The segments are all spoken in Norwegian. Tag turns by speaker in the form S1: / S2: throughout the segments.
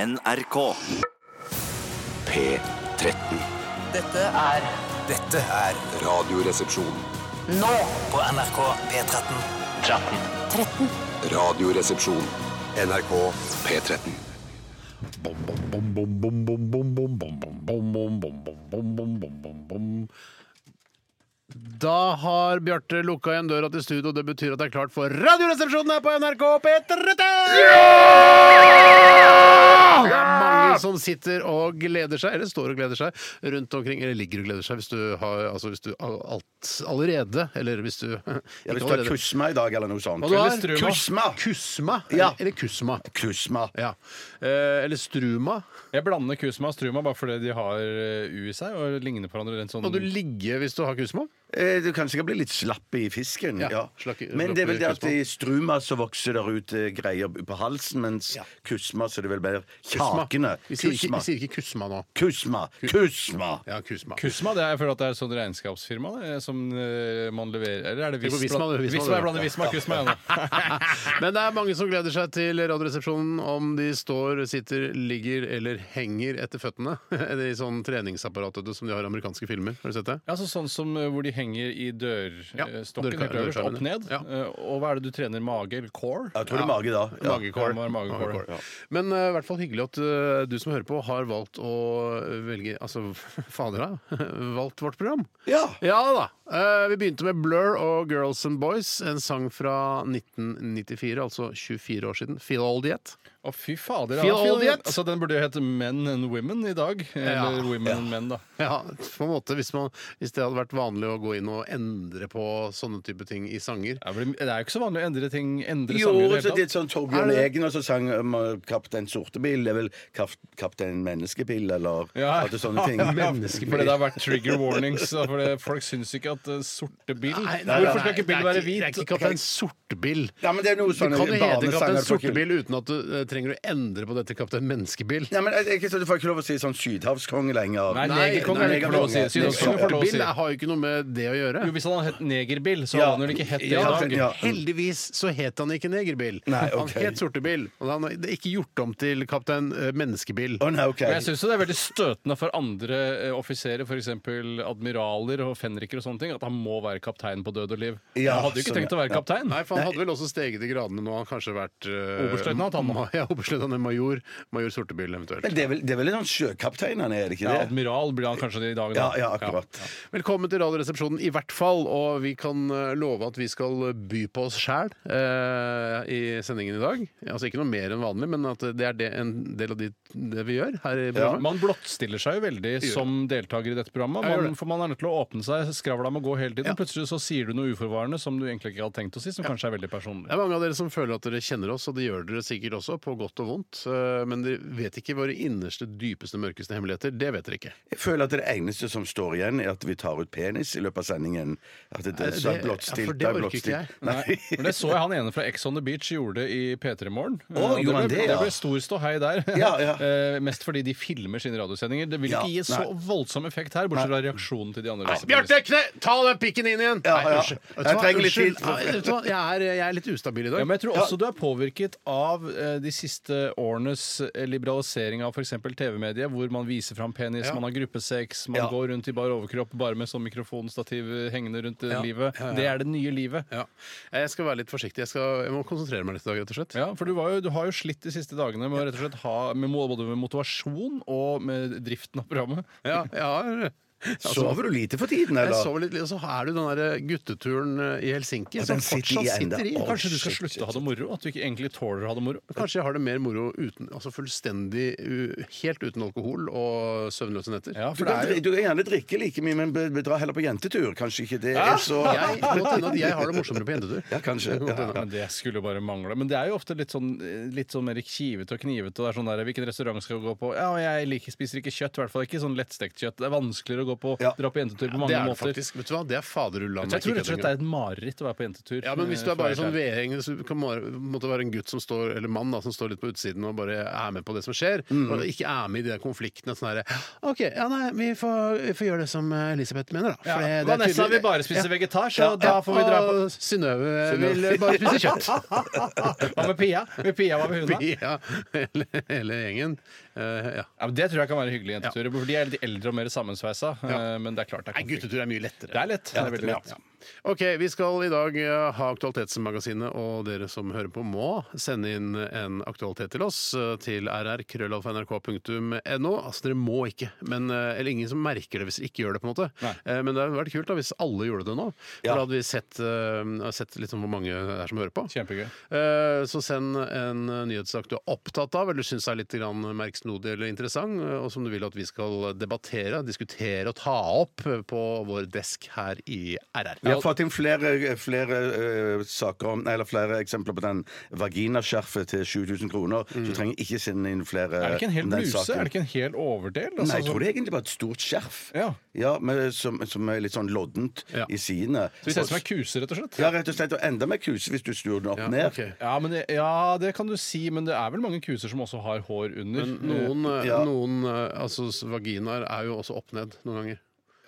S1: NRK.
S2: P13.
S3: Dette er
S4: Dette er
S2: Radioresepsjon.
S3: nå
S4: på NRK P13.
S2: Radioresepsjon. NRK P13.
S5: Bom, bom, bom, bom, bom, bom, bom, bom, bom, bom, bom, bom, bom, bom, bom, bom, bom, bom. Da har Bjarte lukka igjen døra til studio. Det betyr at det er klart for Radioresepsjonen her på NRK P13! Det er mange som sitter og gleder seg, eller står og gleder seg, rundt omkring. Eller ligger og gleder seg, hvis du har altså hvis du har alt allerede. Eller hvis du
S6: Ja,
S5: ikke
S6: hvis du har
S5: allerede.
S6: kusma i dag eller noe sånt.
S5: Hva du har?
S6: Kusma!
S5: Kusma.
S6: Ja.
S5: Eller kusma.
S6: Kusma.
S5: Ja. Eh, eller struma.
S7: Jeg blander Kusma og Struma bare fordi de har eh, U i seg og ligner på hverandre. En sånn
S5: Må du ligge hvis du har kusma?
S6: Eh, Du kan sikkert bli litt slapp i fisken.
S5: Ja,
S6: Ja,
S5: slakk-
S6: Men det er vel det at
S5: kusma.
S6: i struma så vokser der ut eh, greier på halsen, mens kusma så er det vel mer kjakene.
S5: Vi sier, ikke,
S6: Kusma.
S5: vi sier ikke kusma nå.
S6: Kusma. Kusma.
S5: Ja, kusma.
S7: Kusma, det er, jeg føler at det er et sånt regnskapsfirma det, som eh, man leverer Eller er det
S5: Det går Visma, det, Visma,
S7: Visma,
S5: det.
S7: jeg blander Visma og Kusma. Ja, nå.
S5: Men det er mange som gleder seg til Radioresepsjonen om de står, sitter, ligger eller henger etter føttene. Eller I sånn treningsapparat vet du, som de har i amerikanske filmer. Har du sett det?
S7: ja, så sånn som eh, hvor de henger i eh,
S5: Ja,
S7: dørstokken
S5: dørka-
S7: helt øverst, opp
S5: dørkarmene.
S7: ned.
S5: Ja.
S7: Eh, Og hva er det du trener? Mage eller core?
S6: Jeg tror det er mage, da. Ja.
S7: Ja, det var magekål.
S5: Magekål. Men eh, i hvert fall hyggelig at eh, du som hører på, har valgt å velge Altså, fader, da. Valgt vårt program.
S6: Ja.
S5: Ja da. Eh, vi begynte med Blur og Girls and Boys, en sang fra 1994, altså 24 år siden. Feel old yet?
S7: Å, fy fader.
S5: Feel
S7: ja, fy-
S5: old yet?
S7: Altså, den burde jo hete Men and Women i dag. Eller
S5: Ja.
S7: Women and Men, da.
S5: Ja, på en måte. Hvis, man, hvis det hadde vært vanlig å gå inn og endre på sånne type ting i sanger.
S7: Ja, fordi Det er jo ikke så vanlig å endre ting. Endre
S6: Jo,
S7: sanger i
S6: så
S7: det hele
S6: det er
S7: tatt.
S6: sånn Torbjørn Eggen og så sang um, Kaptein Sortebil. Det er vel Kap- Kaptein Menneskebil eller
S7: Ja.
S6: alt det sånne ting.
S7: Fordi det har vært trigger warnings. da, Fordi folk syns ikke at eh, sorte bil
S6: nei,
S7: Hvorfor skal ikke
S5: det
S7: bil
S5: er
S7: være
S5: Det er
S7: hvit?
S5: ikke Kaptein Sortebil.
S6: Ja, men det er noe
S5: Du
S6: sånne
S5: kan jo hete Kaptein
S6: barnesanger folk-
S5: Sortebil uten at du eh, trenger å endre på dette Kaptein Menneskebil.
S6: Nei, men jeg, jeg, jeg, Du får ikke lov å si sånn sydhavskong lenger.
S7: Nei,
S5: Nei,
S7: negerkongen er det ikke lov å si.
S6: negerkongen.
S7: Sydhavskongen får lov å si.
S5: Sortebil har jo ikke noe med det å gjøre.
S7: Jo, hvis han hadde hett negerbil, så
S6: Ja.
S7: hadde han vel ikke hett det i
S6: Ja,
S7: dag.
S6: ja.
S5: Heldigvis så het han ikke Negerbil.
S6: Nei,
S5: Han
S6: ok.
S5: het Sortebil. Og han er ikke gjort om til Kaptein eh, Menneskebil.
S6: Å, nei, ok.
S7: Men jeg syns det er veldig støtende for andre eh, offiserer, f.eks. admiraler og fenriker og sånne ting, at han må være kaptein på død og liv.
S6: Ja,
S7: han hadde jo ikke
S6: sånn,
S7: tenkt å være
S6: ja.
S7: kaptein.
S5: Nei, for han hadde vel også steget i gradene nå. Han kanskje vært eh,
S7: Oberstløytnant, han nå.
S5: ma- Ja, oberstløytnant eller major. Major Sortebil, eventuelt.
S6: Men det er vel, det er vel en sånn sjøkaptein han er, er det ikke
S7: Ja,
S6: det?
S7: admiral blir han kanskje i dag.
S6: Ja,
S7: da.
S6: ja, akkurat.
S5: Velkommen til Radioresepsjonen, i hvert fall. Og vi kan eh, love at vi skal by på oss sjæl eh, i sendingen i dag. Altså ikke noe mer enn vanlig, men at det er det, en del av de, det vi gjør her i
S7: Ja.
S5: programmet.
S7: Man blottstiller seg jo veldig som deltaker i dette programmet.
S5: Jeg gjør
S7: Man,
S5: det.
S7: for man er nødt til å åpne seg, skravla må gå hele tiden.
S5: Ja.
S7: Plutselig så sier du noe uforvarende som du egentlig ikke hadde tenkt å si, som kanskje er veldig personlig.
S5: Det er mange av dere som føler at dere kjenner oss, og det gjør dere sikkert også, på godt og vondt. eh, Men dere vet ikke våre innerste, dypeste, mørkeste hemmeligheter. Det vet dere ikke.
S6: Jeg føler at det eneste som står igjen, er at vi tar ut penis i løpet av sendingen. At det, det, så
S5: Eh, det-
S6: er blottstilt.
S5: ja, for det
S6: er
S5: orker
S6: blottstilt.
S5: ikke jeg.
S6: Nei.
S7: Men det så jeg han ene fra Ex on the Beach gjorde i P3 Morgen. Eh,
S6: Å,
S7: og
S6: gjorde han
S7: ble,
S6: det, ja.
S7: ble stor ståhei der.
S6: Ja, ja.
S7: Eh, Mest fordi de filmer sine radiosendinger. Det vil
S6: Ja,
S7: ikke gi så
S6: nei.
S7: voldsom effekt her, bortsett fra reaksjonen til de andre.
S5: Nei,
S7: resepsjonistene.
S5: Bjarte, kne! Ta den pikken inn igjen!
S6: Ja,
S5: Nei,
S6: ja.
S5: unnskyld. Vet du
S6: Jeg
S5: hva?
S6: trenger litt
S5: Unnskyld.
S6: tid.
S5: Nei, vet du hva? Jeg, er, jeg er litt ustabil i dag.
S7: Ja, men jeg tror også du er påvirket av eh, de siste årenes eh, liberalisering av f.eks. TV-mediet, hvor man viser fram penis,
S5: Ja.
S7: man har gruppesex, man
S6: Ja.
S7: går rundt i bar overkropp bare med sånn mikrofonstativ eh, hengende rundt eh,
S5: Ja.
S7: livet.
S5: Ja, ja.
S7: Det er det nye livet.
S5: Ja. Jeg skal være litt forsiktig. Jeg, skal, jeg må konsentrere meg litt i dag, rett og slett.
S7: Ja, for du, var jo, du har jo slitt de siste dagene med å rett og slett ha med, mo- både med motivasjon og med driften av programmet.
S5: Ja, jeg har
S6: Sover du lite for tiden,
S5: Altså- jeg
S6: eller?
S5: sover litt, og så er det den der eh, gutteturen eh, i Helsinki
S6: Og
S5: som
S6: den sitter
S5: fortsatt
S6: i enda.
S5: sitter i.
S6: Å,
S7: Kanskje du skal
S6: shit,
S7: slutte
S6: shit,
S7: å ha det moro? At du ikke egentlig tåler å ha det moro?
S5: Kanskje jeg har det mer moro uten, altså fullstendig, u- helt uten alkohol og søvnløse netter.
S7: Ja,
S6: Du
S7: for det
S6: kan,
S7: er
S6: dri- du kan gjerne drikke like mye, men be- be- dra heller på jentetur. Kanskje ikke det er så
S5: Jeg, det kan hende at jeg har det morsommere på jentetur.
S6: Ja, kanskje. Ja,
S7: Ja, men Det skulle jo bare mangle. Men det er jo ofte litt sånn, litt sånn mer kivete og knivete. og Det er sånn der, Hvilken restaurant skal vi gå på? Ja, og Jeg liker, spiser ikke kjøtt, i hvert fall ikke sånn lettstekt kjøtt. Det er vanskeligere å gå gå på,
S6: Ja.
S7: dra på jentetur på mange
S5: Det er det
S7: måter.
S5: faktisk. Vet du hva? Det er faderullan.
S7: Så jeg tror rett og slett det er et mareritt å være på jentetur.
S5: Ja, men hvis du
S7: eh,
S5: er bare
S7: for å
S5: sånn
S7: være
S5: vedhengende, så kan det måtte være en gutt som står, eller mann da, som står litt på utsiden og bare er med på det som skjer,
S7: Mm.
S5: og ikke er med i de der konfliktene. Sånn her, OK, ja nei, vi får, vi får gjøre det som eh, Elisabeth mener, da. For det-
S7: ærlig. ja.
S5: det er
S7: Vanessa
S5: tydelig-
S7: vil bare spise
S5: Ja.
S7: vegetar, så da får vi dra på
S5: Og Synnøve vil eh, bare spise kjøtt.
S7: Hva med Pia? Med Pia, hva med hun da?
S5: Ja, hele, hele gjengen. Eh, ja.
S7: Ja, men det tror jeg kan være hyggelige jenteturer. For de er litt eldre og mer sammensveisa. eh, Men det er klart det er
S5: Nei,
S7: konflikt.
S5: guttetur er mye lettere.
S7: Det er lett. Det er veldig lett.
S5: Ok, Vi skal i dag eh, ha Aktualitetsmagasinet, og dere som hører på må sende inn en aktualitet til oss eh, til rrkrøllalfa.nrk.no. Altså, dere må ikke, men, eh, eller ingen som merker det hvis dere ikke gjør det. på en måte. Eh, Men det hadde vært kult da, hvis alle gjorde det nå. For Da hadde vi sett, eh, sett liksom hvor mange det er som hører på.
S7: Kjempegøy.
S5: Eh, Så send en eh, nyhetssak du er opptatt av, eller syns er litt grann merksnodig eller interessant, eh, og som du vil at vi skal debattere, diskutere og ta opp eh, på vår desk her i RR.
S6: Vi har fått inn flere, flere, eh, saker om, eller flere eksempler på den vaginaskjerfet til 7000 kroner. Så du trenger ikke sende inn flere
S7: Mm.
S5: Eh,
S7: Er det ikke en hel
S6: om den
S7: bluse?
S6: saken.
S7: Er det ikke en hel overdel? Altså,
S6: Nei, jeg tror det er egentlig bare et stort skjerf
S7: Ja.
S6: men som, som er litt sånn loddent
S5: Ja.
S6: i sidene.
S7: Så vi ser ut som
S6: Og-
S7: en kuse, rett og slett?
S6: Ja, rett og slett. Og enda mer kuse hvis du snur den opp
S5: Ja,
S6: ned.
S5: ok.
S7: Ja, men det, ja, det kan du si, men det er vel mange kuser som også har hår under.
S5: Noen, eh,
S6: Ja.
S5: noen eh, altså, s- vaginaer er jo også opp ned noen ganger.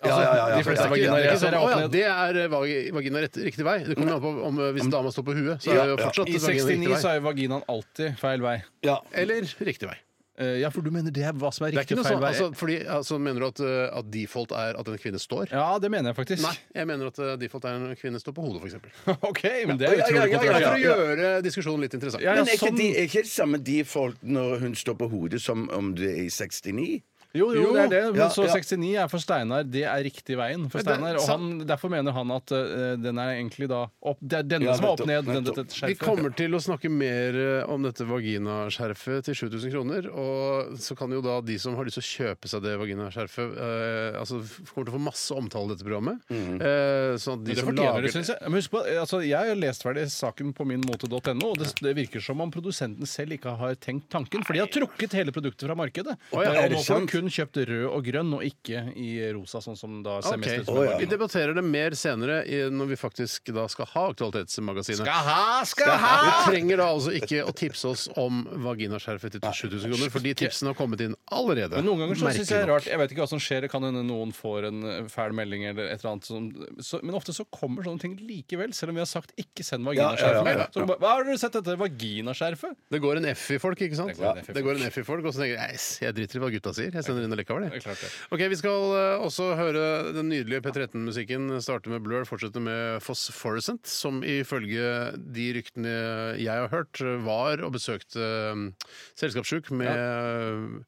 S6: Ja, ja, ja, ja.
S7: Eh, altså, de fleste
S6: Ja,
S7: vaginaer
S5: Det er
S7: jeg
S5: ikke sånn,
S7: ser, er
S5: «Å ja,
S7: opp ned.
S5: det er eh, vagi- vagina rett, riktig vei. Det kommer an på om eh, hvis dama står på huet, så er det jo
S6: Ja, ja.
S5: fortsatt
S7: I
S5: vagina
S7: 69
S5: riktig
S7: så
S5: vei.
S7: er jo vaginaen alltid feil vei.
S6: Ja.
S5: Eller riktig vei.
S7: Eh, Ja, for du mener det er hva som er
S5: Det er ikke
S7: riktig
S5: noe
S7: feil
S5: sånn,
S7: vei?
S5: altså, fordi, altså, mener du at, eh, at default er at en kvinne står?
S7: altså- Ja, det mener jeg faktisk.
S5: Nei, jeg mener at eh, default er en kvinne står på hodet, f.eks.
S7: OK, men det er
S5: Ja, ja, ja,
S7: utrolig
S5: ja, for å
S7: kontroversielt.
S5: gjøre diskusjonen litt interessant.
S7: Ja,
S6: Men
S7: ja,
S6: er ikke,
S7: sånn-
S6: de, er ikke det samme de folk når hun står på hodet, som om du er i 69?
S7: Jo, jo, det er det. Men
S6: Ja,
S7: så
S6: ja.
S7: 69 er for Steinar. Det er riktig veien for
S5: det er
S7: Steinar. Og
S5: sant.
S7: han, derfor mener han at eh, den er egentlig da opp Det er denne
S6: Ja,
S7: som er opp
S6: nettopp,
S7: ned. Den,
S6: nettopp.
S7: dette
S5: Vi
S7: skjerfet.
S5: kommer til å snakke mer eh, om dette vaginaskjerfet til 7000 kroner. Og så kan jo da de som har lyst til å kjøpe seg det vaginaskjerfet eh, altså, f- Kommer til å få masse omtale i dette programmet. Eh, sånn at de
S7: Mhm. Det
S5: som
S7: fortjener
S5: lager
S7: det, syns jeg. Men husk på, altså, jeg har lest ferdig saken på minmote.no, og det, det virker som om produsenten selv ikke har tenkt tanken, for de har trukket hele produktet fra markedet.
S5: Å ja,
S7: Og
S6: er det
S7: nå får
S6: sant?
S7: du kun kjøpt rød og grønn, og ikke i rosa, sånn som da
S5: Ok,
S7: semesteret
S6: Å ja.
S5: Vi debatterer det mer senere i- når vi faktisk da skal ha Aktualitetsmagasinet.
S7: ha, skal
S5: Vi trenger da altså ikke å tipse oss om vaginaskjerfet til 7000 kroner, for de tipsene har kommet inn allerede.
S7: Men noen ganger så
S5: Merkelig
S7: synes jeg det er
S5: nok.
S7: rart. Jeg vet ikke hva som skjer. Det kan hende noen får en eh, fæl melding eller et eller annet. Som, så, men ofte så kommer sånne ting likevel, selv om vi har sagt ikke send vaginaskjerfet.
S6: Ja, ja, ja, ja.
S7: med. Så bare, Hva har dere sett dette vaginaskjerfet?
S5: Det går en F i folk, ikke sant?
S7: Det går en F i
S5: Det går en F i folk, Og så tenker jeg «Eis, jeg driter i hva gutta sier. Jeg sender inn allikevel,
S7: Det er
S5: jeg.
S7: klart det.
S5: Ok, Vi skal eh, også høre den nydelige P13-musikken. Starte med Blur, fortsette med Phosphorescent, som ifølge de ryktene jeg har hørt, var og besøkte eh, Selskapssjuk med eh,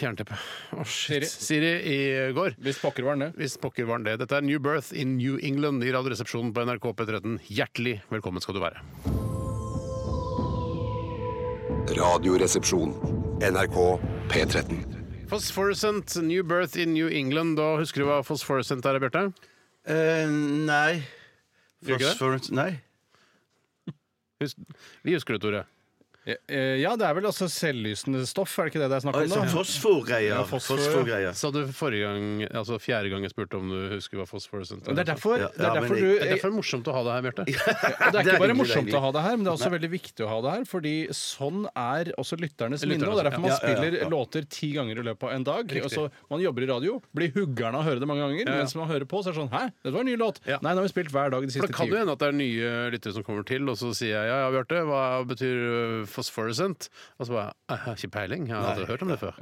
S5: Jernteppe. Å, shit.
S7: Siri.
S5: Siri i går.
S7: Hvis pokker var den det.
S5: Hvis pokker var den det. Dette er New Birth in New England i Radioresepsjonen på NRK P13. Hjertelig velkommen skal du være.
S2: Radioresepsjon. NRK P13.
S5: Phosphorescent, New Birth in New England. Da husker du hva phosphorescent er, Bjarte?
S6: Eh, nei.
S5: Gjør ikke det?
S6: Phosphorus- Nei.
S5: Hus Vi husker det, Tore.
S7: Ja, eh, ja, det er vel altså selvlysende stoff, er det ikke det det er snakk
S6: Oi,
S7: om?
S6: sånn
S7: da?
S6: fosforgreier.
S7: Ja, fosfor, ja.
S6: Fosforgreier.
S5: Sa du forrige gang, altså fjerde gang jeg spurte om du husker hva phosphorescent
S7: Men Det er derfor,
S6: Ja,
S7: det er
S6: ja, men
S7: derfor
S6: jeg-
S7: du
S5: Det er derfor det er morsomt å ha deg her, Bjarte.
S7: Og det er ikke
S6: Det er
S7: bare
S6: hyggelig,
S7: morsomt
S6: det er
S7: å ha det her, men det er også veldig viktig å ha det her. Fordi sånn er også lytternes minne. Og det er derfor man
S6: ja, ja, ja.
S7: spiller låter ti ganger i løpet av en dag. Og så Man jobber i radio, blir huggerne av å høre det mange ganger. Mens man hører på, så er det sånn Hæ, dette var en ny låt.
S5: Ja.
S7: Nei, den har vi spilt hver dag de
S5: For
S7: siste
S5: Det kan
S7: ti
S5: jo
S7: ukene.
S5: hende at det er nye lyttere som kommer til, og så sier jeg ja, ja, Bjarte, hva betyr øh, phosphorescent? Og så bare jeg har ikke peiling, jeg har aldri hørt om det før.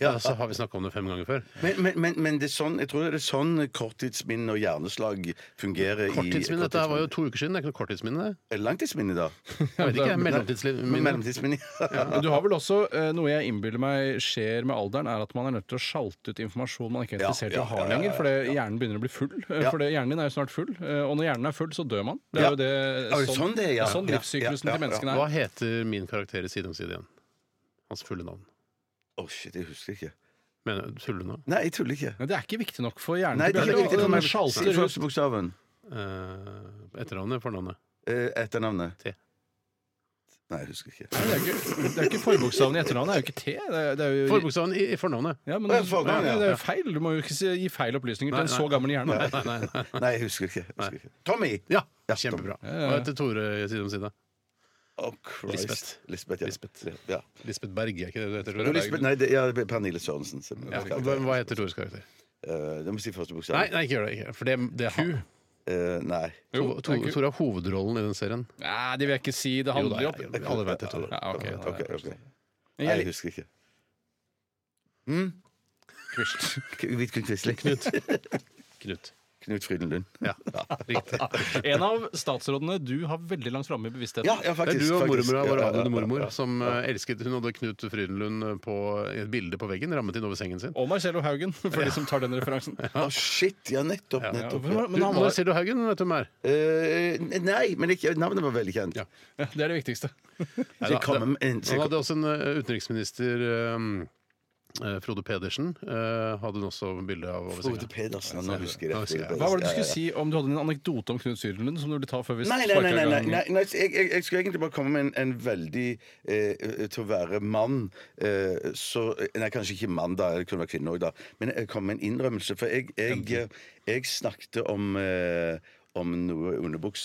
S5: Ja, Så har vi snakka om det fem ganger før.
S6: Men, men, men, men det er sånn, jeg tror det er sånn korttidsminne og hjerneslag fungerer
S5: Korttidsminne,
S6: i
S5: dette her var jo to uker siden, det er ikke noe korttidsminne, det.
S6: korttidsminne. Langtidsminne, da.
S5: Jeg vet ikke, mellomtidsminne.
S6: Mellomtidsminne.
S7: Men du har vel også eh, noe jeg innbiller meg skjer med alderen, er at man er nødt til å sjalte ut informasjon man ikke er
S6: Ja,
S7: interessert i
S6: ja,
S7: å ha
S6: ja, ja,
S7: lenger.
S6: ja,
S7: Fordi hjernen begynner å bli full. Eh,
S6: Ja.
S7: Fordi hjernen din er jo snart full. eh, Og når hjernen er full, så dør man. Det
S6: Ja.
S7: er jo det,
S6: Ja, det er sånn det er, ja.
S7: sånn
S6: Ja,
S7: livssyklusen
S6: ja, ja,
S7: til menneskene
S5: Hva
S7: er.
S5: heter min karakter i Side om side igjen? Hans fulle navn.
S6: Å, shit, jeg husker ikke.
S5: Mener du tuller du nå?
S6: Nei, jeg tuller ikke.
S7: Men det er ikke viktig nok for hjernen.
S6: Nei, det er ikke viktig for meg. Si
S7: Sjalter ut
S6: første bokstaven.
S5: Eh, Etternavnet? Fornavnet?
S6: Eh, Etternavnet.
S5: T.
S6: Nei, jeg husker ikke.
S7: Men Det er jo ikke, det er jo ikke forbokstaven i etternavnet. Det er jo ikke T. Det er, det er jo,
S5: Forbokstaven i, i fornavnet.
S7: Ja, men,
S6: Å, ja, forbokstaven,
S7: ja,
S6: ja.
S7: det er jo feil. Du må jo ikke si- gi feil opplysninger til en så gammel hjerne.
S6: Nei, jeg husker ikke. Jeg husker ikke. Tommy!
S5: Ja,
S6: Ja,
S5: kjempebra. Hva heter Tore side om side?
S6: Oh, Christ.
S5: Lisbeth.
S6: Lisbeth, ja. Ja.
S5: Lisbeth Berge, er ikke det du heter?
S6: Jo, Lisbeth, nei, det, ja, det er Pernille Sørensen. som-
S5: Ja. Hva hva heter Tores karakter?
S6: Eh, du må si første bokstav.
S5: Nei, nei, ikke gjør det. Ikke. For det, det er han.
S6: Eh, nei.
S5: Tore
S7: det er ikke-
S5: Tore har hovedrollen i den serien.
S7: Nei, det vil jeg ikke si. Det handler
S5: Jo,
S7: om
S5: det er- Alle vet det, Tore.
S7: Ja, ok.
S6: Ok, ok.
S7: Jeg-
S6: Nei, jeg husker ikke. Mm.
S7: Kvist.
S6: Vidkun Quisling. Knut.
S5: Knut.
S6: Knut Frydenlund.
S5: Ja, riktig.
S7: En av statsrådene du har veldig langt framme i bevisstheten.
S6: Ja, ja,
S5: Det er
S6: faktisk.
S5: du og
S6: faktisk.
S5: mormora, vår
S6: Ja, ja,
S5: avdøde
S6: ja,
S5: mormor,
S6: ja.
S5: som eh, elsket Hun hadde Knut Frydenlund eh, på et bilde på veggen, rammet inn over sengen sin.
S7: Og Marcello Haugen, for de som tar den referansen.
S6: Å, shit! Ja, nettopp.
S5: Ja, ja.
S6: nettopp
S7: Men
S6: ja.
S5: Du,
S7: han var,
S5: Marcello Haugen, vet du hvem er?
S6: Eh, nei, men ikke, navnet var veldig kjent.
S5: Ja.
S7: ja, det er det viktigste.
S6: Så jeg kom med en- så jeg
S5: Han
S6: kom-
S5: hadde også en eh, utenriksminister eh, eh, Frode Pedersen eh, hadde hun også bilde av over
S6: Frode
S5: senga.
S6: Pedersen. Nå husker
S5: Nå husker
S6: jeg
S5: jeg.
S6: Frode
S7: Hva var det du
S6: Pedersen.
S7: skulle si om du hadde en anekdote om Knut Syrlund som du ville ta før vi
S6: Nei, nei, nei,
S7: sparker
S6: nei,
S7: i
S6: nei,
S7: gang?
S6: nei, nei så jeg, jeg, jeg skulle egentlig bare komme med en, en veldig eh, Til å være mann eh, så, Nei, kanskje ikke mann, da. Det kunne være kvinne òg, da. Men jeg kom med en innrømmelse. For jeg, jeg, jeg snakket om eh, om noe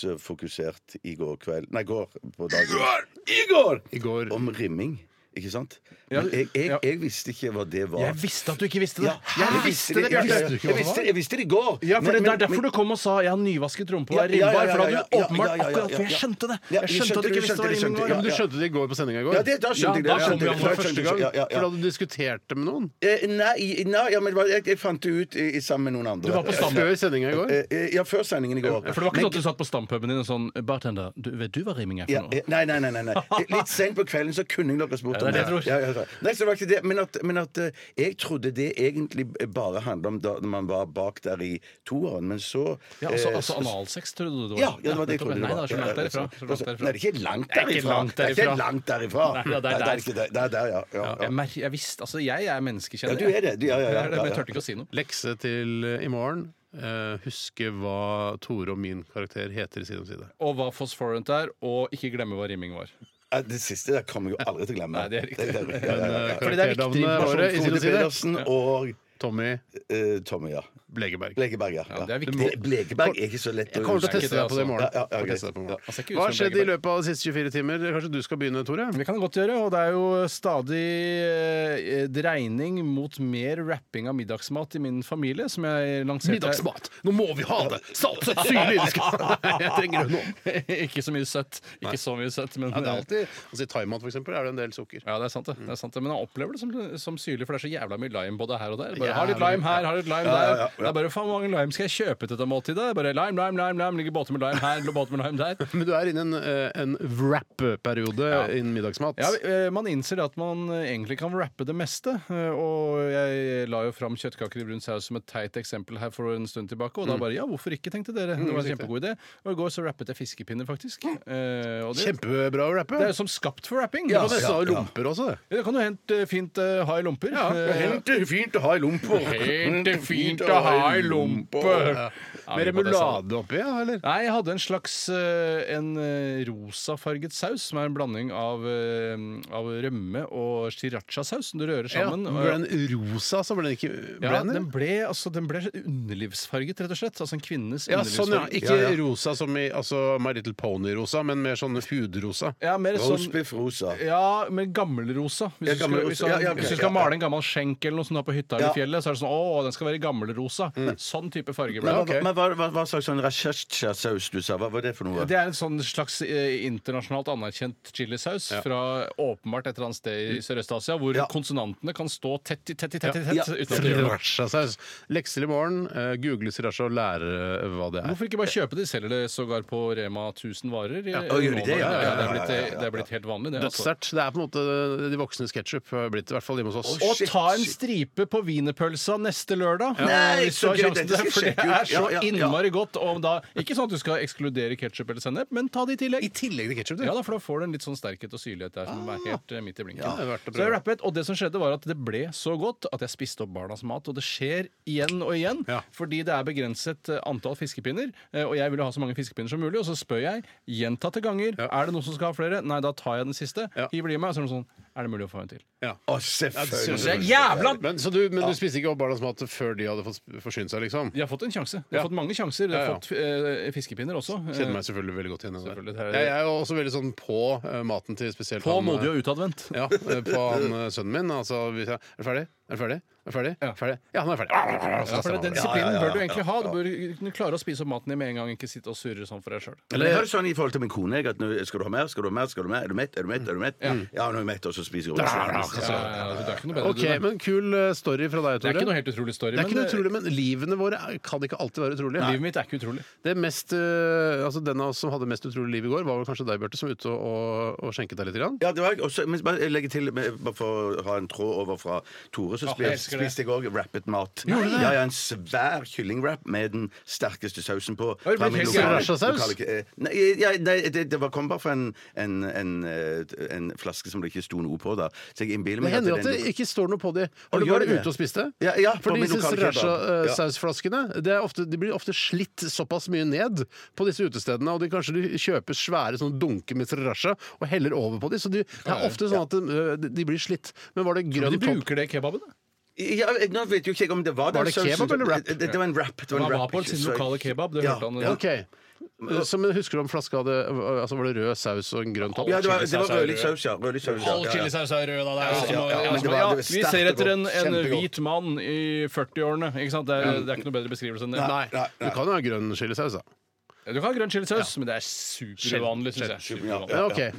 S6: underbuksefokusert i går kveld Nei, går på dagen. I går!
S5: I går
S6: Om rimming. Ikke sant?
S7: Ja,
S6: Men jeg, jeg,
S7: ja.
S6: jeg visste ikke hva det var.
S7: Jeg visste at du ikke visste det!
S6: Ja, jeg visste det, ja, ja, ja.
S7: Bjarte!
S6: Jeg visste- Jeg visste det i går.
S7: Ja, for
S6: Men-
S7: det, det er
S6: men-
S7: derfor
S6: men-
S7: du kom og sa 'jeg har nyvasket rumpe og er
S6: Ja, ja, ja,
S7: rimbar'. For da
S6: ja,
S7: hadde
S6: ja,
S7: du
S6: ja,
S7: åpenbart
S6: ja, ja, ja,
S7: akkurat For jeg
S6: ja.
S7: skjønte det!
S6: Ja,
S7: Jeg
S6: jeg
S7: skjønte at
S6: skjønte
S7: du ikke
S6: det,
S7: visste hva
S6: jeg skjønte
S7: riming
S6: det,
S7: var.
S5: Ja, men du
S6: ja.
S5: skjønte det i går på sendinga i går?
S6: Ja, det, da skjønte jeg det.
S7: da
S6: da
S7: kom
S6: skjønte jeg det,
S7: han for
S6: da skjønte
S7: første
S6: jeg
S7: gang.
S6: det, ja, ja,
S5: For
S6: ja.
S5: da hadde du diskutert det med noen?
S6: Eh, nei, nei ja, men det var- jeg, jeg fant det ut i, i sammen med noen andre.
S7: Du var på
S5: Før
S7: stampuben.
S5: sendinga i går?
S6: Eh, eh, ja, før sendingen i går.
S7: For det var ikke sånn at du satt på stampuben din og sånn 'Bartender, du, vet du hva riming er
S6: ja,
S7: for
S6: eh,
S7: noe?'
S6: nei, nei, nei, nei, nei. Litt sent på kvelden så kunne jeg nok ha spurt
S7: Ja,
S6: om det.
S7: det er det jeg tror.
S6: Ja, ja, ja. Nei, så det var ikke det. Men at, men at eh, jeg trodde det egentlig eh, bare handla om da man var bak der i toeren, men så
S7: Ja, altså,
S6: eh,
S7: altså analsex, trodde du det
S6: ja,
S7: var?
S6: ja, det var det jeg
S7: nettopp.
S6: trodde det
S7: Nei,
S6: var.
S7: det er så langt
S6: Ja, ja,
S7: derifra.
S6: så-
S7: Så langt derifra.
S6: Nei, det er ikke langt
S7: Det er ikke
S6: derifra.
S7: langt
S6: Det er
S7: derifra.
S6: ikke langt derifra.
S7: Nei, ja, det er
S6: Nei,
S7: der.
S6: ikke det. Det er der, ja. ja,
S7: Ja,
S6: ja.
S7: Jeg, mer, jeg visste, altså Jeg er
S6: Ja,
S7: menneskekjenner.
S6: du er det. Du, ja, ja, ja,
S7: Jeg er det,
S6: ja, ja.
S7: men jeg turte ikke å si noe.
S5: Lekse til eh, i morgen. Eh, huske hva Tore og min karakter heter side om side.
S7: Og hva fosforent er, og ikke glemme hva rimming var.
S6: Ja, Det siste der kommer jeg jo aldri til å glemme.
S7: Nei, det er riktig. eh,
S6: det- ja, ja, ja, ja.
S7: Fordi det er viktig
S5: Karakternavnet
S7: informasjon,
S5: våre i side
S6: Frode
S5: om side.
S6: Pedersen og
S5: Tommy
S6: eh, Tommy, ja.
S5: Blegeberg.
S6: Blekeberg, ja.
S7: Ja, det er viktig.
S6: Det- Blekeberg er ikke så lett
S5: Jeg
S6: å
S5: kommer til å
S6: huske.
S5: teste deg på det i morgen.
S6: Ja, ja, ja,
S5: Jeg
S6: greit.
S5: tester deg på i morgen.
S7: Ja, ser ikke ut
S5: Hva har
S7: som
S5: skjedd i løpet av de siste 24 timer? Kanskje du skal begynne, Tore?
S7: Det kan jeg godt gjøre, og det er jo stadig eh, dreining mot mer wrapping av middagsmat i min familie, som jeg lanserte
S5: Nå må vi ha det! Salt, søtt, syrlig! Jeg trenger det nå.
S7: ikke så mye søtt. Ikke så mye søtt, men
S5: Ja, det er alltid, altså I thaimat for eksempel, er det en del sukker.
S7: Ja, det er sant, det. det, er sant, det. Men jeg opplever det som, som syrlig, for det er så jævla mye lime både her og der. Bare,
S5: Jævlig
S7: har litt lime her, har litt lime der.
S6: ja, ja, ja.
S7: Det er bare faen, hvor mange lime skal jeg kjøpe til dette måltidet? Bare lime, lime, lime, lime. Ligger båter med lime her, båter med lime der.
S5: Men du er inne i en, eh, en wrap-periode innen middagsmat.
S7: Ja, eh, Man innser at man eh, egentlig kan rappe det meste. eh, Og jeg la jo fram kjøttkaker i brun saus som et teit eksempel her for en stund tilbake.
S5: Mm.
S7: Og da bare ja, hvorfor ikke, tenkte dere. Det var en kjempegod idé. Og i går så rappet jeg fiskepinner, faktisk. Eh, Og det,
S5: Kjempebra å rappe.
S7: det er jo som skapt for rapping.
S5: Ja,
S7: Det var
S5: nesten
S7: nesten-
S5: ha lomper også, det.
S7: Ja, Det kan du helt eh, fint eh, ha i lomper. Eh,
S6: fint å ha i lompa.
S7: Helt fint å ha i lompe.
S5: Med remulade oppi, ja, eller?
S7: Nei, jeg hadde en slags eh, en eh, rosafarget saus, som er en blanding av, eh, av rømme og sriracha-saus, som du rører sammen. eh,
S5: ja, ble den rosa, så ble den ikke ble
S7: ja,
S5: den,
S7: den ble, altså, den ble underlivsfarget, rett og slett. Altså en kvinnes
S5: ja, sånn, ja.
S7: underlivsfarge.
S5: Ikke rosa som i altså, My Little Pony-rosa, men mer sånn hudrosa.
S7: Ja, mer sånn
S6: Roastbiff rosa.
S7: ja, men gammelrosa. Hvis,
S6: Ja,
S7: du skal-
S6: gammelrosa.
S7: hvis, du-
S6: Ja, ja, ok,
S7: hvis du skal
S6: ja, ja.
S7: male en gammel skjenk eller noe som du har på hytta eller
S6: Ja. Mm.
S7: i fjellet, så er det sånn Å, den skal være gammelrosa. Sånn type farge ble det.
S6: Men,
S5: ok.
S6: hva- men hva, hva, hva slags sånn rachescha-saus du sa? Hva var det for noe?
S7: Det er en sånn slags eh, internasjonalt anerkjent chilisaus fra åpenbart et eller annet sted i Sørøst-Asia, hvor
S6: Mm. Ja.
S7: konsonantene kan stå tett i tett i tett i tett.
S6: Ja.
S7: Uten at de gjør noe.
S5: Sriracha-saus. Lekser i morgen. eh, Google sriracha og lære eh, hva det er.
S7: Hvorfor ikke bare kjøpe det? De Selger det sågar på Rema 1000 varer. i-
S6: og gjør de det? Ja,
S7: Ja, ja, det,
S6: ja,
S7: er
S6: ja,
S7: blitt,
S6: ja, ja, ja.
S7: det er blitt helt vanlig, det. Altså.
S5: Dødssterkt. Det er på en måte de voksnes ketsjup, i hvert fall hjemme hos oss.
S6: Å,
S7: Og
S6: shit,
S7: ta en
S6: shit.
S7: stripe på Pølsa neste lørdag.
S6: Nei,
S7: Hvis du
S6: så
S7: har
S6: gøy,
S7: sjansen
S6: det
S7: til
S6: skal
S7: det,
S6: jeg
S7: for det
S6: sjekke ut.
S7: er så
S6: Ja, ja, ja.
S7: innmari godt. Og da, ikke sånn at du skal ekskludere ketsjup eller sennep, men ta det i tillegg.
S5: I tillegg til ketsjup, du.
S7: Ja, da, for da får du en litt sånn sterkhet og syrlighet der som er helt eh, midt i blinken.
S5: det er verdt å
S7: så jeg
S5: prøve.
S7: rappet, og det som skjedde var at det ble så godt at jeg spiste opp barnas mat. Og det skjer igjen og igjen,
S5: Ja.
S7: fordi det er begrenset eh, antall fiskepinner. eh, Og jeg vil jo ha så mange fiskepinner som mulig, og så spør jeg gjentatte ganger Er det noen som skal ha flere. Nei, da tar jeg den siste.
S5: Ja.
S7: Hiver de i meg, og så er det noe sånn Er det mulig å få en til?
S6: Å,
S5: det synes
S6: selvfølgelig.
S5: jeg
S7: Jævla
S5: Men, så du, men du spiste ikke opp barnas mat før de hadde fått forsynt seg, liksom?
S7: De har fått en sjanse. De har
S5: Ja.
S7: fått mange sjanser. De har
S5: Ja, ja.
S7: fått eh, fiskepinner også.
S5: Kjenner meg selvfølgelig veldig godt igjen i det.
S7: Selvfølgelig, det
S5: der.
S7: er-
S5: Jeg er jo også veldig sånn på eh, maten til spesielt
S7: På
S5: han, eh,
S7: modig og utadvendt.
S5: Ja, eh, på han eh, sønnen min. Altså, hvis jeg, er du ferdig? Er du ferdig? Er du ferdig?
S7: Ja.
S5: Ferdig? Ja, han er ferdig. Ah,
S7: Ja,
S5: så setter
S7: for
S5: han over.
S7: Den
S6: altså, ja,
S7: disiplinen
S6: ja,
S7: bør du
S6: ja,
S7: egentlig ha. Du bør kunne klare å spise opp maten din med en gang, ikke sitte og surre sånn for deg sjøl.
S6: Men jeg har det sånn i forhold til min kone jeg, at nå skal du ha mer, skal du ha mer, skal du ha mer, er du mett, er du mett, er du mett? Ja, nå er jeg mett, og så spiser jeg
S5: Ja,
S6: også.
S7: det er ikke noe bedre.
S5: OK,
S7: du,
S5: men kul eh, story fra deg,
S7: det
S5: Tore.
S7: er ikke noe helt utrolig story.
S5: Det er ikke
S7: men eh,
S5: noe utrolig, men livene våre er- kan ikke alltid være utrolige.
S7: Livet mitt er ikke utrolig.
S5: Det mest, eh, altså Den av oss som hadde mest utrolig liv i går, var vel kanskje deg, Bjarte, som var ute og, og, og skjenket deg litt. Grann.
S6: Ja, det var jeg. Også, men bare jeg legger til, bare for å ha en tråd over fra Tore, så
S7: Åh,
S6: spiste,
S7: jeg elsker det.
S6: spiste jeg òg wrappet mat. Ja, ja, En svær kyllingwrap med den sterkeste sausen på.
S7: Oi, det
S6: fra
S7: ble
S6: min
S7: helt
S6: lokale-
S5: sriracha-saus?
S6: lokale- eh, Nei, ja, nei det, det var kom bare fra en, en, en, eh, en flaske som det ikke sto noe på da. Så jeg
S5: Det
S6: innbiller meg
S5: hender
S6: den-
S5: at det ikke står noe på de. Har
S6: Å,
S5: du
S6: gjør
S5: vært
S6: det?
S5: ute og spist det?
S6: Ja, ja, på
S5: For de
S6: min
S5: disse
S6: lokale kebab. Ja.
S5: sriracha-sausflaskene det er ofte- de blir ofte slitt såpass mye ned på disse utestedene, og de kanskje de kjøper svære sånn dunker med sriracha og heller over på de, så de, det er ofte sånn at de, øh, de blir slitt. Men var det
S7: Men
S5: grønn
S7: de
S5: topp?
S7: bruker det i kebaben. da.
S6: Ja, jeg- nå vet jo ikke jeg om det var
S5: Var
S6: den
S5: det
S6: sausen
S5: kebab
S6: som-
S5: eller wrap?
S6: Det, det var en wrap. Det var en
S7: Han var
S6: wrap,
S7: på
S6: ikke
S7: sin
S6: så-
S7: lokale kebab. Det
S6: Ja,
S7: hørte han.
S6: ja.
S5: OK. Så, men husker du om flaska hadde altså Var det rød saus og en grønn topp?
S6: Ja, det var, det
S7: Chilisaus
S6: var
S7: er
S6: rødlig
S7: rød.
S6: saus, ja. Rødlig saus, ja.
S7: All
S6: Ja, ja.
S7: chilisaus er rød, da. Det er
S6: Ja,
S7: jo sånn-
S6: ja, men det var- det
S7: ja,
S6: var
S7: vi
S6: sterkt
S7: ser
S6: og
S7: etter en,
S6: godt.
S7: en
S6: Kjempegodt. Mm.
S7: hvit mann i 40-årene. ikke sant? Det er, det er ikke noe bedre beskrivelse enn det.
S5: Nei. Du kan jo ha grønn chilisaus, da.
S7: Du kan ha grønn chilisaus, men det er superuvanlig, syns jeg. Superuvanlig.
S5: Ja, ok.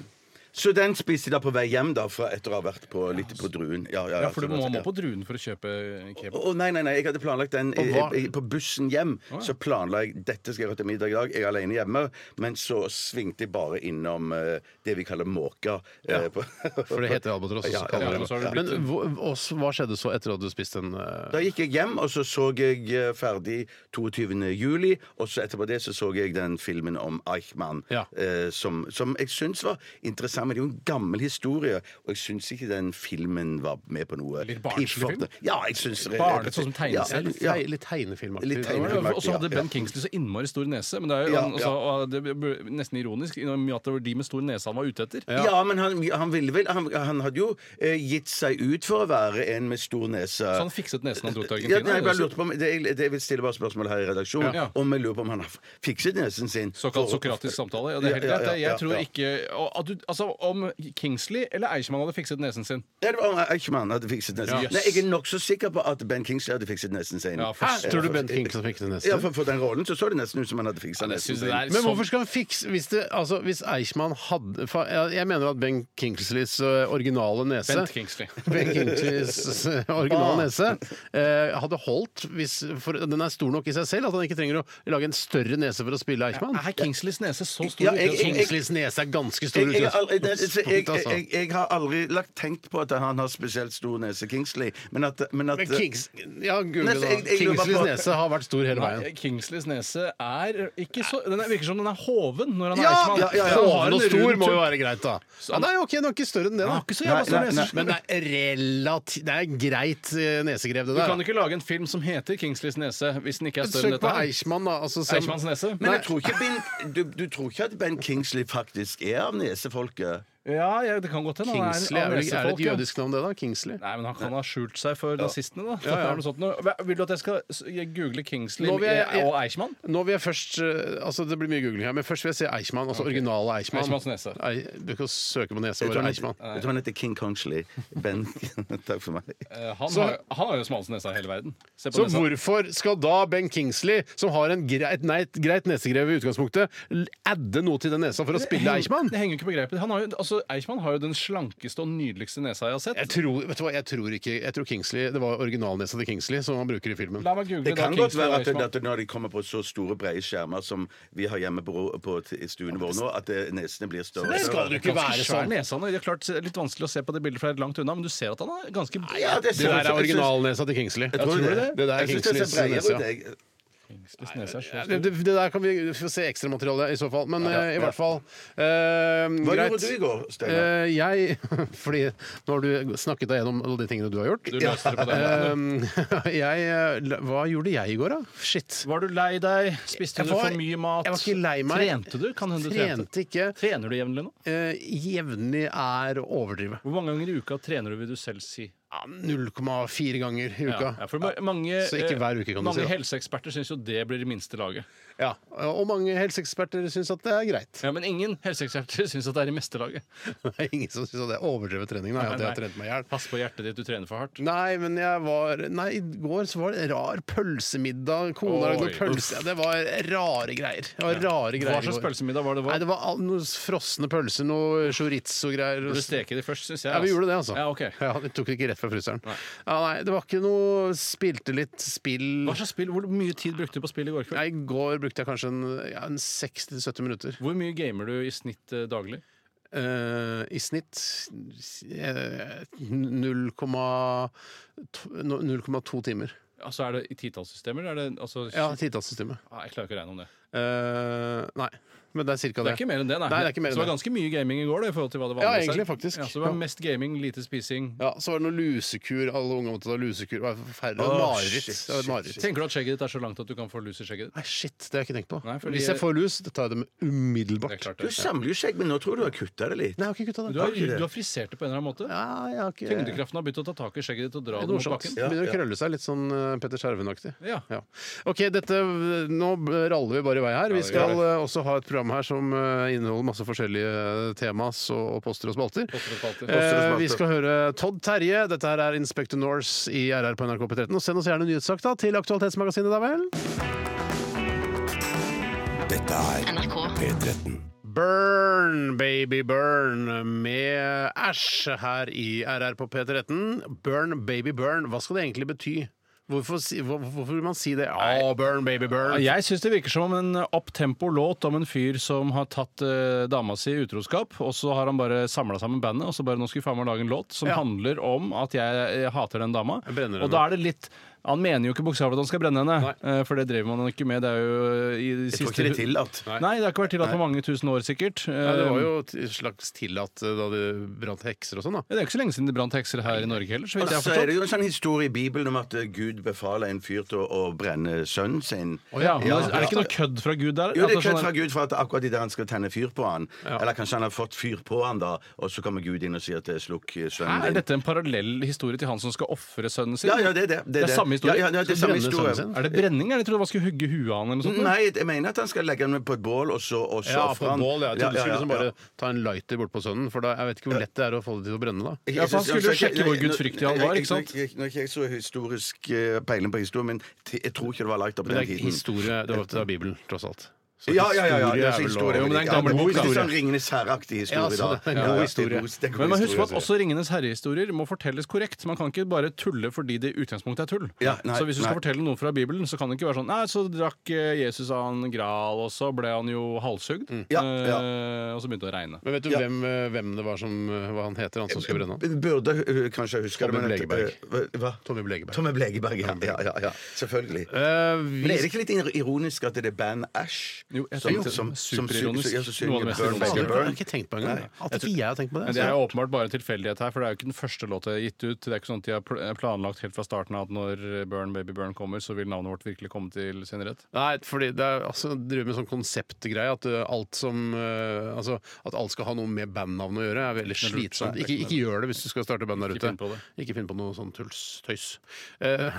S6: Så den spiste jeg da på vei hjem da, fra etter å ha vært på, litt på Druen. Ja, ja,
S7: Ja, for du må,
S6: ja.
S7: må på Druen for å kjøpe kebab.
S6: Å, nei, nei, nei, jeg hadde planlagt den
S5: Og hva-
S6: jeg- jeg- På bussen hjem så planla jeg dette skal jeg ha til middag i dag. Jeg er alene hjemme. Men så svingte jeg bare innom eh, det vi kaller måka. eh, på-
S5: For det heter albatross. og så
S6: Ja,
S5: kaller
S6: ja,
S5: de
S7: men så har
S5: det.
S7: det
S5: Men
S7: blitt-
S5: hva- og s- hva skjedde så etter at du spiste en eh,
S6: Da gikk jeg hjem, og så så jeg eh, ferdig 22. juli. Og så etterpå det så så jeg den filmen om Eichmann,
S5: Ja.
S6: eh, som, som jeg syns var interessant. Men det er jo en gammel historie, og jeg syns ikke den filmen var med på noe.
S7: Litt barnslig film?
S6: piffete. Ja, jeg syns
S7: Barnet, sånn som tegneserie?
S6: Ja,
S5: tei- litt tegnefilmaktig?
S6: Litt tegnefilm.
S7: Ja, Og så
S6: Ja,
S7: hadde
S6: ja.
S7: Ben Kingsley så innmari stor nese. Men det er jo
S6: Ja,
S7: han, altså,
S6: ja.
S7: og det ble nesten ironisk i og med at det var de med stor nese han var ute etter.
S6: Ja. men han, han ville vel Han, han hadde jo eh, gitt seg ut for å være en med stor nese.
S7: Så han fikset nesen han dro til
S6: ja, nei, jeg bare
S7: Sånn Argentina.
S6: lurte på om, det, jeg, det jeg vil stille bare spørsmål her i redaksjonen
S7: Ja.
S6: om jeg lurer på om han har fikset nesen sin.
S7: Såkalt
S6: for-
S7: sokratisk samtale. Ja, det er helt
S6: Ja, ja,
S7: greit. det.
S6: ja, ja,
S7: Jeg tror
S6: ja.
S7: ikke og at du, Altså, om Kingsley eller Eichmann hadde fikset nesen sin
S6: Ja, det var om Eichmann hadde fikset nesen.
S7: Ja.
S6: Nei, jeg er nokså sikker på at Ben Kingsley hadde fikset nesen sin.
S7: Ja, for-
S5: Hæ? Tror du Ben Kingsley fikk det
S6: Ja,
S5: neste?
S6: for, for den rollen så så det nesten ut som han hadde fiksa
S7: Men jeg
S6: nesen
S7: synes
S6: sin.
S7: det
S5: Men
S7: er sånn-
S5: hvorfor skal han fikse Hvis, det, altså, hvis Eichmann hadde fa- Jeg jeg mener at Ben Kingsleys eh, originale nese
S7: Bent Kingsley.
S5: Ben Kingsleys eh, originale nese eh, hadde holdt hvis for Den er stor nok i seg selv at han ikke trenger å lage en større nese for å spille Eichmann.
S7: Er Kingsleys nese så stor?
S6: Ja, jeg-
S7: ut?
S6: jeg-
S5: Kingsleys nese er ganske stor.
S6: Jeg, jeg, har aldri,
S5: ut-
S6: nei, så jeg, jeg,
S5: altså.
S6: jeg, jeg har aldri lagt tenkt på at han har spesielt stor nese, Kingsley, men at, men at
S5: Men Kings, ja, google
S6: Nei, så
S5: da.
S6: jeg- jeg lurer bare
S5: Kingsleys
S6: på-
S5: nese har vært stor hele veien.
S7: Nei, Kingsleys nese er ikke så Den er- virker som den er hoven når han er
S5: Ja,
S7: Eichmann.
S6: ja, ja, ja.
S7: Han har
S5: Hoven og
S7: en
S5: stor
S7: rund
S5: må jo
S7: tupp.
S5: være greit, da. Ja, nei, ok, Den er ikke større enn det,
S7: Han
S5: da.
S7: har ikke så jævla stor
S6: Nei, nei,
S7: nese.
S5: Men det er relativt Det er greit eh, nesegrev, det
S7: Du
S5: der.
S7: kan ikke lage en film som heter 'Kingsleys nese' hvis den ikke er
S5: da.
S7: større enn
S5: Søk på
S7: dette. her.
S5: Eichmann, da. Altså, se om-
S7: Eichmanns nese?
S6: Men jeg tror ikke ben, du, du tror ikke at Ben Kingsley faktisk er av nesefolket?
S7: Ja, ja, det kan godt hende. Han er en
S5: Kingsley er,
S7: av
S5: vel ikke- er det
S7: nesefolk,
S5: et
S7: ja.
S5: jødisk navn, det, da? Kingsley?
S7: Nei, men han kan ha skjult seg for nazistene, da.
S5: Ja, ja.
S7: Er det noe sånt nå? Hva- Vil du at jeg skal s- google Kingsley
S5: Nå vil jeg-
S7: eh, og Eichmann?
S5: Nå vil jeg først eh, Altså, Det blir mye googling her, men først vil jeg si Eichmann. Altså originale Eichmann.
S7: Eichmanns nese.
S5: Ei, du kan søke på nese
S6: Jeg tror
S5: over
S6: han
S5: Eichmann.
S6: heter, jeg tror han heter King Kongsley. Ben, takk for meg.
S7: Eh, Han,
S5: Så-
S7: har, han har jo smaleste nesa i hele verden. Se på
S5: Så
S7: nesa.
S5: hvorfor skal da Ben Kingsley, som har en greit, nei, et greit nesegrev i utgangspunktet, l- adde noe til den nesa for å
S7: Det
S5: spille
S7: henger-
S5: Eichmann?
S7: Det henger jo ikke på greipet. Han har jo, altså, altså, Eichmann har jo den slankeste og nydeligste nesa jeg har sett.
S5: Jeg tror, vet du hva, jeg tror ikke Jeg tror Kingsley Det var originalnesa til Kingsley som han bruker i filmen.
S7: La meg google
S6: Det kan
S7: da,
S6: godt
S7: Kingsley
S6: være at,
S7: Eichmann.
S6: at når de kommer på så store, brede skjermer som vi har hjemme på, på i stuene våre nå, at eh, nesene blir større.
S5: Det skal du ikke være
S7: Ganske svær
S5: sånn.
S7: nese han har. Det er klart litt vanskelig å se på det bildet fra langt unna, men du ser at han er ganske
S6: Ja, det
S5: Det
S6: ser-
S5: der er
S6: jeg synes-
S5: originalnesa til Kingsley.
S6: Jeg tror
S5: Ja, Det
S6: det.
S5: der er
S6: Jeg synes det
S5: Kingsleys
S6: ser bredere
S5: nese.
S7: altså.
S6: ut,
S5: ja.
S6: jeg.
S7: Kingsley's nese er så
S5: Ja,
S7: stor.
S5: Det, det, det der kan vi få se ekstramateriale i så fall. Men eh, i hvert fall eh,
S6: Hva
S5: Greit.
S6: gjorde du i går, Steinar?
S5: Eh, jeg Fordi nå har du snakket deg gjennom alle de tingene du har gjort.
S7: Du løste det på den måten.
S5: Eh, jeg, eh, la- hva gjorde jeg i går, da? Shit.
S7: Var du lei deg? Spiste
S5: Jeg
S7: du
S5: var-
S7: for mye mat?
S5: jeg var ikke lei meg.
S7: Trente du? Kan hende du trente.
S5: Trente ikke.
S7: Trener du jevnlig nå?
S5: Eh, jevnlig er å overdrive.
S7: Hvor mange ganger i uka trener du, vil du selv si?
S5: Ja, 0,4 ganger i uka.
S7: Ja, ja, for ma- mange, eh,
S5: Så ikke hver uke, kan du
S7: mange
S5: si, da.
S7: helseeksperter syns jo det blir det minste laget.
S5: Ja, Og mange helseeksperter syns at det er greit.
S7: Ja, Men ingen helseeksperter syns at det er i meste laget.
S5: Det er ingen som syns at det er overdrevet trening. Nei, at jeg har trent meg i hjel.
S7: Pass på hjertet ditt, du trener for hardt.
S5: Nei, men jeg var Nei, i går så var det rar pølsemiddag. Kona lagde
S7: Oi,
S5: pølse. Ja, Det var rare greier. Det var rare
S7: Hva
S5: greier. i
S7: slags
S5: går.
S7: pølsemiddag var det?
S5: Nei,
S7: Var?
S5: det var all- noen frosne pølser, noe chorizo-greier.
S7: Burde steke de først, syns jeg.
S5: Ja, vi
S7: altså.
S5: gjorde det, altså.
S7: Ja, ok.
S5: Ja, Vi tok det ikke rett fra fryseren. Ja, nei, det var ikke noe Spilte litt spill
S7: Hva slags spill, Hvor mye tid brukte du på spill i går kveld?
S5: Nei, I går brukte jeg kanskje en, ja, en 60-70 minutter.
S7: Hvor mye gamer du i snitt eh, daglig?
S5: Eh, I snitt eh, 0,2 timer.
S7: Altså, Er det i titallssystemer? Er det, altså,
S5: Ja, titallssystemet.
S7: Ah, jeg klarer ikke å regne om det.
S5: Eh, nei, men det er cirka det.
S7: Det er ikke mer enn det, nei.
S5: Nei, det er ikke mer
S7: så det var
S5: enn det.
S7: ganske mye gaming i går da, i forhold til hva det
S5: Ja,
S7: vanligvis er.
S5: egentlig, faktisk.
S7: Ja, så det var
S5: Ja.
S7: mest gaming, lite spising.
S5: Ja, så var det noe lusekur. Alle unge måtte ta lusekur. Det var forferdelig. Det var
S6: Åh,
S5: mareritt.
S6: shit,
S5: Det var et mareritt.
S7: Tenker du at skjegget ditt er så langt at du kan få lus i skjegget ditt?
S5: Nei, shit, det har jeg ikke tenkt på.
S7: Nei, fordi-
S5: Hvis jeg får lus, det tar jeg det med umiddelbart.
S7: Det er klart
S6: Du
S7: det.
S6: samler jo skjegg, men nå tror jeg du har kutta det litt.
S5: Nei, jeg har ikke kutta det.
S7: Du har, du har frisert det på en eller annen måte.
S5: Ja, jeg har ikke
S7: Tyngdekraften har begynt å ta tak i skjegget ditt og dra det mot
S5: Morsomt.
S7: bakken.
S5: Det Begynner å krølle seg litt sånn eh, Petter Skjerven-aktig.
S7: Ja.
S5: OK, dette Nå raller vi bare i vei her. Vi skal eh, også ha et program her som eh, inneholder masse forskjellige eh, temas og, og poster og spalter.
S7: Poster og spalter.
S5: Eh,
S6: Poster og spalter.
S5: vi skal høre Todd Terje. Dette her er Inspector Norse i RR på NRK P13. Og send oss gjerne nyhetssak da til Aktualitetsmagasinet, da vel.
S2: Dette er
S1: NRK.
S2: P13.
S5: Burn, baby burn, med æsj her i RR på P13. Burn, baby burn, hva skal det egentlig bety? Hvorfor, si- hvor, hvorfor vil man si det? Å, burn, baby burn.
S7: Ja, Jeg syns det virker som en opptempo-låt om en fyr som har tatt eh, dama si i utroskap, og så har han bare samla sammen bandet, og så bare nå skal vi faen meg lage en låt som
S5: Ja.
S7: handler om at jeg, eh, hater den dama.
S5: Jeg brenner
S7: Og
S5: henne.
S7: da er det litt Han mener jo ikke bokstavelig at han skal brenne henne,
S5: Nei.
S7: eh, for det driver man ikke med. Det er jo eh, i de
S6: Jeg tror
S7: siste
S6: ikke det er tillatt.
S7: Nei, det har ikke vært tillatt på mange tusen år, sikkert.
S5: Ja, det
S6: um,
S5: var
S7: Eh,
S5: jo et slags tillatt eh, da det brant hekser og sånn, da.
S7: det er jo ikke så lenge siden det brant hekser her i Norge heller, så
S6: Og
S7: vidt
S6: så
S7: jeg har
S6: er
S7: forstått.
S6: det jo en sånn historie i Bibelen om at eh, Gud befaler en fyr til å, å brenne sønnen sin.
S7: Ja, men
S6: Ja,
S7: er det
S6: ja.
S7: ikke noe kødd fra Gud der?
S6: Jo, det er
S7: At sånn
S6: kødd fra Gud for at akkurat idet han skal tenne fyr på han Eller kanskje han har fått fyr på han da, og så kommer Gud inn og sier at eh, slukk eh, sønnen
S7: Er
S6: din.
S7: dette en parallell historie til han som skal ofre sønnen sin?
S6: Ja, ja, det er det.
S7: Det er samme historie?
S6: Ja, ja, det er
S5: Så
S6: samme
S5: brenner
S6: historie.
S5: sønnen sin?
S7: Er det brenning? eller Jeg trodde man skulle hugge huet av han eller noe sånt.
S6: Nei, jeg mener at han skal legge den på et bål, og så og så
S5: Ja,
S6: ofre
S5: på
S6: han.
S5: bål. Ja. Jeg
S6: Ja,
S5: trodde du
S6: ja,
S5: skulle liksom
S6: ja,
S5: bare
S6: ja.
S5: ta en lighter bort på sønnen, for da, jeg vet ikke hvor lett det er å få det til å brenne da.
S6: Jeg-
S7: Ja, for han
S6: jeg- jeg-
S7: skulle jo
S6: jeg-
S7: sjekke hvor
S6: jeg- jeg-
S7: gudfryktig han
S6: jeg-
S7: var,
S6: jeg-
S7: ikke sant?
S6: jeg- jeg- Nå er ikke jeg så historisk eh, peiling på historien, men t- jeg tror ikke det var lagt opp på
S5: Men det
S6: den
S5: er
S6: tiden.
S5: historie, det var det er Bibelen, tross alt. Så
S6: Ja, ja, ja, ja. Det er
S5: historie er
S6: så
S5: vel å-
S6: historie.
S7: Jo, men det er en
S6: Ja,
S7: gammel bok,
S6: Litt
S7: da.
S6: sånn Ringenes herreaktig
S5: Ja,
S6: historie,
S5: så
S6: da.
S5: det er en
S6: Ja,
S5: god
S6: ja,
S5: historie.
S6: det er god- det er god
S7: Men man husker
S6: historie, altså.
S7: på at også Ringenes herrehistorier må fortelles korrekt. Man kan ikke bare tulle fordi det i utgangspunktet er tull.
S6: Ja, nei,
S7: så hvis du skal
S6: nei.
S7: fortelle noe fra Bibelen, så kan det ikke være sånn Nei, så drakk eh, Jesus av en gral, og så ble han jo halshugd.
S6: Mm. Ja,
S7: eh,
S6: ja.
S7: Og så begynte det å regne.
S5: Men vet du
S6: Ja.
S5: hvem, eh, hvem det var som eh, Hva han heter, han som skulle brenne han?
S6: Vi Burde uh, kanskje huske
S5: Tommy
S6: det. men at-
S5: Blegeberg.
S6: eh, Hva?
S5: Tommy Blegeberg.
S6: Tommy Blegeberg, ja. ja, ja, ja. Selvfølgelig.
S5: Eh,
S6: Men er
S5: vi
S6: det ikke litt ir- ironisk at det er band Ash
S7: Jo, jeg
S6: som,
S7: synes det er
S6: som, som,
S7: superironisk.
S6: sy- ja, som
S7: Noe
S6: synger
S7: av det mest
S5: Fader,
S6: Burn,
S7: ironiske.
S6: Baby,
S5: det har jeg
S6: Burn?
S5: ikke tenkt på engang. At ikke jeg har tenkt på det.
S7: Men det er jo åpenbart bare en tilfeldighet her, for det er jo ikke den første låta jeg har gitt ut. Det er ikke sånn at de har pl- planlagt helt fra starten av at når Burn Baby Burn kommer, så vil navnet vårt virkelig komme til sin rett.
S5: Nei, fordi det er altså, driver med sånn konseptgreie at eh, alt som eh, Altså at alt skal ha noe med bandnavnet å gjøre, er veldig slitsomt. Ikke, ikke gjør det hvis du skal starte band der
S7: Ikke
S5: ute.
S7: finn på det.
S5: Ikke finn på noe sånn tulls tøys. Eh,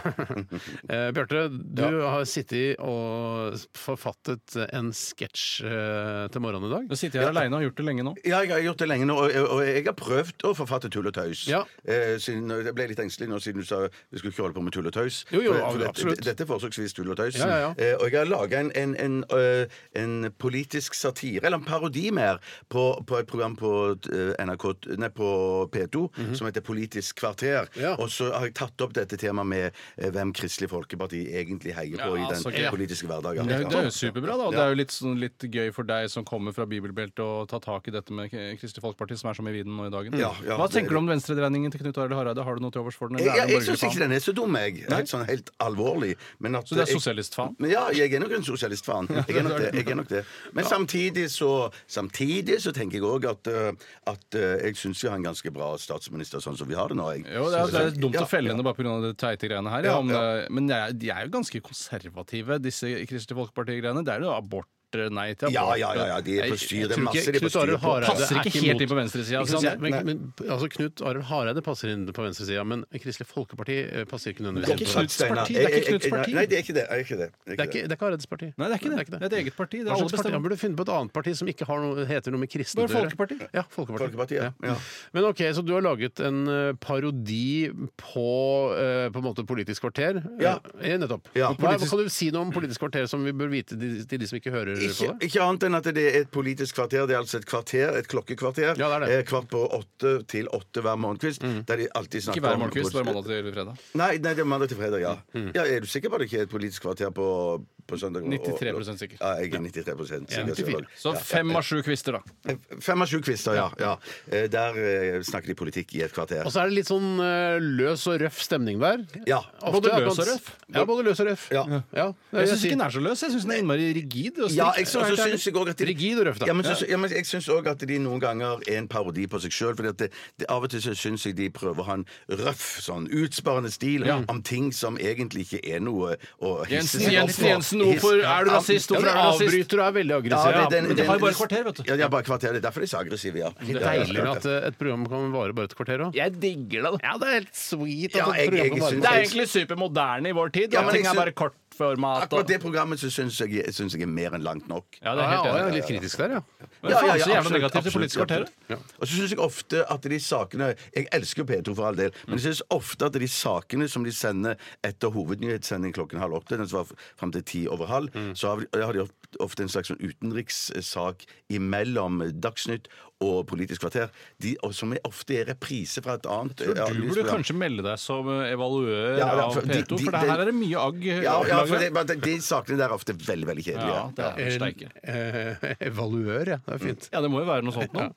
S5: eh, Bjarte, du har sittet og forfattet en en sketsj eh, til morgenen i dag.
S7: Nå sitter jeg her aleine og har gjort det lenge nå.
S6: Ja, jeg har gjort det lenge nå, og, og jeg har prøvd å forfatte tull og tøys.
S5: Ja.
S6: Eh, siden, jeg ble litt engstelig nå siden du sa vi skulle ikke holde på med tull og tøys.
S5: Jo, jo,
S6: For- for dette-
S5: absolutt.
S6: Dette er forsøksvis tull og tøys.
S5: Ja, ja, ja.
S6: Eh, og jeg har laga en, en, en, øh, en politisk satire, eller en parodi mer, på, på et program på, øh, NRK, nei, på P2
S7: Mhm.
S6: som heter Politisk kvarter.
S5: Ja.
S6: Og så har jeg tatt opp dette temaet med eh, hvem Kristelig Folkeparti egentlig heier på
S7: Ja,
S6: i den
S7: så gøy.
S6: politiske hverdagen.
S7: Det er, det er jo superbra, da. Og det
S6: Ja.
S7: er jo litt, sånn, litt gøy for deg som kommer fra bibelbeltet å ta tak i dette med K- Kristelig Folkeparti, som er som i viden nå i dagen.
S6: Ja, ja,
S7: Hva
S6: det er
S7: tenker du om venstredreiningen til Knut Arild Hareide? Har du noe til overs for den? eller
S6: Jeg,
S7: er
S6: jeg,
S7: det
S6: jeg
S7: en
S6: syns ikke
S7: borgerlig
S6: den er så dum, jeg. Helt sånn helt alvorlig. Men at
S7: Så det er
S6: jeg-
S7: sosialistfan?
S6: Men Ja, jeg er nok en sosialistfan. Jeg er nok det. Jeg er nok det. Men samtidig så, samtidig så tenker jeg òg at, øh, at øh, jeg syns vi har en ganske bra statsminister sånn som vi har det nå. Jeg.
S7: Jo, det er, det er dumt
S6: Ja,
S7: å felle henne bare pga. de teite greiene her. Ja,
S6: Ja,
S7: om,
S6: ja.
S7: det- Men de er, de er jo ganske konservative, disse Kristelig Folkeparti-greiene. Det er jo abort, eh, nei til abort.
S6: Ja, ja, ja, ja, de er på
S7: Jeg-
S6: styr.
S7: jeg
S6: Det er
S7: tror
S6: masse
S7: ikke
S6: de er på
S5: Knut Arild
S6: styr på.
S5: Hareide
S7: Passer
S5: er
S7: ikke
S5: ikke
S7: helt
S5: imot-
S7: inn på venstresida,
S5: Ikke
S7: syns
S5: sant?
S7: jeg.
S5: Men, men, altså, Knut Arild Hareide passer inn på venstresida, men Kristelig Folkeparti eh, passer ikke nødvendigvis inn
S7: ikke
S5: på
S7: Knuts parti, det er ikke
S6: Jeg- jeg- jeg-
S7: Knuts parti.
S6: Nei, det er ikke det. Det er ikke det.
S5: Det er
S6: Det er ikke
S5: ikke, det er ikke Hareides parti.
S7: Nei, det er ikke det. Det er et eget parti. Det er
S5: Hva slags
S7: alle
S5: parti? Han
S7: bestemmer.
S5: burde funnet på et annet parti som ikke har noe, heter noe med kristne
S7: Bare
S5: å gjøre.
S7: Folkeparti?
S5: Ja, Folkeparti.
S6: Folkeparti, ja. Ja.
S5: Men ok, Så du har laget en eh, parodi på eh, på en måte Politisk kvarter?
S6: Ja.
S5: Eh, nettopp.
S6: Ja.
S5: Hva, hva kan du si noe om Politisk kvarter som vi bør vite de- til de som ikke hører
S6: Ikke,
S5: på det?
S6: ikke annet enn at det er et politisk kvarter. Det er altså et kvarter, et klokkekvarter.
S5: Ja, det er det.
S6: eh, Kvart på åtte til åtte hver morgenkvist. Der de alltid snakker
S7: Mm. Ikke hver morgenkvist, bare
S6: hvordan-
S7: mandag til fredag.
S6: Nei, nei, det er mandag til fredag, ja. ja. Er du sikker på at det ikke er et politisk kvarter på, på søndag?
S7: 93% sikker.
S6: Ja, jeg er 93 sikker.
S5: 94.
S7: Så fem av sju kvister, da.
S6: Ja. Fem av sju kvister, ja. ja. Eh, Der eh, snakker de politikk i et kvarter.
S7: Altså,
S5: Og så er det litt sånn eh, løs og røff stemning der.
S6: Ja.
S5: Ofte
S7: Både
S5: er
S7: løs
S5: man-
S7: og røff?
S5: Ja, både løs og røff.
S6: Ja.
S5: det er
S7: Jeg
S5: det
S7: syns ikke
S5: sier.
S7: den er så løs. Jeg syns den er innmari rigid. Og
S6: Ja, jeg
S7: strikt. Helt
S6: syns,
S7: ærlig.
S6: syns jeg også at de,
S5: Rigid og røff, da.
S6: Ja, men, syns, ja, men jeg syns òg at de noen ganger er en parodi på seg sjøl. For det, det, av og til så syns jeg de prøver å ha en røff, sånn utsparende stil om ting som egentlig ikke er noe å hisse
S7: Jensen,
S6: seg opp
S7: Jensen,
S6: for.
S7: Jensen, hvorfor
S6: Hisse-
S7: er du
S6: Ja,
S7: rasist?
S6: ja,
S7: Hvorfor
S6: men
S7: er du rasist?
S5: Avbryter og er veldig
S6: Ja,
S5: aggressiv.
S6: det- den-
S7: men de har jo
S6: den-
S7: bare kvarter, vet du.
S6: Ja, de har bare kvarter. Det er derfor de er så aggressive, ja.
S5: Det er deilig at eh, et program kan vare bare et kvarter òg.
S7: Jeg digger det. da.
S5: Ja, det er helt sweet.
S6: Ja,
S5: at et
S6: jeg-
S5: program
S6: jeg
S5: kan vare
S6: syns-
S7: Det
S5: bare-
S7: er egentlig supermoderne i vår tid.
S6: Ja,
S7: da.
S6: men
S7: ting
S6: jeg
S7: er
S6: syns-
S7: bare kortformat.
S6: Akkurat
S7: Og...
S6: det programmet så syns jeg, syns jeg er mer enn langt nok.
S7: Ja, det er
S5: Ja,
S7: helt
S5: ja,
S7: enig.
S5: ja, litt kritisk der, ja.
S7: Men faen, så jævla
S6: absolutt,
S7: negativt til
S6: absolutt,
S7: Politisk kvarter.
S6: absolutt. Og så syns jeg ofte at de sakene Jeg elsker jo P2 for all del, men jeg syns ofte at de sakene som de sender etter hovednyhetssending klokken halv åtte, den som var fram til ti over halv,
S7: Mm.
S6: så har de- har de oft- ofte en slags sånn utenrikssak imellom Dagsnytt og Politisk kvarter, de, og som er- ofte er reprise fra et annet eh,
S7: Du burde
S6: nyhetsprogram.
S7: kanskje melde deg som eh, evaluør
S6: Ja, ja,
S7: av
S6: for de-
S7: P2,
S6: de-
S7: for det
S6: de-
S7: her er det mye agg. eh,
S6: Ja, ja, for
S7: laget.
S6: det, men de sakene der er ofte veldig, veldig
S7: ja,
S6: kjedelige.
S7: det er steike.
S5: Eh, evaluør, ja. Det er fint.
S7: Ja, det må jo være noe sånt nå.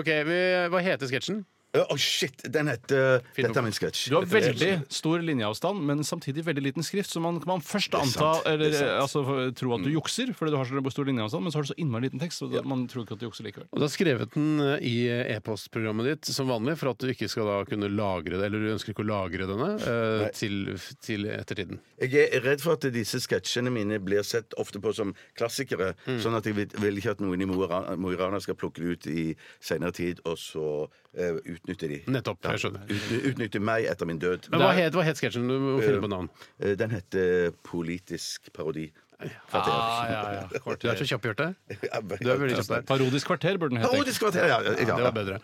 S5: Ok, vi, Hva heter sketsjen?
S6: Å, shit! Den heter Dette er min sketsj.
S7: Du har veldig stor linjeavstand, men samtidig veldig liten skrift, så man kan man først
S6: er
S7: anta
S6: sant, det er
S7: eller
S6: sant. Mm.
S7: eh, altså, for- tro at du jukser, fordi du har så stor linjeavstand, men så har du så innmari liten tekst, så da- man tror ikke at du jukser likevel.
S5: Og Du har skrevet den eh, i e-postprogrammet ditt som vanlig for at du ikke skal da kunne lagre det, eller du ønsker ikke å lagre denne eh, til, til ettertiden.
S6: Jeg er redd for at disse sketsjene mine blir sett ofte på som klassikere. Sånn at jeg vil, vil ikke at noen i Mo i Rana- Mo i Rana skal plukke det ut i senere tid, og så eh, utnytte de.
S5: Nettopp. Jeg skjønner.
S6: Utny- Utnytte meg etter min død.
S5: Men hva het, hva het sketsjen? Du må finne på navn.
S6: Eh, Den heter Politisk parodi.
S7: Ah, ja, ja.
S5: Du er så kjapp, Hjarte. Du er veldig kjapp der.
S7: Parodisk kvarter burde den hete. egentlig.
S6: Parodisk kvarter, altså. ja. ja, ja.
S5: Det var bedre.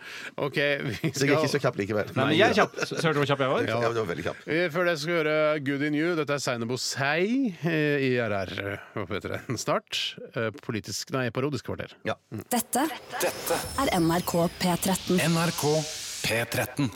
S5: Ok, vi
S6: Så jeg er ikke så
S5: skal
S6: kjapp likevel.
S7: Nei, men jeg er kjapp. Så så hørte du hvor kjapp jeg var?
S6: Ja, du var veldig kjapp.
S5: Eh, Før det skal vi høre Good in You. Dette er Seinebo Sei eh, i RR. Håper etter det snart. Eh, Politisk, nei, parodisk kvarter.
S6: Ja.
S1: Dette er NRK P13.
S4: NRK P13.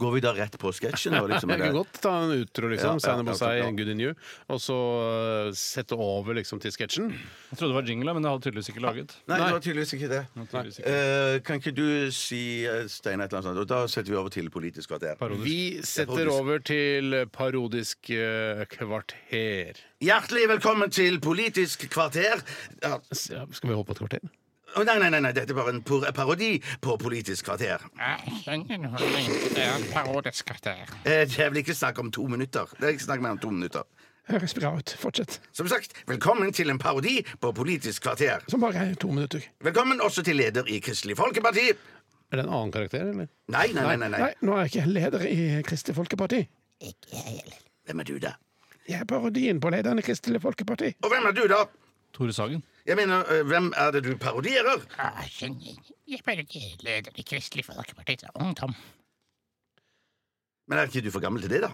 S6: Går vi da rett på sketsjen? nå, Liksom,
S5: Jeg kan
S6: eller?
S5: godt ta en utro,
S6: Ja,
S5: liksom.
S6: ja,
S5: Sign up
S6: ja,
S5: og say,
S6: ja.
S5: good in you. Og så eh, sette over liksom til sketsjen.
S7: Jeg trodde det var jingla, men det hadde tydeligvis ikke laget.
S6: Nei, det var tydeligvis ikke det.
S7: Tydeligvis ikke.
S6: Eh, kan ikke du si, eh, Steinar, et eller annet sånt? Og da setter vi over til Politisk kvarter.
S5: Vi setter
S6: parodisk.
S5: over til parodisk eh, kvarter.
S6: Hjertelig velkommen til Politisk kvarter. Ja,
S5: S- ja, Skal vi holde på et kvarter?
S6: å, nei, nei, nei, nei, dette er bare en por- parodi på Politisk kvarter. Eh, Jeg vil ikke snakke om to minutter. Det er ikke snakk mer om to minutter.
S5: Høres bra ut. Fortsett.
S6: Som sagt, velkommen til en parodi på Politisk kvarter.
S5: Som bare er to minutter.
S6: Velkommen også til leder i Kristelig Folkeparti.
S5: Er det en annen karakter, eller?
S6: Nei, nei, nei, nei. nei.
S5: nå er jeg ikke leder i Kristelig Folkeparti.
S6: Hvem er du, da?
S5: Jeg er parodien på lederen i Kristelig Folkeparti.
S6: Og hvem er du, da?
S7: Tore Sagen.
S6: Jeg mener, eh, hvem er det du parodierer?
S8: Jeg bare leder i Kristelig Folkepartis Ungdom.
S6: Men er ikke du for gammel til det, da?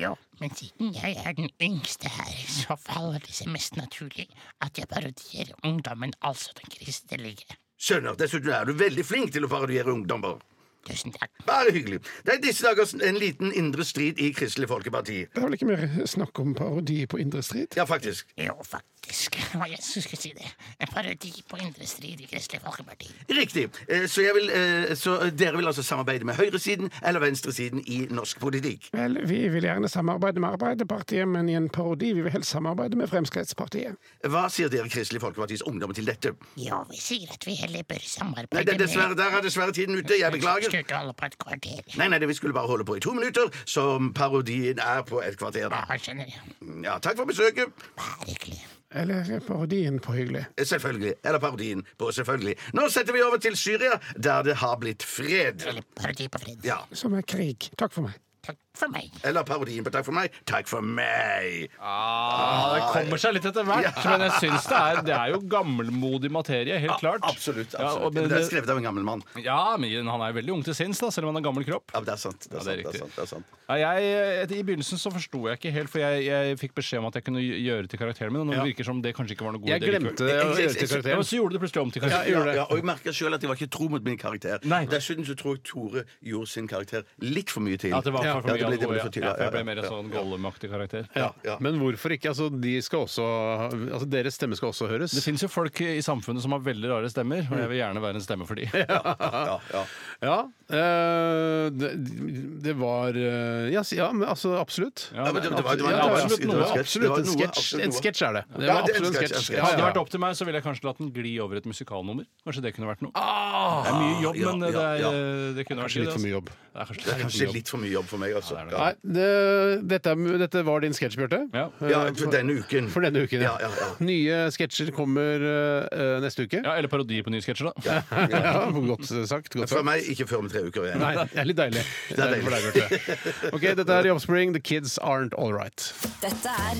S8: Jo, men siden jeg er den yngste her, så faller det seg mest naturlig at jeg parodierer ungdommen, altså den kristelige.
S6: Skjønner. Dessuten er du veldig flink til å parodiere ungdommer.
S8: Tusen takk.
S6: Bare hyggelig. Det er i disse dager en liten indre strid i Kristelig Folkeparti.
S5: Det er vel ikke mer snakk om parodi på indre strid?
S6: Ja, faktisk.
S8: Jo, faktisk, hva jeg skulle si det. En parodi på indre strid i Kristelig Folkeparti.
S6: Riktig. Eh, Så, jeg vil, eh, så dere vil altså samarbeide med høyresiden eller venstresiden i norsk politikk?
S5: Vel, vi vil gjerne samarbeide med Arbeiderpartiet, men i en parodi vil vi helst samarbeide med Fremskrittspartiet.
S6: Hva sier dere Kristelig Folkepartis ungdom til dette?
S8: Jo, vi sier at vi heller bør
S6: Nei,
S8: samarbeide
S6: det, dessverre, Der er dessverre tiden ute. Jeg beklager.
S8: Slutt å holde på et kvarter.
S6: Nei, nei, det vi skulle bare holde på i to minutter, som parodien er på et kvarter. da.
S8: Ja, skjønner jeg.
S6: Ja, Takk for besøket.
S8: Vær hyggelig.
S5: Eller parodien på hyggelig.
S6: Eh, Selvfølgelig. Eller parodien på selvfølgelig. Nå setter vi over til Syria, der det har blitt fred.
S8: Eller parodi på fred.
S6: Ja.
S5: Som er krig. Takk for meg.
S8: Takk for meg.
S6: Eller parodien på Takk for meg. Takk for meg.
S7: Ah, det kommer seg litt etter hvert, men jeg syns det er, det er jo gammelmodig materie, helt klart.
S6: Absolutt. absolutt.
S7: Ja, og-
S6: men det er skrevet av en gammel mann.
S7: Ja, men han er veldig ung til sinns, da, selv om han har gammel kropp.
S6: Ja, men det er sant. Det er,
S7: Ja, det er
S6: sant, det
S7: riktig.
S6: er sant, det er sant.
S7: Nei, jeg, et- I begynnelsen så forsto jeg ikke helt, for jeg, jeg fikk beskjed om at jeg kunne gj- gjøre til karakteren min, og nå virker det som det kanskje ikke var noe god
S9: Jeg
S7: idé
S9: glemte
S6: Jeg- jeg-
S9: å gjøre til
S6: jeg-
S7: Ja, men
S9: karakteren.
S7: så gjorde du det plutselig om til karakteren.
S6: Ja, ja, og jeg merker sjøl at jeg var ikke tro mot min karakter.
S7: Nei.
S6: Dessuten så tror jeg Tore gjorde sin karakter litt for mye til.
S7: At det var for, for
S6: Ja,
S7: mye
S6: det ble- det ble
S7: alvor,
S6: for tydelig,
S7: ja. Ja, for jeg
S6: ja,
S7: ble mer
S6: ja,
S7: en sånn gollemaktig karakter.
S9: Ja.
S6: Ja.
S9: Men hvorfor ikke? Altså, de skal også, altså, deres stemme skal også høres.
S7: Det fins jo folk i samfunnet som har veldig rare stemmer, og jeg vil gjerne være en stemme for de.
S6: ja, ja.
S9: Ja, eh, det, det var eh, ja, s- ja, men altså absolutt.
S7: Ja,
S6: Ja, men det- det var- det var-
S9: Ja,
S7: det var absolutt
S9: det var
S7: noe.
S9: absolutt
S6: Det var
S9: en
S6: noe,
S9: sketsj.
S6: absolutt
S9: En
S6: noe.
S9: sketsj er det.
S6: Ja,
S9: Det var
S6: det er en
S9: absolutt en
S6: sketsj,
S9: sketsj.
S6: en sketsj.
S9: Ja,
S7: Hadde det
S9: ja.
S7: vært opp til meg, så ville jeg kanskje latt den gli over i et musikalnummer. Kanskje det kunne vært noe.
S9: Ah,
S7: det er mye jobb,
S6: ja,
S7: men det,
S6: ja,
S7: er, eh,
S6: ja.
S7: det kunne vært altså.
S9: Kanskje litt for mye jobb.
S7: Det er kanskje,
S6: Det er
S7: litt for
S6: kanskje
S7: mye jobb.
S6: litt for mye jobb for meg, altså. Ja,
S9: Nei, det, dette, er- dette var din sketsj, Bjarte.
S7: Ja.
S6: ja for denne uken.
S9: Eh, For denne uken.
S6: Ja, ja, ja.
S9: Nye sketsjer kommer eh, eh, neste uke.
S7: ja, Eller parodi på nye sketsjer, da.
S9: Ja, godt sagt. Godt
S6: For
S9: sagt.
S6: meg ikke før om tre uker igjen.
S9: Nei, det er litt deilig.
S6: Det er deilig.
S9: For deg, Bjarte. Ok, dette er The Offspring. The kids aren't all right.
S1: Dette er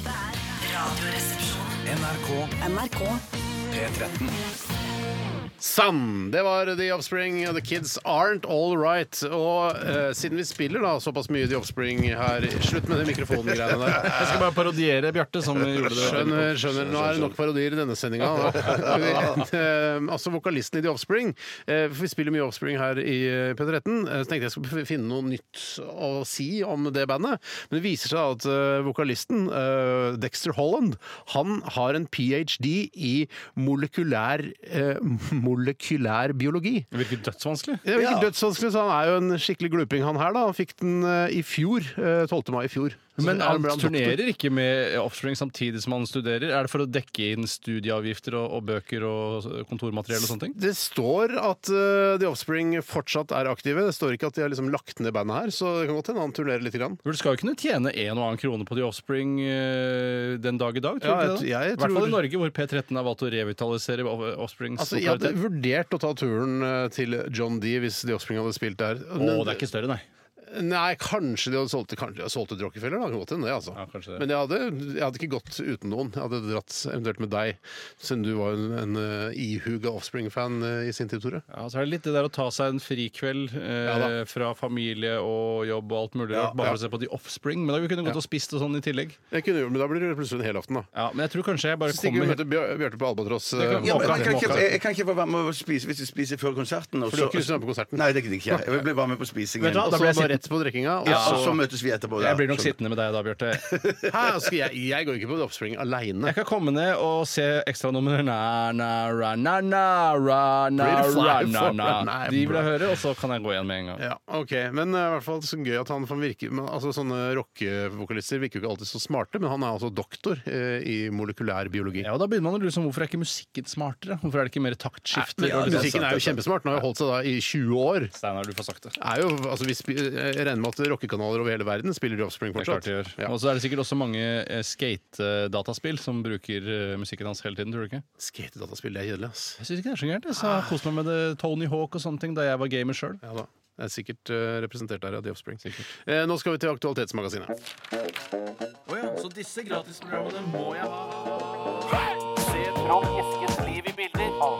S1: Radioresepsjonen.
S10: NRK
S1: NRK
S10: P13.
S9: Sann! Det var The Offspring. og The kids aren't all right. Og eh, siden vi spiller da såpass mye The Offspring her Slutt med de mikrofongreiene der.
S7: Jeg skal bare parodiere Bjarte, som gjorde det.
S9: Skjønner, skjønner. Nå er det nok parodier i denne sendinga. altså vokalisten i The Offspring. eh, for Vi spiller mye Offspring her i eh, P13. eh, Så tenkte jeg skulle finne noe nytt å si om det bandet. Men det viser seg at eh, vokalisten, eh, Dexter Holland, han har en ph.d. i molekylær, eh, molekylær biologi.
S7: Det virker dødsvanskelig.
S9: Det er jo ikke dødsvanskelig, så han er jo en skikkelig gluping, han her. da Han fikk den eh, i fjor. eh, 12. mai i fjor. Så
S7: Men
S9: er
S7: han
S9: ble han doktor.
S7: turnerer ikke med Offspring samtidig som han studerer? Er det for å dekke inn studieavgifter og, og bøker og kontormateriell og sånne ting?
S9: Det står at eh, The Offspring fortsatt er aktive. Det står ikke at de har liksom lagt ned bandet her, så det kan godt hende han turnerer litt. Grann.
S7: Du skal jo kunne tjene en og annen krone på The Offspring eh, den dag i dag, tror
S9: Ja,
S7: du ikke det?
S9: jeg- jeg
S7: I hvert
S9: tror-
S7: fall i Norge, hvor P13 har valgt å revitalisere Offsprings
S9: Altså, jeg hadde
S7: popularitet.
S9: vurdert å ta turen eh, til John D hvis The Offspring hadde spilt der.
S7: Å,
S9: Men-
S7: det er ikke større, nei.
S9: Nei, kanskje de hadde solgt, kanskje de hadde solgt ut Rockefeller. Da. Det kan godt hende det, altså.
S7: Ja, kanskje det.
S9: Men jeg hadde, jeg hadde ikke gått uten noen. Jeg hadde dratt eventuelt med deg, siden du var en, en eh, ihuga Offspring-fan eh, i sin tid, Tore.
S7: Ja, så er det litt det der å ta seg en frikveld eh,
S9: Ja da.
S7: fra familie og jobb og alt mulig rart, bare for å se på The Offspring. Men da kunne vi gått og spist og sånn i tillegg.
S9: Jeg kunne gjort, men da blir det plutselig en helaften, da.
S7: Ja, men jeg tror kanskje jeg bare
S9: Stigge
S7: kommer
S9: møter Bjør- Bjarte på Albatross.
S7: Det kan-
S9: eh,
S6: Ja, men
S9: Håkan.
S6: jeg, kan ikke, jeg, jeg kan ikke få være med å spise hvis jeg spiser før konserten. og
S9: For du har
S6: så-
S9: ikke lyst til å være med på konserten?
S6: Nei, det gidder ikke jeg. Jeg blir bare med på spisingen.
S9: Vet du hva,
S6: Og
S9: Da
S6: så-
S9: blir jeg bare rett på drikkinga. Og
S6: Ja,
S9: så,
S6: og så møtes vi etterpå. da.
S7: Jeg blir nok sittende med deg da, Bjarte.
S9: hæ, skal jeg, jeg går ikke på The Offspring aleine.
S7: Jeg kan komme ned og se ekstranummer na, na, ra, na, na, ra, na, ra,
S9: Pretty fly
S7: na,
S9: for-
S7: na.
S9: Nei,
S7: De vil
S9: bra.
S7: jeg høre, og så kan jeg gå igjen med en gang.
S9: Ja, ok, Men eh, i hvert fall så gøy at han kan virke men, altså, Sånne rockevokalister virker jo ikke alltid så smarte, men han er altså doktor eh, i molekylær biologi.
S7: Ja, og Da begynner man å lure på hvorfor er ikke musikken smartere? Hvorfor er det ikke mer taktskifter?
S9: Men,
S7: og litt
S9: musikken er jo kjempesmart. Den har jo holdt seg da i 20 år.
S7: sånn? Steinar, du får sagt det.
S9: Er jo, altså, vi spi- jeg regner med at rockekanaler over hele verden spiller The Offspring
S7: Det er klart
S9: fortsatt.
S7: de gjør.
S9: Ja.
S7: Og så er det sikkert også mange eh, skate-dataspill som bruker eh, musikken hans hele tiden, tror du ikke?
S9: Skatedataspill, det er kjedelig, ass.
S7: Jeg syns ikke det er så gærent. Jeg så koste meg med det Tony Hawk og sånne ting da jeg var gamer sjøl.
S9: Ja da. Det er sikkert eh, representert der, ja. The Offspring. Eh, nå skal vi til Aktualitetsmagasinet.
S7: Så disse gratisprogrammene må jeg ha.
S11: Rom Eskens liv i bilder.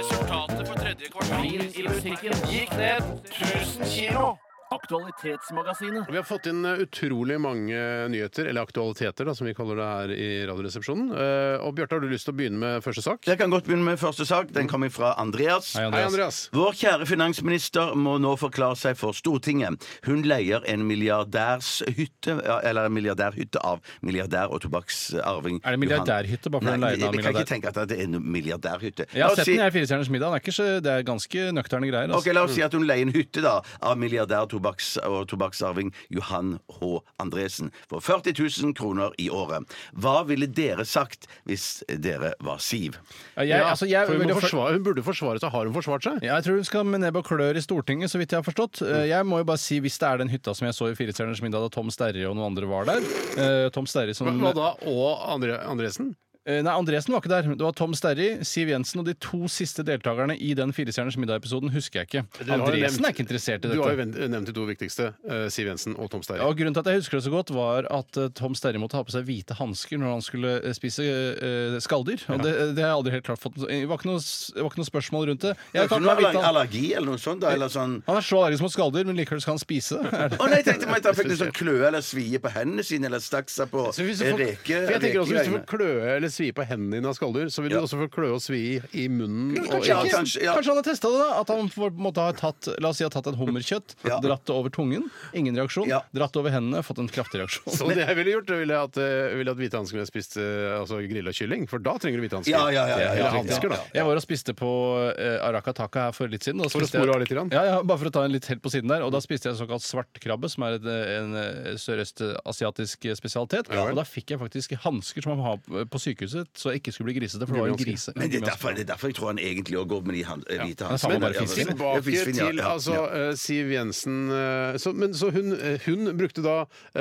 S11: Resultatet for tredje kvartal i musikken gikk ned 1000 kilo. Aktualitetsmagasinet.
S9: Vi har fått inn eh, utrolig mange nyheter, eller aktualiteter, da, som vi kaller det her i Radioresepsjonen. Eh, Og Bjarte, har du lyst til å begynne med første sak?
S6: Jeg kan godt begynne med første sak. Den kommer fra Andreas.
S7: Hei,
S9: Hei,
S7: Andreas.
S9: Andreas.
S6: Vår kjære finansminister må nå forklare seg for Stortinget. Hun leier en milliardærshytte eller en milliardærhytte av milliardær og tobakksarving.
S7: Er det milliardærhytte, bare fordi hun
S6: Nei,
S7: leier den av
S6: Jeg kan
S7: milliardær?
S6: ikke tenke at det er en milliardærhytte.
S7: Jeg
S6: La
S7: har
S6: oss
S7: sett
S6: si-
S7: den i Firestjerners middag. Den er ikke så, det er ganske nøkterne greier.
S6: Ok,
S7: Altså.
S6: La oss si at hun leier en hytte da av milliardær tobakks og tobakksarving Johan H. Andresen for 40 000 kroner i året. Hva ville dere sagt hvis dere var Siv?
S7: Ja, jeg, altså, jeg,
S9: for hun,
S7: ville
S9: må
S7: først-
S9: forsvare, hun burde forsvare seg. Har hun forsvart seg?
S7: Ja, jeg tror hun skal med nebb og klør i Stortinget, så vidt jeg har forstått.
S9: Mm.
S7: Eh, Jeg må jo bare si, hvis det er den hytta som jeg så i Firestjerners middag da Tom Sterre og noen andre var der eh, Tom Sterre som
S9: Hva da? Og Andre, Andresen?
S7: Eh, Nei, Andresen var ikke der. Det var Tom Sterri, Siv Jensen og de to siste deltakerne i den Firestjerners middag-episoden husker jeg ikke.
S9: Du har jo
S7: Andresen
S9: nevnt-
S7: er ikke interessert i
S9: Du har jo
S7: dette.
S9: ven- nevnt de to viktigste. eh, Siv Jensen og Tom Sterre.
S7: Og Grunnen til at jeg husker det så godt, var at eh, Tom Sterri måtte ha på seg hvite hansker når han skulle eh, spise eh, skalldyr. Og det, det har jeg aldri helt klart fått Det var ikke noe, s- det var ikke noe spørsmål rundt det. Jeg
S6: Kanskje
S7: kan
S6: hun
S7: ta
S6: har
S7: hvite
S6: allergi,
S7: han-
S6: eller noe sånt? da,
S7: Eh,
S6: eller sånn...
S7: han er så allergisk mot skalldyr, men likevel skal han spise det. Er det-
S6: Å nei, jeg tenkte meg at han fikk en sånn kløe eller svie på hendene sine, eller stakk seg på
S9: Så hvis du får,
S6: reke...
S9: for jeg tenker også Hvis du får
S6: rekegreiene.
S9: kløe Eh, eller svie på hendene dine av skalldyr, så vil du
S6: Ja.
S9: også få kløe og svi i, i munnen. Og
S6: kanskje-
S9: i-
S6: ja, kanskje, ja.
S7: han har testa det, da? At han på en måte har tatt La oss si har tatt et hummerkjøtt,
S6: Ja.
S7: dratt det over tungen, ingen reaksjon.
S6: Ja.
S7: Dratt det over hendene, fått en kraftig reaksjon.
S9: Så det jeg ville gjort, det ville jeg at, eh, ville at hvite hansker ville spist eh, altså grilla kylling, for da trenger du hvite hansker.
S6: Ja, ja, ja, ja, ja,
S9: Eller
S6: ja,
S9: hansker, da.
S6: ja,
S7: Jeg var og spiste på eh, Arakataka her for litt siden. og da
S9: For å
S7: spiste jeg-
S9: spore av litt grann?
S7: Ja, ja, bare for å ta en litt helt på siden der. Og da spiste jeg såkalt svartkrabbe, som er et, eh, en eh, sørøstasiatisk spesialitet. og da fikk jeg faktisk hansker som man har på sykehuset, så jeg ikke skulle bli grisete, for det var jo en grise.
S6: Men det er, derfor, det er derfor jeg tror han egentlig òg går med de han, hvite
S7: han
S6: hanskene.
S7: samler bare fisken.
S9: Tilbake til altså, eh, Siv Jensen eh, så, Men så hun, eh, hun brukte da eh,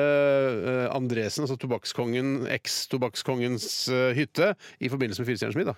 S9: eh, Andresen, altså tobakkskongen, eks-tobakkskongens eh, hytte, i forbindelse med Firestjerners middag.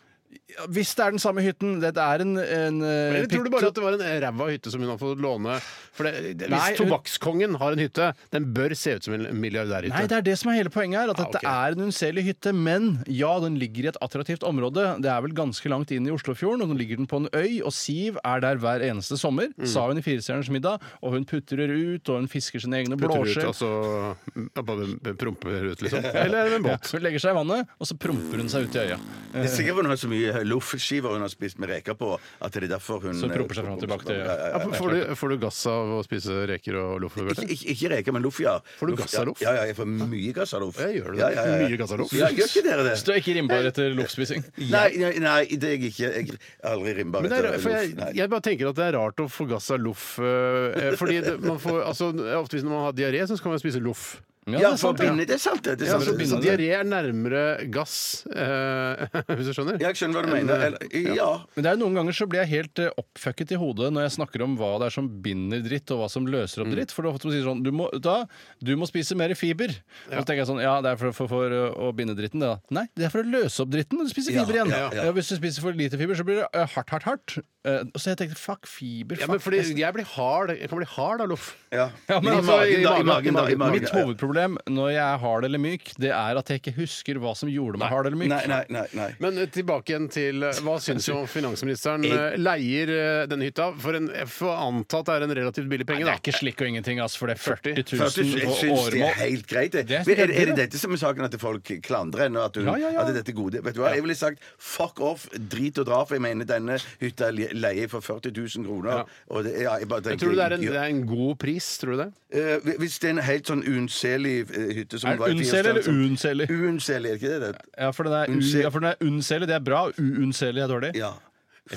S7: Ja, Hvis det er den samme hytten, det er en, en eh,
S9: Eller tror du bare
S7: pytt-
S9: at det var en ræva hytte som hun har fått låne? For det, det, hvis
S7: Nei, hun-
S9: tobakkskongen har en hytte, den bør se ut som en milliardærhytte.
S7: Nei, det er det som er hele poenget her. At
S9: Ah,
S7: dette
S9: ok.
S7: er en unnselig hytte. Men ja, den ligger i et attraktivt område. Det er vel ganske langt inn i Oslofjorden, og nå ligger den på en øy. Og Siv er der hver eneste sommer,
S9: Mm.
S7: sa hun i Firestjerners middag. Og hun putrer ut, og hun fisker sine egne
S9: Putter ut,
S7: blåskjell.
S9: altså, ja, bare promper ut, liksom. Eller en båt.
S7: Ja, hun legger seg i vannet, og så promper hun seg ut i øya.
S6: Det er sikkert hun har så mye loffskiver hun har spist med reker på, at det er derfor hun eh,
S7: Så hun propper seg fram og tilbake til øya.
S9: Ja, får, du, får du gass av å spise reker og loff?
S6: Ikke, ikke, ikke reker, men loff, ja.
S9: Får du
S6: Loff,
S9: gass av loff?
S6: Ja, ja, jeg får mye gass av loff.
S9: Ja, gjør du det?
S6: Ja, ja, ja.
S9: Mye gass av loff?
S6: Ja, gjør ikke dere det?
S7: Så du er ikke rimbar etter loffspising?
S6: Nei, nei, nei, det er jeg ikke. Jeg er aldri rimbar
S9: Men det
S6: etter
S9: er, for jeg,
S6: loff. Nei.
S9: jeg bare tenker at det er rart å få gass av loff. eh, Fordi det, man får, altså, ofte hvis man har diaré, så skal man spise loff.
S6: Ja,
S7: det er
S6: for
S7: sant,
S6: å binde, det er sant. det, det er
S9: Ja,
S6: sant,
S9: så
S6: det er sant.
S9: diaré er nærmere gass, eh, hvis du skjønner?
S6: Jeg skjønner hva du mener. Eller, ja.
S7: Men det er jo noen ganger så blir jeg helt eh, oppfucket i hodet når jeg snakker om hva det er som binder dritt, og hva som løser opp
S6: Mm.
S7: dritt. For det er ofte man sier sånn du må, da, du må spise mer fiber. Og så tenker jeg sånn Ja, det er for, for, for eh, å binde dritten, det da. Nei, det er for å løse opp dritten når du spiser
S6: Ja,
S7: fiber igjen. Ja,
S6: ja, ja.
S7: hvis du spiser for lite fiber, så blir det eh, hardt, hardt, hardt. Eh, og så jeg tenkte fuck fiber, fuck.
S9: Ja, men fordi jeg blir hard. Jeg kan bli hard av loff.
S6: ja.
S7: Ja, men
S6: I
S7: altså,
S6: magen, da. I magen, da. I magen,
S7: Mitt
S6: ja.
S7: hovedproblem når jeg er hard eller myk, det er at jeg ikke husker hva som gjorde meg hard eller myk.
S6: Nei, nei, nei. nei.
S9: Men eh, tilbake igjen til eh, Hva syns jo finansministeren eh, leier eh, denne hytta? For en, jeg får anta at det er en relativt billig penge,
S7: Det
S9: da.
S7: er ikke slikk og ingenting, altså, for det er 40
S6: Først,
S7: 000
S6: jeg
S7: på
S6: syns det er
S7: åremål.
S6: helt greit. Det.
S7: Det
S6: Men
S7: er
S6: er,
S7: sikkert
S6: er det
S7: det.
S6: dette som er saken, at folk klandrer henne? og At, hun,
S7: Ja, ja, ja.
S6: at det er dette gode Vet du hva, Jeg ville sagt fuck off, drit og dra, for jeg mener denne hytta le- leier jeg for 40 000 kroner. Og det, ja, jeg bare
S9: Men
S6: tenker,
S9: Tror du det er, en, det er en god pris? Tror du det?
S6: Eh, hvi- Hvis det er en helt sånn unnselig eh, hytte som
S7: Er det
S6: var i
S7: unnselig eller
S6: Firestjerners-
S7: uunnselig?
S6: Uunnselig, er det ikke det? det?
S7: Ja, for den er, u-
S6: Unnsel-
S7: ja, for den er unnselig, det er bra. Uunnselig er dårlig.
S6: Ja.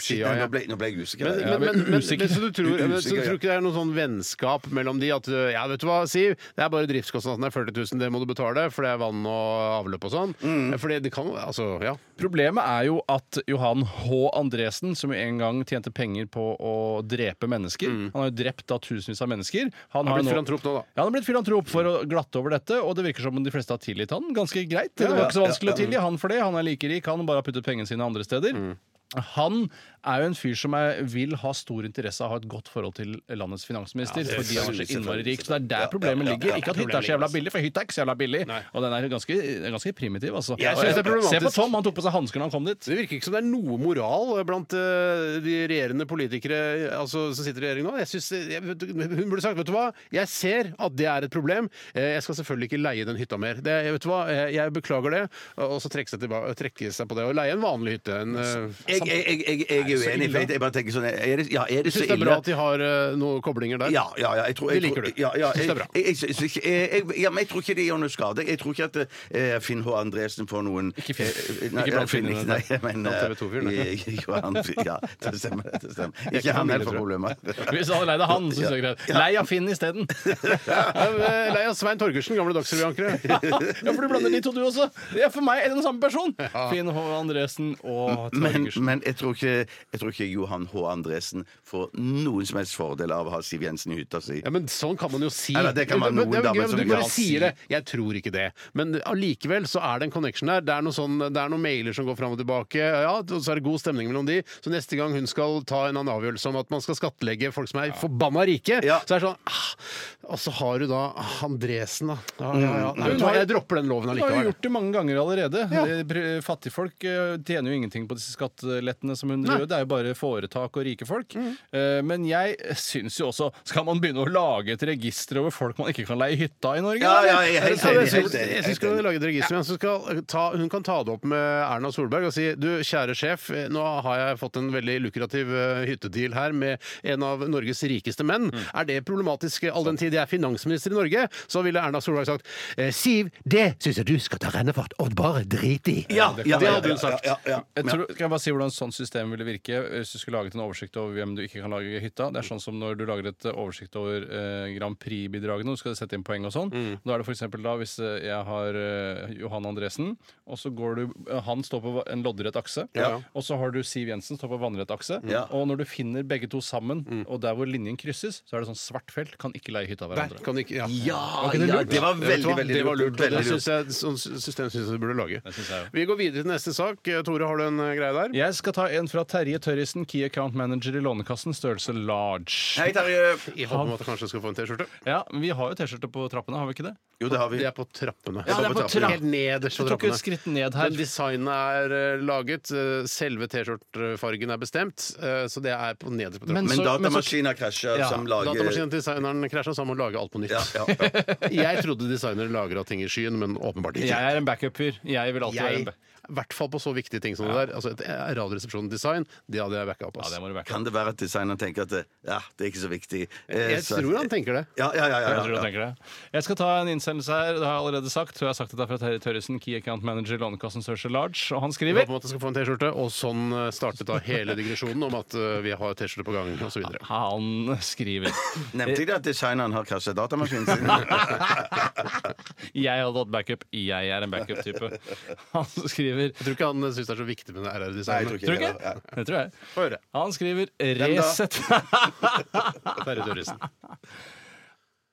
S6: Shit,
S9: ja,
S6: Nå,
S9: ja.
S6: ble, nå ble jeg usikker.
S9: Men,
S6: Ja.
S9: men, men, men,
S7: usikker.
S9: men så du tror, men, så du
S6: Usikker, ja.
S9: tror ikke det er noe sånn vennskap mellom de at eh, ja, vet du hva, Siv, det er bare driftskostnadene, 40 000, det må du betale, for det er vann og avløp og sånn.
S6: Mm.
S9: Fordi det kan Altså, ja.
S7: Problemet er jo at Johan H. Andresen, som jo en gang tjente penger på å drepe mennesker Han har jo drept da tusenvis av mennesker. Han
S9: Har Mm. blitt
S7: jo
S9: filantrop nå, da.
S7: Ja, han har blitt filantrop for å glatte over dette, og det virker som om de fleste har tilgitt han ganske greit.
S9: Mm.
S7: Det var ikke så vanskelig å tilgi han for det. Han er like rik, han bare har puttet pengene sine andre steder. Han er jo en fyr som er, vil ha stor interesse av å ha et godt forhold til landets finansminister. fordi han er så innmari rik. Så det er der problemet ligger. Ikke at hytta er så jævla billig, for hytta er ikke så jævla billig. Og den er ganske, den er ganske primitiv, altså.
S9: Jeg synes
S7: Se
S9: det er
S7: på
S9: problematisk.
S7: Tom, han tok på seg hansker da han kom dit.
S9: Det virker ikke som det er noe moral blant eh, de regjerende politikere altså, som sitter i regjering nå. Jeg synes, jeg, hun burde sagt vet du hva, jeg ser at det er et problem. Eh, Jeg skal selvfølgelig ikke leie den hytta mer. Det, vet du hva, eh, Jeg beklager det. Og så trekke seg, tilba- trekke seg på det og leie en vanlig hytte. En, eh,
S6: Jeg, jeg, jeg, jeg, jeg er uenig. for Jeg jeg bare tenker sånn er det, ja, er det
S9: jeg
S6: så
S9: syns det er
S6: ille?
S9: bra at de har eh, noen koblinger der.
S6: Ja, ja, ja, jeg tror, jeg,
S9: Det liker
S6: tror-
S9: du.
S6: Ja, ja,
S9: Synes det
S6: jeg,
S9: er bra.
S6: jeg, jeg, synes ikke- jeg, jeg, ja, men jeg tror ikke det gjør noe skade. Jeg tror ikke at eh, Finn H. Andresen får noen
S7: Ikke Finn.
S6: Eh, nei,
S7: Ikke blant
S6: Finn,
S7: finnene,
S6: Nei, men
S7: Blant
S6: eh,
S7: TV 2-fyren, nei.
S6: jeg- jeg- jo, han- Ja, det stemmer. Det stemmer.
S9: ikke
S6: Ikke han
S9: familie,
S6: heller får
S9: tror
S6: problemer.
S7: Hvis han hadde leid av han, så synes jeg det er greit. Lei av Finn isteden.
S9: Ja, men, eh, Leie av Svein Torgersen, gamle Dagsrevy-ankere.
S7: ja, for du blander de to, du også. Det er for meg er det den samme person. Finn H. Andresen og
S6: Men,
S7: Torgersen.
S6: men jeg, tror ikke, jeg tror ikke Johan H. Andresen får noen som helst fordel av å ha Siv Jensen i hytta si.
S9: Ja, men sånn kan man jo si.
S6: Ja, da, det kan man
S9: Men-
S6: noen
S9: men-
S6: damer
S9: men
S6: som
S9: Du
S6: vil
S9: bare
S6: ha si.
S9: sier det. Jeg tror ikke det. Men allikevel så er det en connection der. Det er, noe sånn, det er noen mailer som går fram og tilbake, ja, og så er det god stemning mellom de. Så neste gang hun skal ta en annen avgjørelse om at man skal skattlegge folk som er forbanna rike,
S6: Ja.
S9: så er det sånn ah, Og så har du da Andresen, da. Ja, ja,
S6: Mm.
S9: ja. Nei, vet du hva, jeg dropper den loven
S7: Hun har jo
S9: allikevel.
S7: gjort det mange ganger allerede. Det- pr- Fattigfolk eh, tjener jo ingenting på disse skattelettene som hun gjør. Det er jo bare foretak og rike folk. Eh, Men jeg syns jo også Skal man begynne å lage et register over folk man ikke kan leie hytta i Norge?
S6: Ja,
S7: eller?
S6: ja, jeg er helt
S7: Er det
S6: enig,
S7: så-
S6: helt enig.
S9: Jeg synes ikke hun har laget et register, men hun, skal eh, ta, hun kan ta det opp med Erna Solberg og si du, kjære sjef, eh, nå har jeg fått en veldig lukrativ eh, hyttedeal her med en av Norges rikeste menn.
S6: Mm.
S9: Er det problematisk? All den tid jeg er finansminister i Norge, så ville Erna Solberg sagt «Eh, Siv, det syns jeg du skal ta rennefart og bare drite i.
S7: det hadde hun sagt.
S6: Ja, ja, ja.
S7: Jeg tror, kan jeg bare si hvordan sånn system ville virke hvis du skulle laget en oversikt over hvem du ikke kan lage i hytta? Det er sånn som når du lager et eh, oversikt over eh, Grand Prix-bidragene, og du skal sette inn poeng og sånn.
S6: Mm.
S7: Da er det for eksempel da hvis eh, jeg har eh, Johan Andresen, og så går du eh, Han står på va- en loddrett akse,
S6: Ja.
S7: og så har du Siv Jensen står på vannrett akse,
S6: Ja. Mm.
S7: og når du finner begge to sammen, og der hvor linjen krysses, så er det sånn svart felt, kan ikke leie hytta av
S9: Der
S7: hverandre.
S9: kan ikke, ja.
S6: Ja,
S9: ikke det
S6: ja,
S9: lurt?
S6: det var
S9: Vet du
S6: veldig,
S9: hva?
S6: veldig
S9: Det var lurt. og Det
S6: Veldig
S9: syns jeg, sånn system syns jeg du burde lage.
S7: synes jeg også.
S9: Vi går videre til neste sak. Tore, har du en eh, greie der?
S7: Jeg skal ta en fra Terje Tørrisen, Key Account Manager i Lånekassen, størrelse large.
S6: Hei, Terje.
S9: I håp om at du kanskje skal få en T-skjorte.
S7: Ja, men Vi har jo T-skjorte på trappene, har vi ikke det?
S6: Jo, det har vi.
S9: Det er på trappene.
S7: Ja, det er på trappene.
S9: Helt nederst på
S7: Du tok jo
S9: trappene.
S7: et skritt ned her.
S9: Den designen er eh, laget, eh, selve T-skjortefargen er bestemt, eh, så det er på nederst på
S7: Men
S9: trappene.
S6: Men
S7: så- men så-
S6: datamaskiner krasjer
S7: Ja,
S6: som lager
S9: Datamaskinen til designeren krasja, så han må lage alt på nytt.
S6: Ja, ja, ja.
S9: jeg trodde designere lagra ting i skyen, men åpenbart ikke.
S7: Jeg er en backup-fyr. Jeg vil alltid være
S9: Jeg-
S7: en backup.
S9: i hvert fall på så viktige ting som det der. Altså, et Radioresepsjon-design, det hadde jeg backa opp.
S7: Ja,
S9: ass.
S7: det må du backe.
S6: Kan det være at designeren tenker at det, ja, det er ikke så viktig? Eh,
S9: jeg
S6: så-
S9: tror han tenker det.
S6: Ja, ja, ja. ja,
S7: Jeg tror du
S6: ja, ja.
S7: tenker det. Jeg skal ta en innsendelse her. Det har jeg allerede sagt. Tror jeg har sagt at det er fra Terje Tørresen, Key Account Manager i Lånekassen Sørse Large. Og han
S9: Vi håper
S7: skriver
S9: om at jeg skal få en T-skjorte, og sånn eh, startet da hele digresjonen om at eh, vi har T-skjorte på gang, osv.
S7: Han skriver
S6: Nevnte jeg det at designeren har krasja datamaskinen sin?
S7: Jeg hadde hatt backup. Jeg er en backup-type. Han skriver
S9: Jeg tror ikke han syns det er så viktig med
S6: Nei, jeg
S9: RR-designet.
S6: tror ikke
S7: Tror du
S6: Ja,
S7: ikke? Det tror jeg.
S9: Få høre.
S7: Han skriver
S6: da?
S7: Resett.
S9: Terje Tørresen.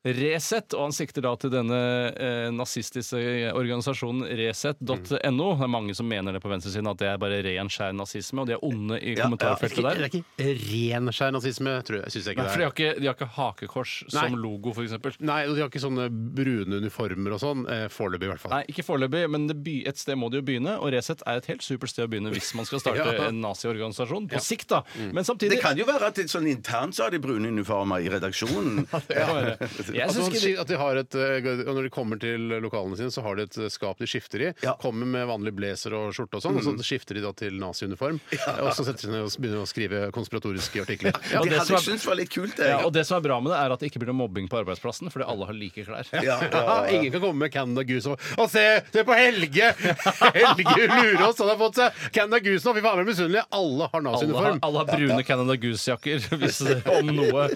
S7: Resett, og han sikter da til denne eh, nazistiske organisasjonen resett.no. Det er mange som mener det på venstresiden, at det er bare ren, skjær nazisme, og de er onde i
S6: Ja,
S7: kommentarfeltet
S9: Det
S7: der.
S9: er ikke ren skjær nazisme, tror jeg. Synes jeg ikke
S7: Nei, for de
S9: det er.
S7: har ikke, de har ikke hakekors som logo, f.eks.
S9: Nei, og de har ikke sånne brune uniformer og sånn. eh, Foreløpig, i hvert fall.
S7: Nei, ikke foreløpig, men det by, et sted må de jo begynne. Og Resett er et helt supert sted å begynne hvis man skal starte
S9: Ja.
S7: en naziorganisasjon. På sikt, da. Men samtidig
S6: Mm. Det kan jo være at det er sånn internt så har de brune uniformer i redaksjonen.
S7: Ja, det kan være. Jeg
S9: At
S6: Altså,
S7: synes ikke
S9: man
S7: de-
S9: sier Altså, sånn at de har et, eh, og Når de kommer til lokalene sine, så har de et eh, skap de skifter i.
S6: Ja.
S9: Kommer med vanlig blazer og skjorte og sånn, og så skifter de da til naziuniform. Og så setter de seg ned og begynner å skrive konspiratoriske artikler.
S7: Og
S9: Ja.
S6: Det
S7: det
S6: hadde
S7: som
S6: jeg
S7: er-
S6: syntes var litt kult, det.
S7: ja, og det som er bra med det, er at det ikke blir noe mobbing på arbeidsplassen, fordi alle har like klær.
S6: Ja, ja, ja.
S9: Ingen kan komme med Canada Goose og, og se, se på Helge! Helge lurer oss! Han har fått seg Canada Goose nå! Fy faen, vi er misunnelige!
S7: Alle
S9: Alle har
S7: har,
S9: naziuniform!
S7: alle har brune Canada Goose-jakker, hvis det om noe.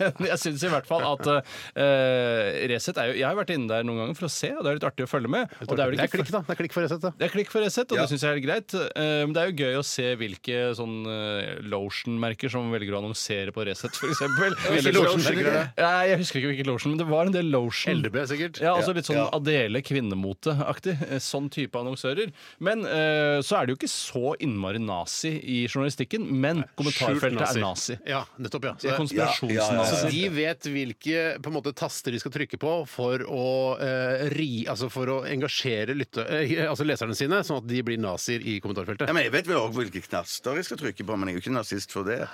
S7: Men jeg syns i hvert fall at at eh, Resett er jo Jeg har vært inne der noen ganger for å se, og det er litt artig å følge med. Og det er vel ikke
S9: klikk, da. Det er klikk for Resett, da.
S7: det er klikk for Resett, og
S6: Ja.
S7: det syns jeg er helt greit. Eh, Men det er jo gøy å se hvilke sånn eh, lotion-merker som velger å annonsere på Resett, f.eks.
S9: Hvilke lotion-merker er det?
S7: Jeg husker ikke hvilke lotion, men det var en del lotion.
S9: LDB, sikkert.
S7: Ja, altså Litt sånn
S6: Ja.
S7: Adele kvinnemote-aktig. eh, Sånn type annonsører. Men eh, så er det jo ikke så innmari nazi i journalistikken, men kommentarfeltet er nazi.
S9: Ja, nettopp, ja.
S7: Det er
S9: Så, det-
S6: Ja, ja,
S9: så
S7: konspirasjonsnazi.
S9: Altså, de vet hvilke på en måte, taster de skal trykke på for å, eh, ri, altså for å engasjere lytte, eh, altså leserne sine, sånn at de blir nazier i kommentarfeltet.
S6: Ja, men jeg vet vel også hvilke knaster jeg skal trykke på, men jeg er jo ikke nazist for det.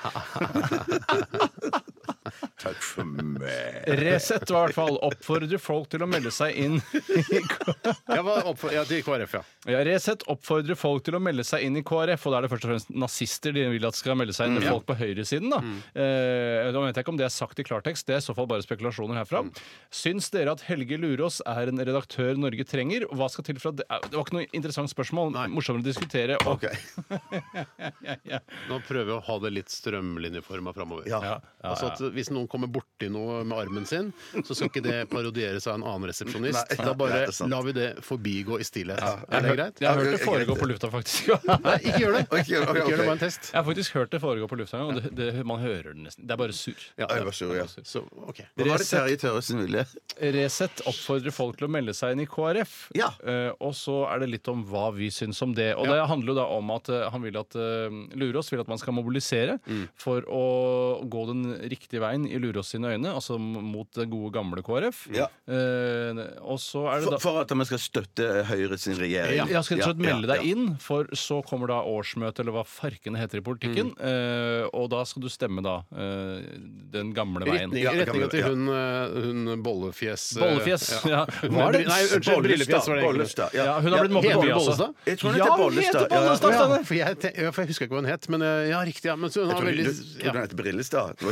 S6: Takk for meg.
S7: Resett var i hvert fall oppfordrer folk til å melde seg inn
S9: Jeg var oppfor- ja, til KrF, ja.
S7: ja, Resett oppfordrer folk til å melde seg inn i KrF, og da er det først og fremst nazister de vil at skal melde
S9: Mm.
S7: seg inn. det er Folk på høyresiden, da. Eh, da vet jeg ikke om det er sagt i klartekst, det er i så fall bare spekulasjoner herfra.
S9: Mm.
S7: Syns dere at Helge Lurås er en redaktør Norge trenger? Og hva skal til for at Det eh, det var ikke noe interessant spørsmål. Morsommere å diskutere. Og,
S6: Ok.
S7: ja, ja.
S9: Nå prøver vi å ha det litt strømlinjeforma framover.
S6: Ja.
S7: Ja, ja,
S9: Altså at hvis noen kommer borti noe med armen sin, så skal ikke det parodieres av en annen resepsjonist.
S6: Nei,
S9: da bare
S6: det er sant.
S9: lar vi det forbigå i stillhet. Er det greit?
S7: Jeg har hørt det foregå på lufta, faktisk.
S9: Nei, ikke gjør det!
S6: Ok, ok,
S9: Ikke gjør det,
S6: ok.
S9: bare en test.
S7: Jeg har faktisk hørt det foregå på lufta, og det, det, man hører det nesten. Det er bare surr.
S9: Ja,
S6: Jeg var sur, ja.
S9: Så, ok.
S6: Hva var det Terje Tørresen ville?
S7: Resett oppfordrer folk til å melde seg inn i KrF.
S6: Ja.
S7: Eh, og så er det litt om hva vi syns om det. Og det handler jo da om at eh, han vil at eh, Lurås vil at man skal mobilisere
S6: Mm.
S7: for å gå den riktige veien i Lurås sine øyne, altså mot det gode, gamle KrF.
S6: Ja.
S7: Eh, og så er det
S6: For,
S7: da
S6: for at vi skal støtte Høyre sin regjering.
S7: ja, skal rett og slett
S6: Ja,
S7: melde deg
S6: ja.
S7: inn, for så kommer da årsmøtet, eller hva farkene heter i
S6: Mm.
S7: politikken, eh, og da skal du stemme da eh, den gamle veien.
S9: Retning,
S6: Ja, det kan
S9: retninga
S6: vi-
S9: til
S6: ja.
S9: hun, eh, hun bollefjes eh,
S7: Bollefjes. Ja.
S9: Var det? Nei, unnskyld.
S6: Bollestad,
S9: Brillefjes var det egentlig.
S6: Bollestad,
S7: Ja, hun har blitt mobbet
S9: Heter
S7: mye,
S9: hun
S7: altså.
S9: Bollestad?
S6: Jeg tror hun
S7: Ja,
S6: heter
S7: hun
S6: Bollestad.
S7: heter Bollestad.
S9: Å, ja, for jeg, te- ja, for jeg husker ikke hva hun het, men eh, ja, riktig. Ja, men så hun
S6: Jeg
S9: har
S6: tror du,
S9: veldig
S6: du, tror
S9: ja.
S6: den heter Brillestad.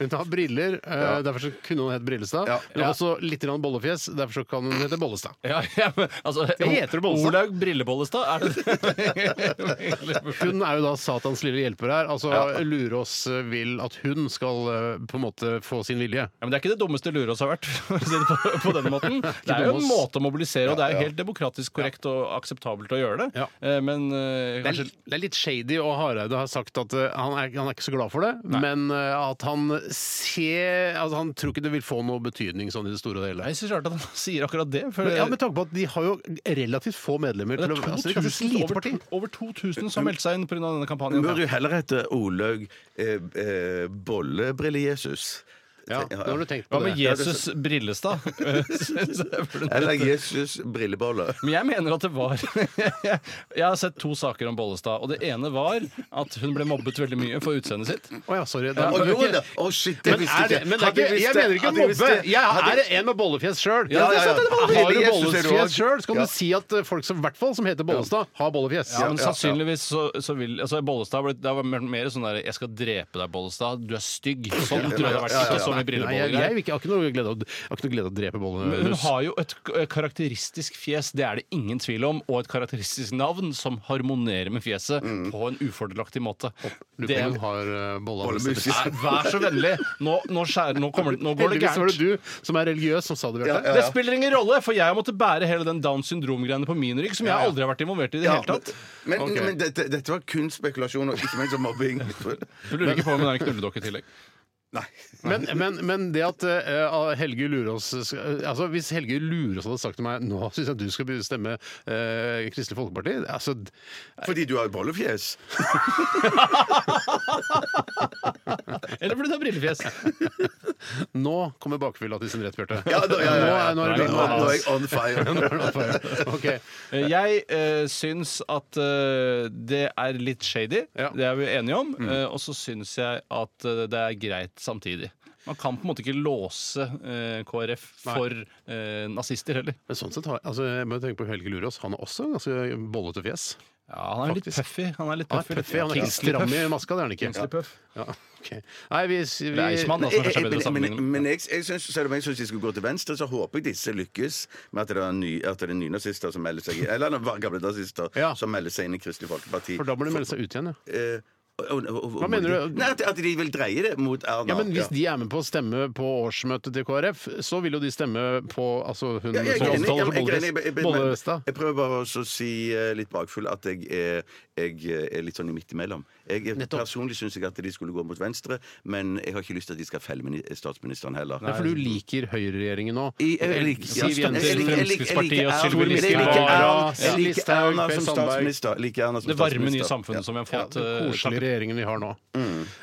S9: Hun har briller, eh, derfor så kunne hun hett Brillestad.
S6: Ja.
S9: Men også litt grann bollefjes, derfor så kan hun hete Bollestad.
S7: Ja, ja, men, altså,
S9: heter Bollestad.
S7: Olaug Brillebollestad, er det det?
S9: Hun er jo da Satans lille hjelper her. Altså Lurås eh, vil at hun skal eh, på en måte få sin vilje.
S7: Ja, men det er ikke det dummeste Lurås har vært. for å si det på, på denne måten. Det er jo en
S9: dummest.
S7: måte å mobilisere, og det er jo helt demokratisk korrekt og akseptabelt å gjøre det.
S9: Ja.
S7: Eh, Men eh,
S9: Det er,
S7: kanskje
S9: litt- det er litt shady, og Hareide har sagt at eh, han, er, han er ikke så glad for det, men eh, at han ser altså, Han tror ikke det vil få noe betydning sånn i det store og hele.
S7: Jeg syns rart at han sier akkurat det. For
S9: Men, ja, Med tanke på at de har jo relativt få medlemmer.
S7: det
S9: Til
S7: er
S9: å, altså, det
S7: 2000,
S9: er kanskje et lite
S7: over,
S9: parti.
S7: over 2000 som meldte seg inn pga. denne
S6: Hun
S7: kampanjen.
S6: burde jo heller hete Olaug eh, eh, Bollebrille-Jesus.
S9: Ja, nå har du tenkt på
S7: Hva med
S9: det.
S7: Jesus Brillestad?
S6: Eller Jesus Brillebolle.
S7: Men jeg mener at det var Jeg har sett to saker om Bollestad. Og det ene var at hun ble mobbet veldig mye for utseendet sitt.
S9: Å ja, sorry. Det
S6: Å,
S9: er,
S6: gjorde det? Å, shit, det
S9: men
S6: visste
S9: er det,
S6: jeg
S9: men det er
S6: Hadde
S9: ikke,
S6: jeg
S9: jeg
S6: visst
S9: mener
S6: det-
S9: ikke å
S6: hadde jeg visst
S9: mobbe!
S6: det-
S9: Jeg
S6: hadde-
S9: er en med bollefjes sjøl.
S6: Ja, ja, ja.
S9: Har du
S6: Hele Jesus er
S9: bollefjes
S6: råd.
S9: sjøl, så kan
S6: Ja.
S9: du si at eh, folk som i hvert fall som heter Bollestad, har bollefjes.
S7: Ja, men
S6: ja, ja.
S7: sannsynligvis så, så vil altså Bollestad ble, Det var mer- mer sånn der 'Jeg skal drepe deg, Bollestad. Du er stygg'. Sånn tror jeg det har vært.
S6: Ja, ja, ja.
S7: Ikke sånn i
S9: Nei, jeg, jeg,
S7: brilleboller.
S9: vil ikke- jeg har ikke noe glede av, jeg har ikke noe glede av å drepe bollene.
S7: Hun har jo et k- karakteristisk fjes, det er det ingen tvil om, og et karakteristisk navn som harmonerer med fjeset på en ufordelaktig måte.
S9: Lurer
S7: Det
S9: på om
S7: er,
S9: hun har eh, bolla
S6: Bollemus.
S9: med
S7: Nei, vær så vennlig! Nå, nå, skjærer, nå, kommer, det- nå går det
S9: Heldigvis var
S7: gærent.
S9: det du som er religiøs som sa det, Bjarte.
S7: Det spiller ingen rolle, for jeg har måttet bære hele den Downs syndrom-greiene på min rygg, som jeg aldri har vært involvert i i det hele tatt.
S6: Men,
S9: Ok.
S6: men dette, dette var kun spekulasjon, og ikke minst om mobbing.
S7: Du lurer ikke på om det er en knulledokke i tillegg.
S6: Nei.
S9: Men, men, men det at eh, Helge Lurås skal- altså Hvis Helge Lurås hadde sagt til meg nå syns jeg du skal begynne å stemme eh, Kristelig Folkeparti altså, d-
S6: Fordi du har jo bollefjes.
S7: Eller fordi du har brillefjes.
S9: Nå kommer bakfylla til sin rett, Bjarte.
S6: Ja, da- ja, ja, ja.
S9: Nå er- nå
S6: Nå
S7: Nei,
S9: er det
S6: nå er jeg
S9: begynt.
S6: on fire.
S9: Ok.
S7: Eh, Jeg eh, syns at eh, det er litt shady,
S9: Ja.
S7: det er vi enige om. Eh, og så syns jeg at eh, det er greit samtidig. Man kan på en måte ikke låse eh, KrF for eh, nazister heller.
S9: Men sånn sett har altså, jeg må tenke på Helge Lurås. Han har også ganske bollete fjes.
S7: Ja, han er litt
S9: Faktisk.
S7: puffy. Han er litt
S9: Han er
S7: puffy.
S9: puffy, han er ikke
S7: Kingsley
S9: stram i
S7: puff.
S9: maska, det er han ikke.
S7: Kingsley puff.
S9: Ja, ok. Nei, vi, vi
S7: Eichmann, da, som er kanskje bedre å
S6: Eh, Men,
S7: sammenligne
S6: men,
S7: med.
S6: men jeg, jeg synes, selv om jeg syns de skulle gå til venstre, så håper jeg disse lykkes med at det er, ny, at det er nynazister som melder seg inn Eller gamle nazister
S9: Ja.
S6: som melder seg inn i Kristelig Folkeparti.
S9: For da må du melde seg ut igjen, ja.
S6: Eh, Hva
S9: mener du?
S6: Nei, at, at de vil dreie det mot Erna.
S9: Ja, men Hvis
S6: Ja.
S9: de er med på å stemme på årsmøtet til KrF, så vil jo de stemme på altså hun
S6: Ja, jeg er
S9: som
S6: enig, ja,
S9: omtaler
S6: men jeg er enig, jeg- jeg-
S9: som
S6: men-
S9: Bollestad.
S6: Jeg prøver bare også å si eh, litt bakfull at jeg er, jeg er litt sånn i midt imellom. Jeg,
S9: Nettopp.
S6: personlig syns jeg at de skulle gå mot venstre, men jeg har ikke lyst til at de skal felle mini- statsministeren heller.
S9: Det er fordi du liker høyreregjeringen nå.
S6: I- jeg liker- ja, jeg liker-
S9: Siv
S6: jeg liker-
S9: Jensen.
S6: jeg liker- jeg liker
S7: Fremskrittspartiet og
S6: Erna-
S7: Sylvi
S6: jeg liker
S7: Listhaug.
S6: Erna-
S9: Ja.
S6: Jeg liker
S9: Listhaug,
S6: Erna
S9: Per
S6: som
S9: Sandberg.
S6: statsminister. Jeg liker Erna som
S7: Det varme nye
S6: statsminister.
S7: samfunnet som vi har
S9: Ja,
S7: fått.
S9: den
S7: eh,
S9: koselige regjeringen vi har nå.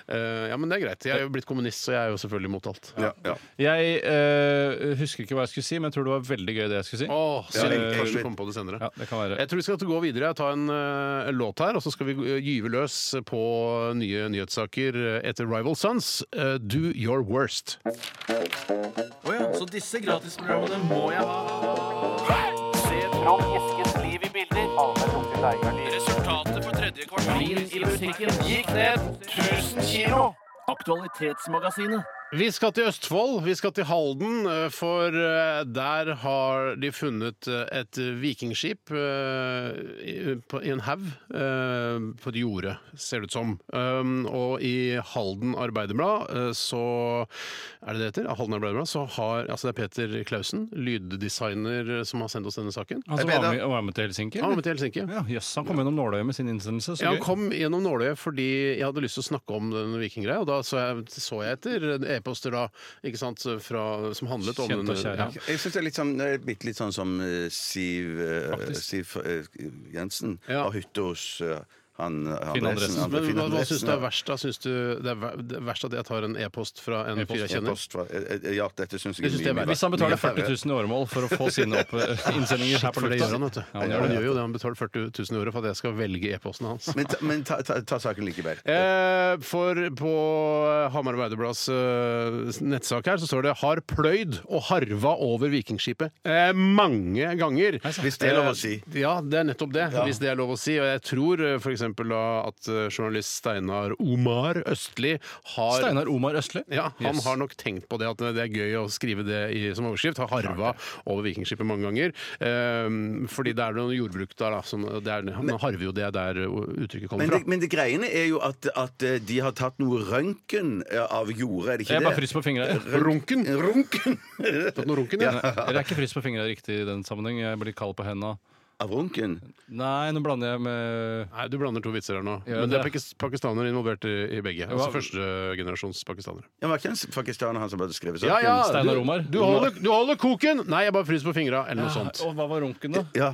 S9: Eh, ja, men det er greit. Jeg er jo blitt kommunist, så jeg er jo selvfølgelig imot alt.
S6: Ja, ja.
S7: Jeg eh, husker ikke hva jeg skulle si, men jeg tror det var veldig gøy det jeg skulle si.
S9: Åh,
S6: jeg-
S9: synd.
S6: jeg-
S9: Kanskje vi kommer på det senere.
S7: Ja, det kan være.
S9: Jeg tror vi skal gå videre og ta en eh, låt her, og så skal vi eh, gyve løs på nye nyhetssaker eh, etter Rival Sons. eh, Do Your Worst.
S12: Så disse gratisprogrammene må jeg ha. Se Trond Eskens liv i bilder. Resultatet for tredje kvartal. Vin i butikken gikk ned 1000 kilo. Aktualitetsmagasinet.
S9: Vi skal til Østfold, vi skal til Halden, eh, for eh, der har de funnet eh, et vikingskip eh, i på- i en haug eh, på et jorde, ser det ut som. Um, Og i Halden Arbeiderblad, eh, så er det det heter? Ja, Halden Arbeiderblad, så har altså det er Peter Klausen, lyddesigner, eh, som har sendt oss denne saken.
S7: Han som var Altså, med, var med til Helsinki?
S9: Han
S7: eller?
S9: var med til Helsinki.
S7: Ja, jøss, han kom gjennom nåløyet med sin innsendelse. Så
S9: Ja, han
S7: gøy.
S9: kom gjennom nåløyet fordi jeg hadde lyst til å snakke om den vikinggreia. Og da så jeg, så jeg etter e-poster da, ikke sant, fra, som handlet om
S7: Kjent og kjær, ja.
S9: ja.
S6: Jeg syns det er litt sånn, eh, bitte litt sånn som eh, Siv, eh, Siv eh, Jensen
S9: Ja.
S6: har hytte hos eh, han
S7: Finn Andresen.
S6: han-
S9: Men
S6: Finn
S9: hva, hva syns
S6: Andresen,
S9: du er
S6: ja.
S9: verst? da? Syns du det er ver- det er verst at jeg tar en e-post fra en
S7: E-post,
S9: fyr jeg kjenner?
S6: E-post fra- eh, eh, Ja, dette syns jeg
S9: Det synes jeg er verre.
S7: Hvis han betaler 40 000 i åremål for å få sine opp innsendinger her på
S9: For det gjør han,
S7: lufta
S9: vet du.
S7: Ja,
S9: han,
S7: han gjør det.
S9: gjør jo det. Han betaler 40 000 i året for at jeg skal velge e-posten hans.
S6: Men, ta, men ta, ta, ta saken likevel.
S9: Eh, for på eh, Hamar Arbeiderblads eh, nettsak her så står det 'Har pløyd og harva over vikingskipet' eh, mange ganger.
S6: Hvis det er lov å si.
S9: Eh, Ja, det er nettopp det. Hvis det er lov å si. Og jeg tror eh, f.eks. at eh, journalist Steinar Omar Østli har
S7: Steinar Omar Østli.
S9: ja, Han
S7: Yes.
S9: har nok tenkt på det at det er gøy å skrive det i, som overskrift. Har harva over vikingskipet mange ganger. Eh, fordi det er noe jordbruk der, da. Som det er, han harver jo det der eh, uttrykket kommer
S6: Men
S9: fra.
S6: det, men det greiene er jo at, at eh, de har tatt noe røntgen eh, av jorda, er det ikke
S7: Jeg
S6: det?
S7: bare frys på fingra.
S9: Runken!
S6: Runken!
S9: Tatt noe runken, ja.
S7: Eller er ikke frys på fingra riktig i den sammenheng? Jeg blir kald på henda.
S6: Av runken?
S7: Nei, nå blander jeg med
S9: Nei, du blander to vitser her nå.
S7: Gjør
S9: Men det er
S7: det?
S9: pakis- pakistanere involvert i, i begge. Altså
S7: Hva-
S9: førstegenerasjons pakistanere.
S6: Ja, var ikke han pakistaner han som hadde skrevet saken?
S9: Ja, ja,
S7: Steinar
S9: du-
S7: Omar.
S9: Du holder, du holder koken! Nei, jeg bare fryser på fingra, eller noe sånt.
S7: Og hva var runken, da?
S6: Ja.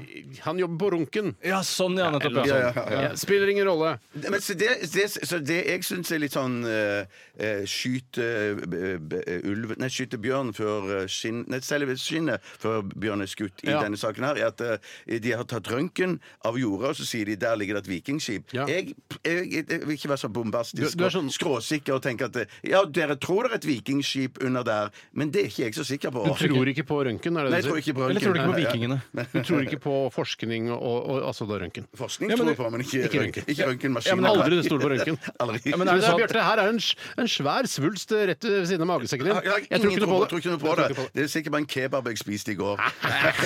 S9: Han jobber på runken.
S7: Ja, sånn, ja. Nettopp.
S6: Ja,
S7: Ja,
S6: ja, ja.
S9: Ja, spiller ingen rolle.
S6: Men så det, det, så det jeg syns er litt sånn eh, eh, Skyte eh, b- b- ulv Nei, skyte bjørn før eh, skinn Nei, selve skinnet før bjørn er skutt i
S9: Ja.
S6: denne saken her, er at eh, de har tatt røntgen av jorda, og så sier de der ligger det et vikingskip.
S9: Ja.
S6: Jeg, jeg, jeg, vil ikke være så bombastisk
S9: Du- du er
S6: og
S9: sånn-
S6: skråsikker og tenke at eh, ja, dere tror det er et vikingskip under der, men det er ikke jeg så sikker på.
S9: Du tror ikke på røntgen? er det
S6: Nei,
S9: det
S6: jeg
S9: du
S6: tror
S9: sier?
S6: ikke på
S7: Eller tror du ikke på
S6: Nei, ja.
S7: vikingene?
S9: Du tror ikke på forskning og, og altså da røntgen?
S6: Forskning
S7: Ja, men
S6: tror
S7: det-
S6: jeg på, men ikke,
S9: ikke
S6: røntgen-
S9: røntgen.
S6: ikke
S9: Ja,
S6: røntgenmaskiner.
S9: men aldri stol på røntgen.
S6: Aldri.
S9: Ja, men
S7: er
S9: er
S7: det
S9: det
S7: sånn at-
S9: Bjarte, her er en, sj- en svær svulst eh, rett ved siden av magesekken din.
S6: Jeg har
S9: Jeg tror
S6: ingen
S9: ikke
S6: tro
S9: noe
S6: på-
S9: på
S6: tror
S9: det.
S6: ikke noe på det. Det er sikkert bare en kebab jeg spiste i går.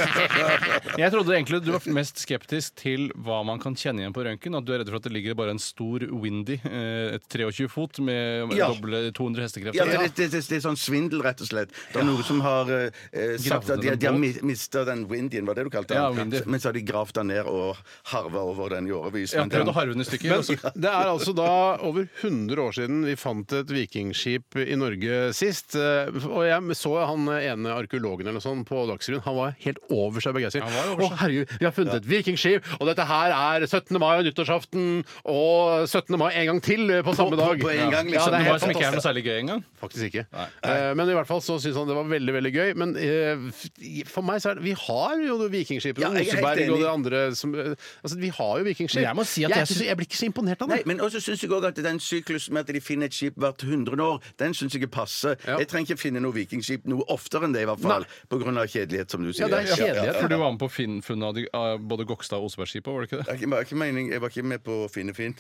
S7: Jeg trodde egentlig du var mest skeptisk til hva man kan kjenne igjen på røntgen. At du er redd for at det ligger bare en stor Windy, eh, et 23 fot, med
S6: Ja.
S7: doble 200 hestekrefter.
S6: Ja, det, det, det, det er sånn svindel, rett og slett. Det er noen som har eh, eh, sagt
S7: Gravde
S6: at de,
S7: den
S6: de har
S7: båt?
S6: mi- mista den windien, var det du kalte
S7: Ja,
S6: den?
S7: windy.
S6: men så har de gravd den ned og harva over den i årevis.
S7: Jeg
S6: men
S7: har prøvd
S6: den-
S7: å harve den i stykker.
S9: Men
S7: og så-
S9: det er altså da over 100 år siden vi fant et vikingskip i Norge sist. eh, Og jeg så han ene arkeologen eller noe sånt på Dagsrevyen. Han var helt over seg begeistret. Å herregud, vi har funnet et vikingskip, og dette her er 17. mai og nyttårsaften og 17. mai en gang til eh, på samme
S6: på-
S9: dag.
S6: på en gang,
S9: Ja,
S6: liksom.
S9: det
S7: Det var
S9: er helt
S7: som ikke er
S9: fantastisk.
S7: noe særlig gøy engang.
S9: Faktisk ikke. Eh, Men i hvert fall så syntes han det var veldig veldig gøy. Men eh, f- for meg så er det Vi har jo det vikingskipet.
S6: Ja, jeg er helt
S9: Oseberg og
S6: enig.
S9: det andre som eh, Altså, vi har jo vikingskip.
S7: Men jeg må si at jeg
S9: jeg, er ikke så-
S7: syns-
S9: jeg blir ikke så imponert av det.
S6: Nei, men også syns jeg også at den syklusen med at de finner et skip hvert 100 år, den syns jeg passer.
S9: Ja.
S6: Jeg trenger ikke finne noe vikingskip noe oftere enn det, i hvert fall. På grunn av kjedelighet, som du sier.
S9: det er kjedelig.
S7: For du var med på Finn- funnet av de av både Gokstad og Osebergskipet, var det ikke det?
S6: Det er ikke- det er ikke mening, jeg var ikke med på Finne Finn.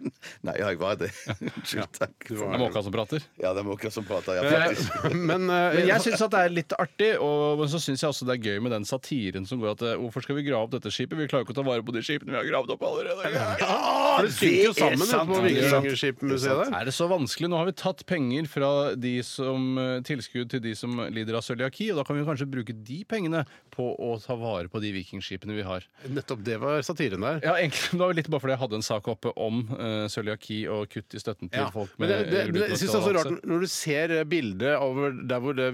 S6: Nei, jeg var det. Unnskyld, takk.
S7: Det er Måka som prater.
S6: Ja, det er Måka som prater. Ja, faktisk.
S9: Men, eh,
S7: Men jeg syns det er litt artig, og, men så syns jeg også det er gøy med den satiren som går at eh, hvorfor skal vi grave opp dette skipet? Vi klarer jo ikke å ta vare på de skipene vi har gravd opp allerede.
S9: For det synker jo sammen ute på
S6: det er sant.
S9: Vikingskipmuseet der.
S7: Er det så vanskelig? Nå har vi tatt penger fra de som eh, tilskudd til de som lider av cøliaki, og da kan vi kanskje bruke de pengene på å ta vare på de vikingskipene vi har.
S9: Nettopp det var satiren der.
S7: Ja, egentlig, det var jo litt bare fordi jeg hadde en sak oppe om uh, cøliaki og kutt i støtten til
S9: Ja,
S7: folk
S9: men
S7: med
S9: det, det, det, jeg synes det er så rart
S7: glutenallergi.
S9: Når du ser bildet over der hvor det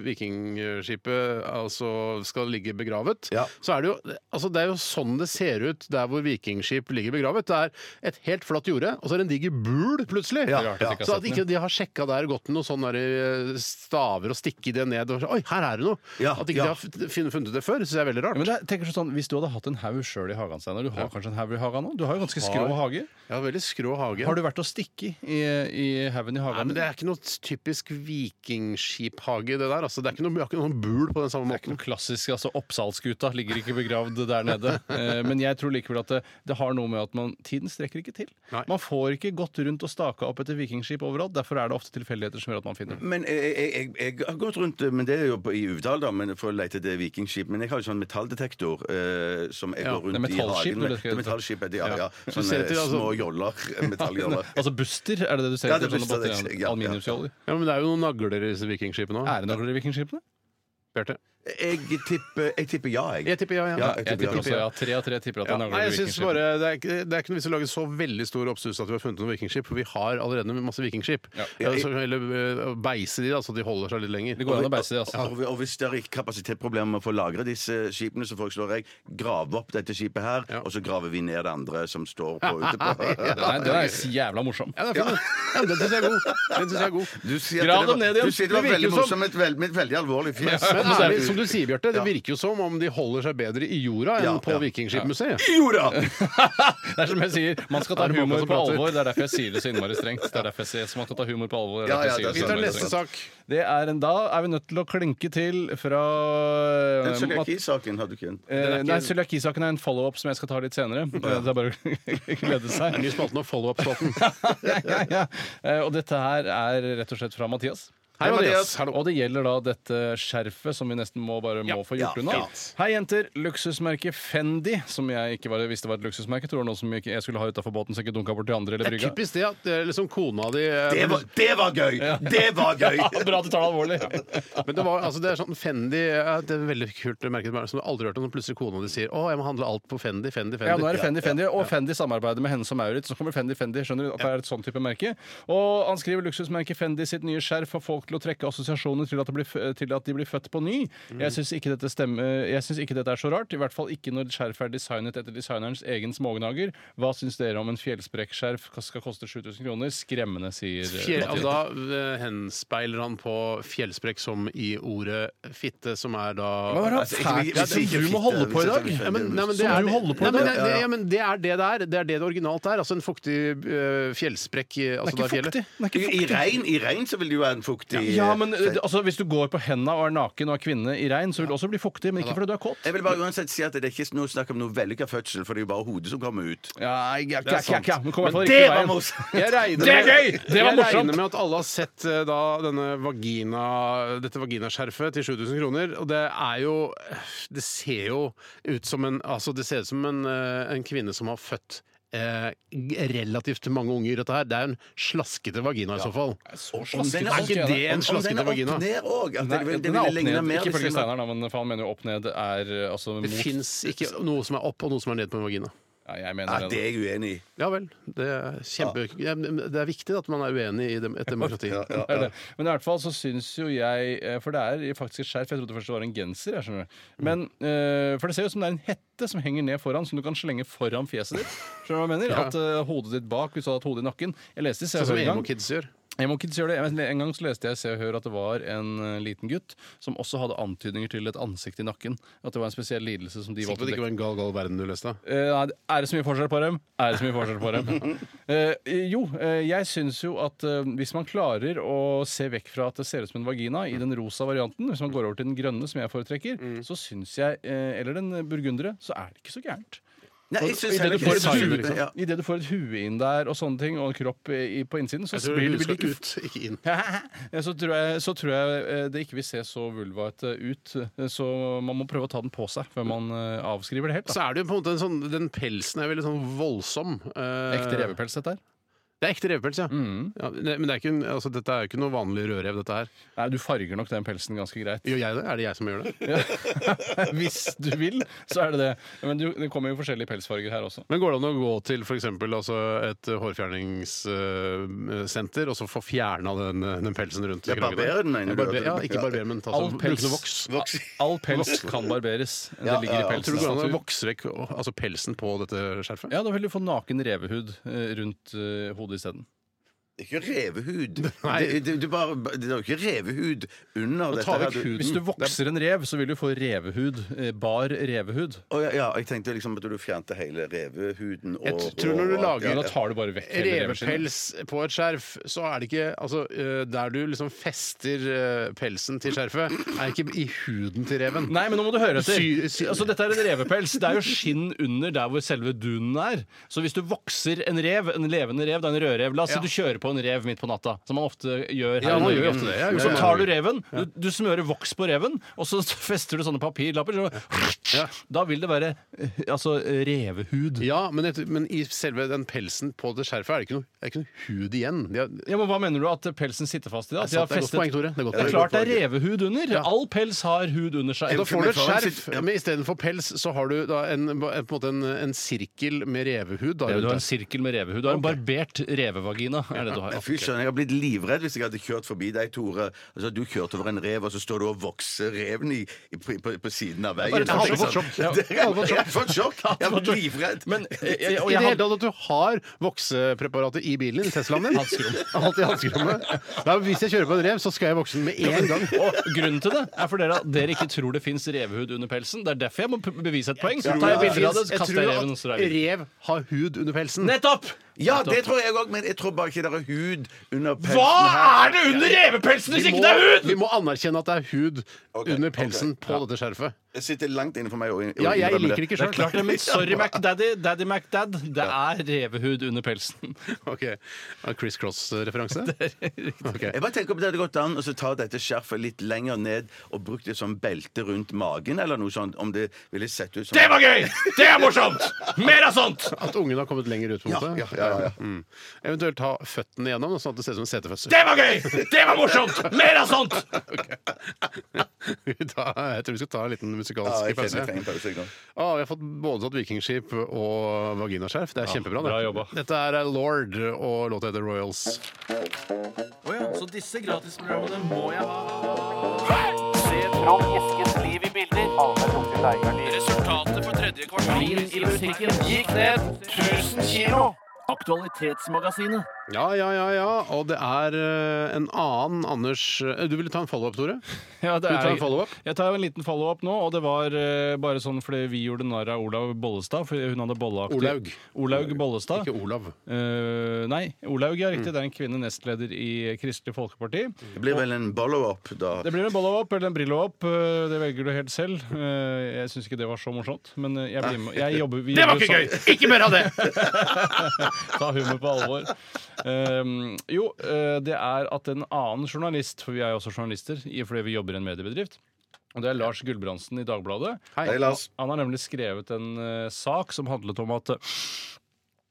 S9: vikingskipet altså, skal ligge begravet,
S6: Ja.
S9: så er det, jo, altså, det er jo sånn det ser ut der hvor vikingskip ligger begravet. Det er et helt flatt jorde, og så er det en diger bul plutselig.
S6: Ja, ja.
S9: Så at ikke de har sjekka der og gått med noen sånne der, eh, staver og stikke det ned og så, Oi, her er det noe!
S6: Ja,
S9: at ikke
S6: ja.
S9: de har fun- funnet det før, syns jeg er veldig
S7: Ja,
S9: rart.
S7: men det, er- tenker sånn, Hvis du hadde hatt en haug sjøl i hagen, Steinar Du har kanskje en haug i hagen nå? Du har jo ganske skrå hage.
S9: Ja, veldig skrå hage.
S7: Har du vært og stikke i, i haugen i
S9: Nei,
S7: hagen?
S9: men Det er ikke noe typisk vikingskiphage, det der. Altså, det er ikke noe, vi har ikke noen bul på den samme
S7: Det er ikke
S9: måten.
S7: noe klassisk altså Oppsalsguta ligger ikke begravd der nede. Eh, Men jeg tror likevel at det, det har noe med at man, tiden strekker ikke til.
S9: Nei.
S7: Man får ikke gått rundt og staka opp etter vikingskip overalt. Derfor er det ofte tilfeldigheter som gjør at man finner det.
S6: Men jeg, jeg, jeg, jeg har gått rundt men det er jo på- i Uvdal da, men for å lete etter vikingskip. Men jeg har jo sånn metalldetektor eh, som jeg
S9: Ja,
S6: går rundt
S7: det er
S6: i
S7: metallskip,
S6: hagen med.
S7: eller?
S6: Det er metallskip, er det, ja,
S7: Ja.
S6: ja.
S9: du ser
S6: Sånne
S9: etter, altså-
S6: små joller. eh, Metalljoller.
S7: Altså Buster, er det det du ser
S6: Ja,
S7: etter?
S6: det er
S7: sånne
S6: Buster, det
S7: båter,
S6: ser jeg, ja, ja.
S7: Aluminiumsjoller?
S9: Ja, men det er jo noen nagler i disse vikingskipene òg.
S7: Er det nagler i vikingskipene?
S9: Bjarte?
S6: Jeg tipper, jeg tipper ja, jeg.
S9: Jeg tipper ja, ja.
S6: Ja, jeg
S7: Jeg tipper
S6: ja.
S7: også ja. Tre av tre tipper at det
S9: Ja,
S7: er
S9: nei,
S7: nagler
S9: jeg
S7: i
S9: synes
S7: vikingskipene.
S9: bare, det, er ikke, det er ikke noe vits å lage så veldig stor oppstuss at vi har funnet noen vikingskip, for vi har allerede masse vikingskip.
S7: Ja.
S9: Ja, så, eller eh, beise de, da, så de holder seg litt lenger.
S7: Det går an å beise det, altså.
S6: Og, og hvis det er ikke kapasitetsproblemer med å få lagre disse skipene, så foreslår jeg grave opp dette skipet her, og så graver vi ned det andre som står på ute på
S7: Nei, den er jævla morsom.
S9: Ja, det er fin, den. ja, men den syns jeg er god. Den synes jeg er god.
S6: Du sier at
S7: Grav
S6: det var-
S7: dem ned igjen.
S6: Du sier det var
S9: Det virker
S6: veldig
S9: jo som-
S6: morsomt med et veld, med et veldig alvorlig fjes.
S9: Men ærlig, som du sier, Bjarte, det
S6: Ja.
S9: virker jo som om de holder seg bedre i jorda enn
S6: Ja,
S9: på
S6: ja.
S9: Vikingskipmuseet.
S6: Jo da!
S7: det er som jeg sier, man skal ta
S9: Er det mange
S7: humor
S9: som
S7: på
S9: prater?
S7: alvor. Det er derfor jeg sier det så innmari strengt. Det er derfor jeg sier så man skal ta humor på alvor. det er
S6: Ja,
S7: derfor jeg
S6: ja,
S7: sier
S6: det er
S9: Vi
S7: så
S9: tar
S7: innmari
S9: neste
S7: strengt.
S9: sak.
S7: Det er en, da er vi nødt til å klinke til fra
S6: Den
S7: Mat-
S6: cøliaki-saken hadde du ikke en.
S7: eh, Nei, cøliakisaken er en follow-up som jeg skal ta litt senere. Det er bare å glede seg.
S9: Ny spalte nå, follow-up-spalten.
S7: ja, ja, ja. Eh, Og dette her er rett og slett fra Mathias.
S9: Hei, Mathias.
S7: Hallo. Og det gjelder da dette skjerfet som vi nesten må bare må få
S6: ja,
S7: gjort unna.
S6: fint.
S7: Hei, jenter. Luksusmerket Fendi, som jeg ikke var, visste var et luksusmerke, tror jeg noe som jeg ikke- jeg skulle ha utafor båten så jeg ikke dunka bort til andre eller
S9: Det er
S7: brygga.
S9: typisk det at det er liksom kona di eh,
S6: Det var, det var gøy! Det var gøy!
S7: Ja, bra at du tar det alvorlig.
S9: Men det, var, altså, det er sånn Fendi eh, Det er et veldig kult merke som du aldri har hørt om, som plutselig kona di sier 'Å, jeg må handle alt på Fendi, Fendi, Fendi'.
S7: Ja, nå er det Fendi Fendi, og Fendi samarbeider med henne som Maurits. Så kommer Fendi Fendi, skjønner du at det er et sånn type merke. Og han skriver luksusmerket Fendi sitt nye skjerf får folk til å trekke assosiasjoner til at, det blir, f- til at de blir født på ny. Jeg syns ikke, dette stemmer- jeg synes ikke dette er så rart, i hvert fall ikke når skjerfet er designet etter designerens egen smågnager. Hva syns dere om en fjellsprekkskjerf skal koste 7000 kroner? Skremmende, sier
S9: Fjell,
S7: Mathias.
S9: og da eh, henspeiler han på fjellsprekk som i ordet fitte, som er da
S7: Hva er det
S6: Altså, ikke- vi- vi
S7: fælt
S6: sier ikke
S7: du
S6: fitte,
S7: må holde på
S6: vi
S7: i dag?
S6: sier ikke
S9: ja, men, nei, men det
S7: Som
S9: er
S7: du holder på
S9: nei,
S7: med.
S9: men det, det, ja, men det er det det er. Det er det det originalt er. Altså en fuktig eh, fjellsprekk. i-
S7: Den er
S9: Altså da
S7: ikke
S9: fjellet.
S7: fuktig. Den
S6: I,
S7: er ikke
S6: i,
S7: fuktig.
S6: regn, I regn så vil det jo være en fuktig
S7: Ja, men
S6: eh,
S7: eh, altså, Hvis du går på henda og er naken og er kvinne i regn, så vil du også bli fuktig, men ikke fordi du er kåt.
S6: Jeg vil bare uansett si at det er ikke noe snakk om noe vellykka fødsel, for det er jo bare hodet som kommer ut.
S7: Ja, ja,
S9: Det er sant.
S7: Men kom i hvert fall
S6: Men
S7: riktig
S6: det var
S7: veien.
S6: morsomt.
S7: Jeg regner
S9: Det er
S7: med-
S9: gøy!
S7: Det var
S9: jeg regner
S7: morsomt!
S9: med at alle har sett eh, da, denne vagina, dette vaginaskjerfet til 7000 kroner. Og det er jo Det ser jo ut som en Altså, det ser ut som en, eh, en kvinne som har født eh, g- relativt mange unger, dette her. Det er en slaskete vagina i så fall.
S6: den
S9: Er
S6: opp-
S9: ikke det en
S6: om den
S9: slaskete
S6: er opp
S9: vagina?
S6: ned òg?
S7: Nei,
S6: Det
S7: den er
S6: ville
S7: opp
S6: ligne
S7: ned.
S6: mer
S7: Ikke
S6: hvis
S7: ifølge
S6: den var-
S7: Steinar, da, men for han mener jo opp ned er eh, altså
S9: Det
S7: mot
S9: fins ikke noe som er opp, og noe som er ned på en vagina.
S7: Nei, jeg mener
S6: Nei,
S7: det.
S6: det er jeg uenig i.
S9: Ja vel. Det er, kjempe, det er viktig at man er uenig i dem- et demokrati.
S7: Det er det. Men i hvert fall så syns jo jeg eh, For det er faktisk et skjerf. Jeg trodde først det var en genser. Jeg skjønner. Men, eh, for det ser ut som det er en hette som henger ned foran, som du kan slenge foran fjeset ditt. Skjønner du hva jeg mener? At eh, hodet ditt bak, hvis du hadde hatt hodet i nakken Jeg leste i Se og
S9: Sånn som
S7: Hør en gang.
S9: emo-kids gjør.
S7: Jeg må ikke gjøre det. Jeg- En gang så leste jeg Se og Hør at det var en eh, liten gutt som også hadde antydninger til et ansikt i nakken. At det var en spesiell lidelse som de var
S9: Sikkert
S7: på dekk.
S9: det ikke var en gal, gal verden du leste.
S7: Eh, nei, er det så mye forskjell på dem? Er det så mye forskjell på dem? Eh, jo, eh, jeg syns jo at eh, hvis man klarer å se vekk fra at det ser ut som en vagina i den rosa varianten, hvis man går over til den grønne, som jeg foretrekker,
S9: Mm.
S7: så syns jeg, eh, eller den burgundere, så er det ikke så gærent.
S6: Nei, jeg synes
S7: Idet
S6: heller
S7: du,
S6: ikke
S7: får
S6: det
S7: et
S6: er
S7: hue-
S6: cyber,
S9: liksom.
S6: ja.
S7: i det du får et hue inn der og sånne ting, og en kropp i, på innsiden, så
S9: Jeg tror
S7: blir
S9: hun
S7: det
S9: Altså, skal
S7: ikke
S9: ut, ikke inn.
S7: ja, så, tror jeg, så tror jeg eh, det ikke vil se så vulvaete ut. eh, Så man må prøve å ta den på seg før man eh, avskriver det helt.
S9: Så
S7: Da.
S9: er det jo på en måte en sånn Den pelsen er veldig sånn voldsom. Eh,
S7: Ekte revepels, dette her.
S9: Det er ekte revepels, ja. ja ne- men det er ikke, en- altså, dette er jo ikke noe vanlig rødrev, dette her.
S7: Nei, du farger nok den pelsen ganske greit.
S9: Gjør jeg det? Er det jeg som gjør det?
S7: Ja. Hvis du vil, så er det det. Men du, det kommer jo forskjellige pelsfarger her også.
S9: Men går det an å gå til f.eks. Altså et hårfjerningssenter og så få fjerna den, den pelsen rundt?
S6: Ja,
S9: kragen der?
S6: barberer den, mener
S9: Ja,
S6: du?
S9: barber, ja, ikke barber, men ta
S7: All
S9: sånn
S7: pels,
S9: brukende voks.
S6: Voks.
S7: all pels kan barberes. Det
S6: Ja,
S7: ligger
S6: ja,
S7: i
S6: ja.
S9: Tror du det går an å
S7: pelsen.
S9: vokse vekk altså pelsen på dette skjerfet?
S7: Ja, da vil du få naken revehud eh, rundt eh, hodet isteden.
S6: Ikke revehud.
S9: Nei.
S6: Det, det, du bare, det er jo ikke revehud under dette.
S9: ta
S6: her,
S9: vekk
S6: du-
S9: huden.
S7: Hvis du vokser en rev, så vil du få revehud. eh, Bar revehud.
S6: Å, ja, ja, jeg tenkte liksom at du fjernte hele revehuden og
S9: Jeg tror når du
S6: og-
S9: lager-
S7: Men
S6: ja,
S7: da tar du bare vekk hele reveskinnet.
S9: Revepels på et skjerf, så er det ikke Altså, eh, der du liksom fester eh, pelsen til skjerfet, er ikke i huden til reven.
S7: Nei, men nå må du høre etter.
S9: Sy- sy-
S7: Altså, dette er en revepels. Det er jo skinn under der hvor selve dunen er. Så hvis du vokser en rev, en levende rev, da en rødrev La oss
S9: Ja.
S7: si du kjører på en rev midt på natta, som man ofte gjør her.
S9: Ja,
S7: i
S9: man
S7: Norge.
S9: gjør jo ofte det. Jeg har gjort
S7: Så
S9: det.
S7: tar du reven, du, du smører voks på reven, og så fester du sånne papirlapper. Så, da vil det være eh, altså revehud.
S9: Ja, men, et, men i selve den pelsen på det skjerfet er det ikke noe, er det ikke noe hud igjen. De har,
S7: Ja, men Hva mener du at pelsen sitter fast i? da? At
S9: det er
S7: de har
S9: et godt
S7: festet-
S9: poeng, Tore. Det er et godt
S7: Det er
S9: poeng.
S7: klart det er revehud under. All pels har hud under seg.
S9: Da får du et
S6: Kjempemetallen
S9: skjerf,
S6: sitter- ja.
S9: men istedenfor pels så har du da en, på en, måte en, en sirkel med revehud. Da,
S7: Ja, Du har en
S9: rundt deg.
S7: sirkel med revehud. Du har en barbert revevagina. er det du har.
S6: Fy søren, jeg har blitt livredd hvis jeg hadde kjørt forbi deg, Tore. Altså, du kjørte over en rev, og så står du og vokser reven i, i, på, på, på siden av veien. Sånn,
S7: Jeg hadde fått sjokk. Ja,
S6: Det- Jeg hadde fått sjokk! Jeg har blitt livredd.
S7: Men, eh, jeg, og
S9: I det
S7: jeg
S9: hele
S7: hadde,
S9: tatt at du har voksepreparatet i bilen din, Teslaen din. Alt i hanskerommet. Da, Hvis jeg kjører på en rev, så skal jeg vokse den med en gang.
S7: og grunnen til det er for dere at dere ikke tror det fins revehud under pelsen. Det er derfor jeg må p- bevise et poeng. Tar jeg bilder av det, så
S9: Jeg
S7: kaster jeg reven og så
S9: tror
S7: drar
S9: at
S7: jeg videre.
S9: rev har hud under pelsen.
S7: Nettopp!
S6: Ja, det tror jeg òg, men jeg tror bare ikke det er hud under pelsen
S7: Hva
S6: her.
S7: er det under revepelsen hvis
S9: Vi
S7: ikke
S9: må,
S7: det er hud?!
S9: vi må anerkjenne at det er hud under pelsen
S6: ok.
S9: på dette skjerfet.
S6: Det sitter langt innenfor meg. å inn- å
S9: Ja, jeg
S6: innrømme
S9: liker det ikke
S7: Det er klart det,
S9: sjøl.
S7: men Sorry, MacDaddy. Daddy MacDad. Det er revehud under pelsen.
S9: Chris Cross-referanse? Ok.
S6: Jeg bare tenker på det hadde gått an å så ta dette skjerfet litt lenger ned og brukt det som belte rundt magen, eller noe sånt, om det ville sett ut som
S7: Det var gøy! Det er morsomt! Mer av sånt!
S9: At ungen har kommet lenger ut? på en
S6: Ja,
S9: måte?
S6: ja, ja, ja.
S9: Mm. Eventuelt ta føttene gjennom, sånn at det ser ut som en setefødsel.
S7: Det var gøy! Det var morsomt! Mer av sånt!
S9: Vi tar- jeg tror vi skal ta en liten
S6: Ja,
S9: musikalsk
S6: jeg kjenner
S9: pause.
S6: jeg trenger en pause. jeg nå.
S9: Ah, vi har fått både tatt vikingskip og vaginaskjerf. Det er kjempebra.
S7: bra
S9: Det.
S7: jobba.
S9: Dette er Lord, og låta heter Royals.
S13: Så disse gratisprogrammene må jeg ha. Se Trond Eskens liv i bilder. Resultatet for tredje kvartal i butikken gikk ned 1000 kilo. Aktualitetsmagasinet.
S9: Ja, ja, ja, ja. Og det er eh, en annen Anders eh, Du ville ta en follow-up, Tore?
S7: Ja, det
S9: Du tar en
S7: er,
S9: follow-up?
S7: jeg tar en liten follow-up nå, og det var eh, bare sånn fordi vi gjorde narr av Olaug Bollestad. Fordi hun hadde bolleaktig
S9: Olaug.
S7: Olaug Bollestad.
S9: Ikke Olav.
S7: Eh, nei, Olaug er riktig. Det er en kvinne nestleder i Kristelig Folkeparti.
S6: Det blir vel en follow-up, da.
S7: Det blir en bollo-up eller en brillo-up. eh, Det velger du helt selv. Eh, Jeg syns ikke det var så morsomt, men eh, jeg blir med. Jeg jobber, vi det var ikke gøy! Ikke mer av det! Ta humor på alvor. Um, jo, eh, det er at en annen journalist, for vi er jo også journalister i- fordi vi jobber i en mediebedrift, og det er Lars Gulbrandsen i Dagbladet.
S6: Hei, Lars.
S7: Han har nemlig skrevet en eh, sak som handlet om at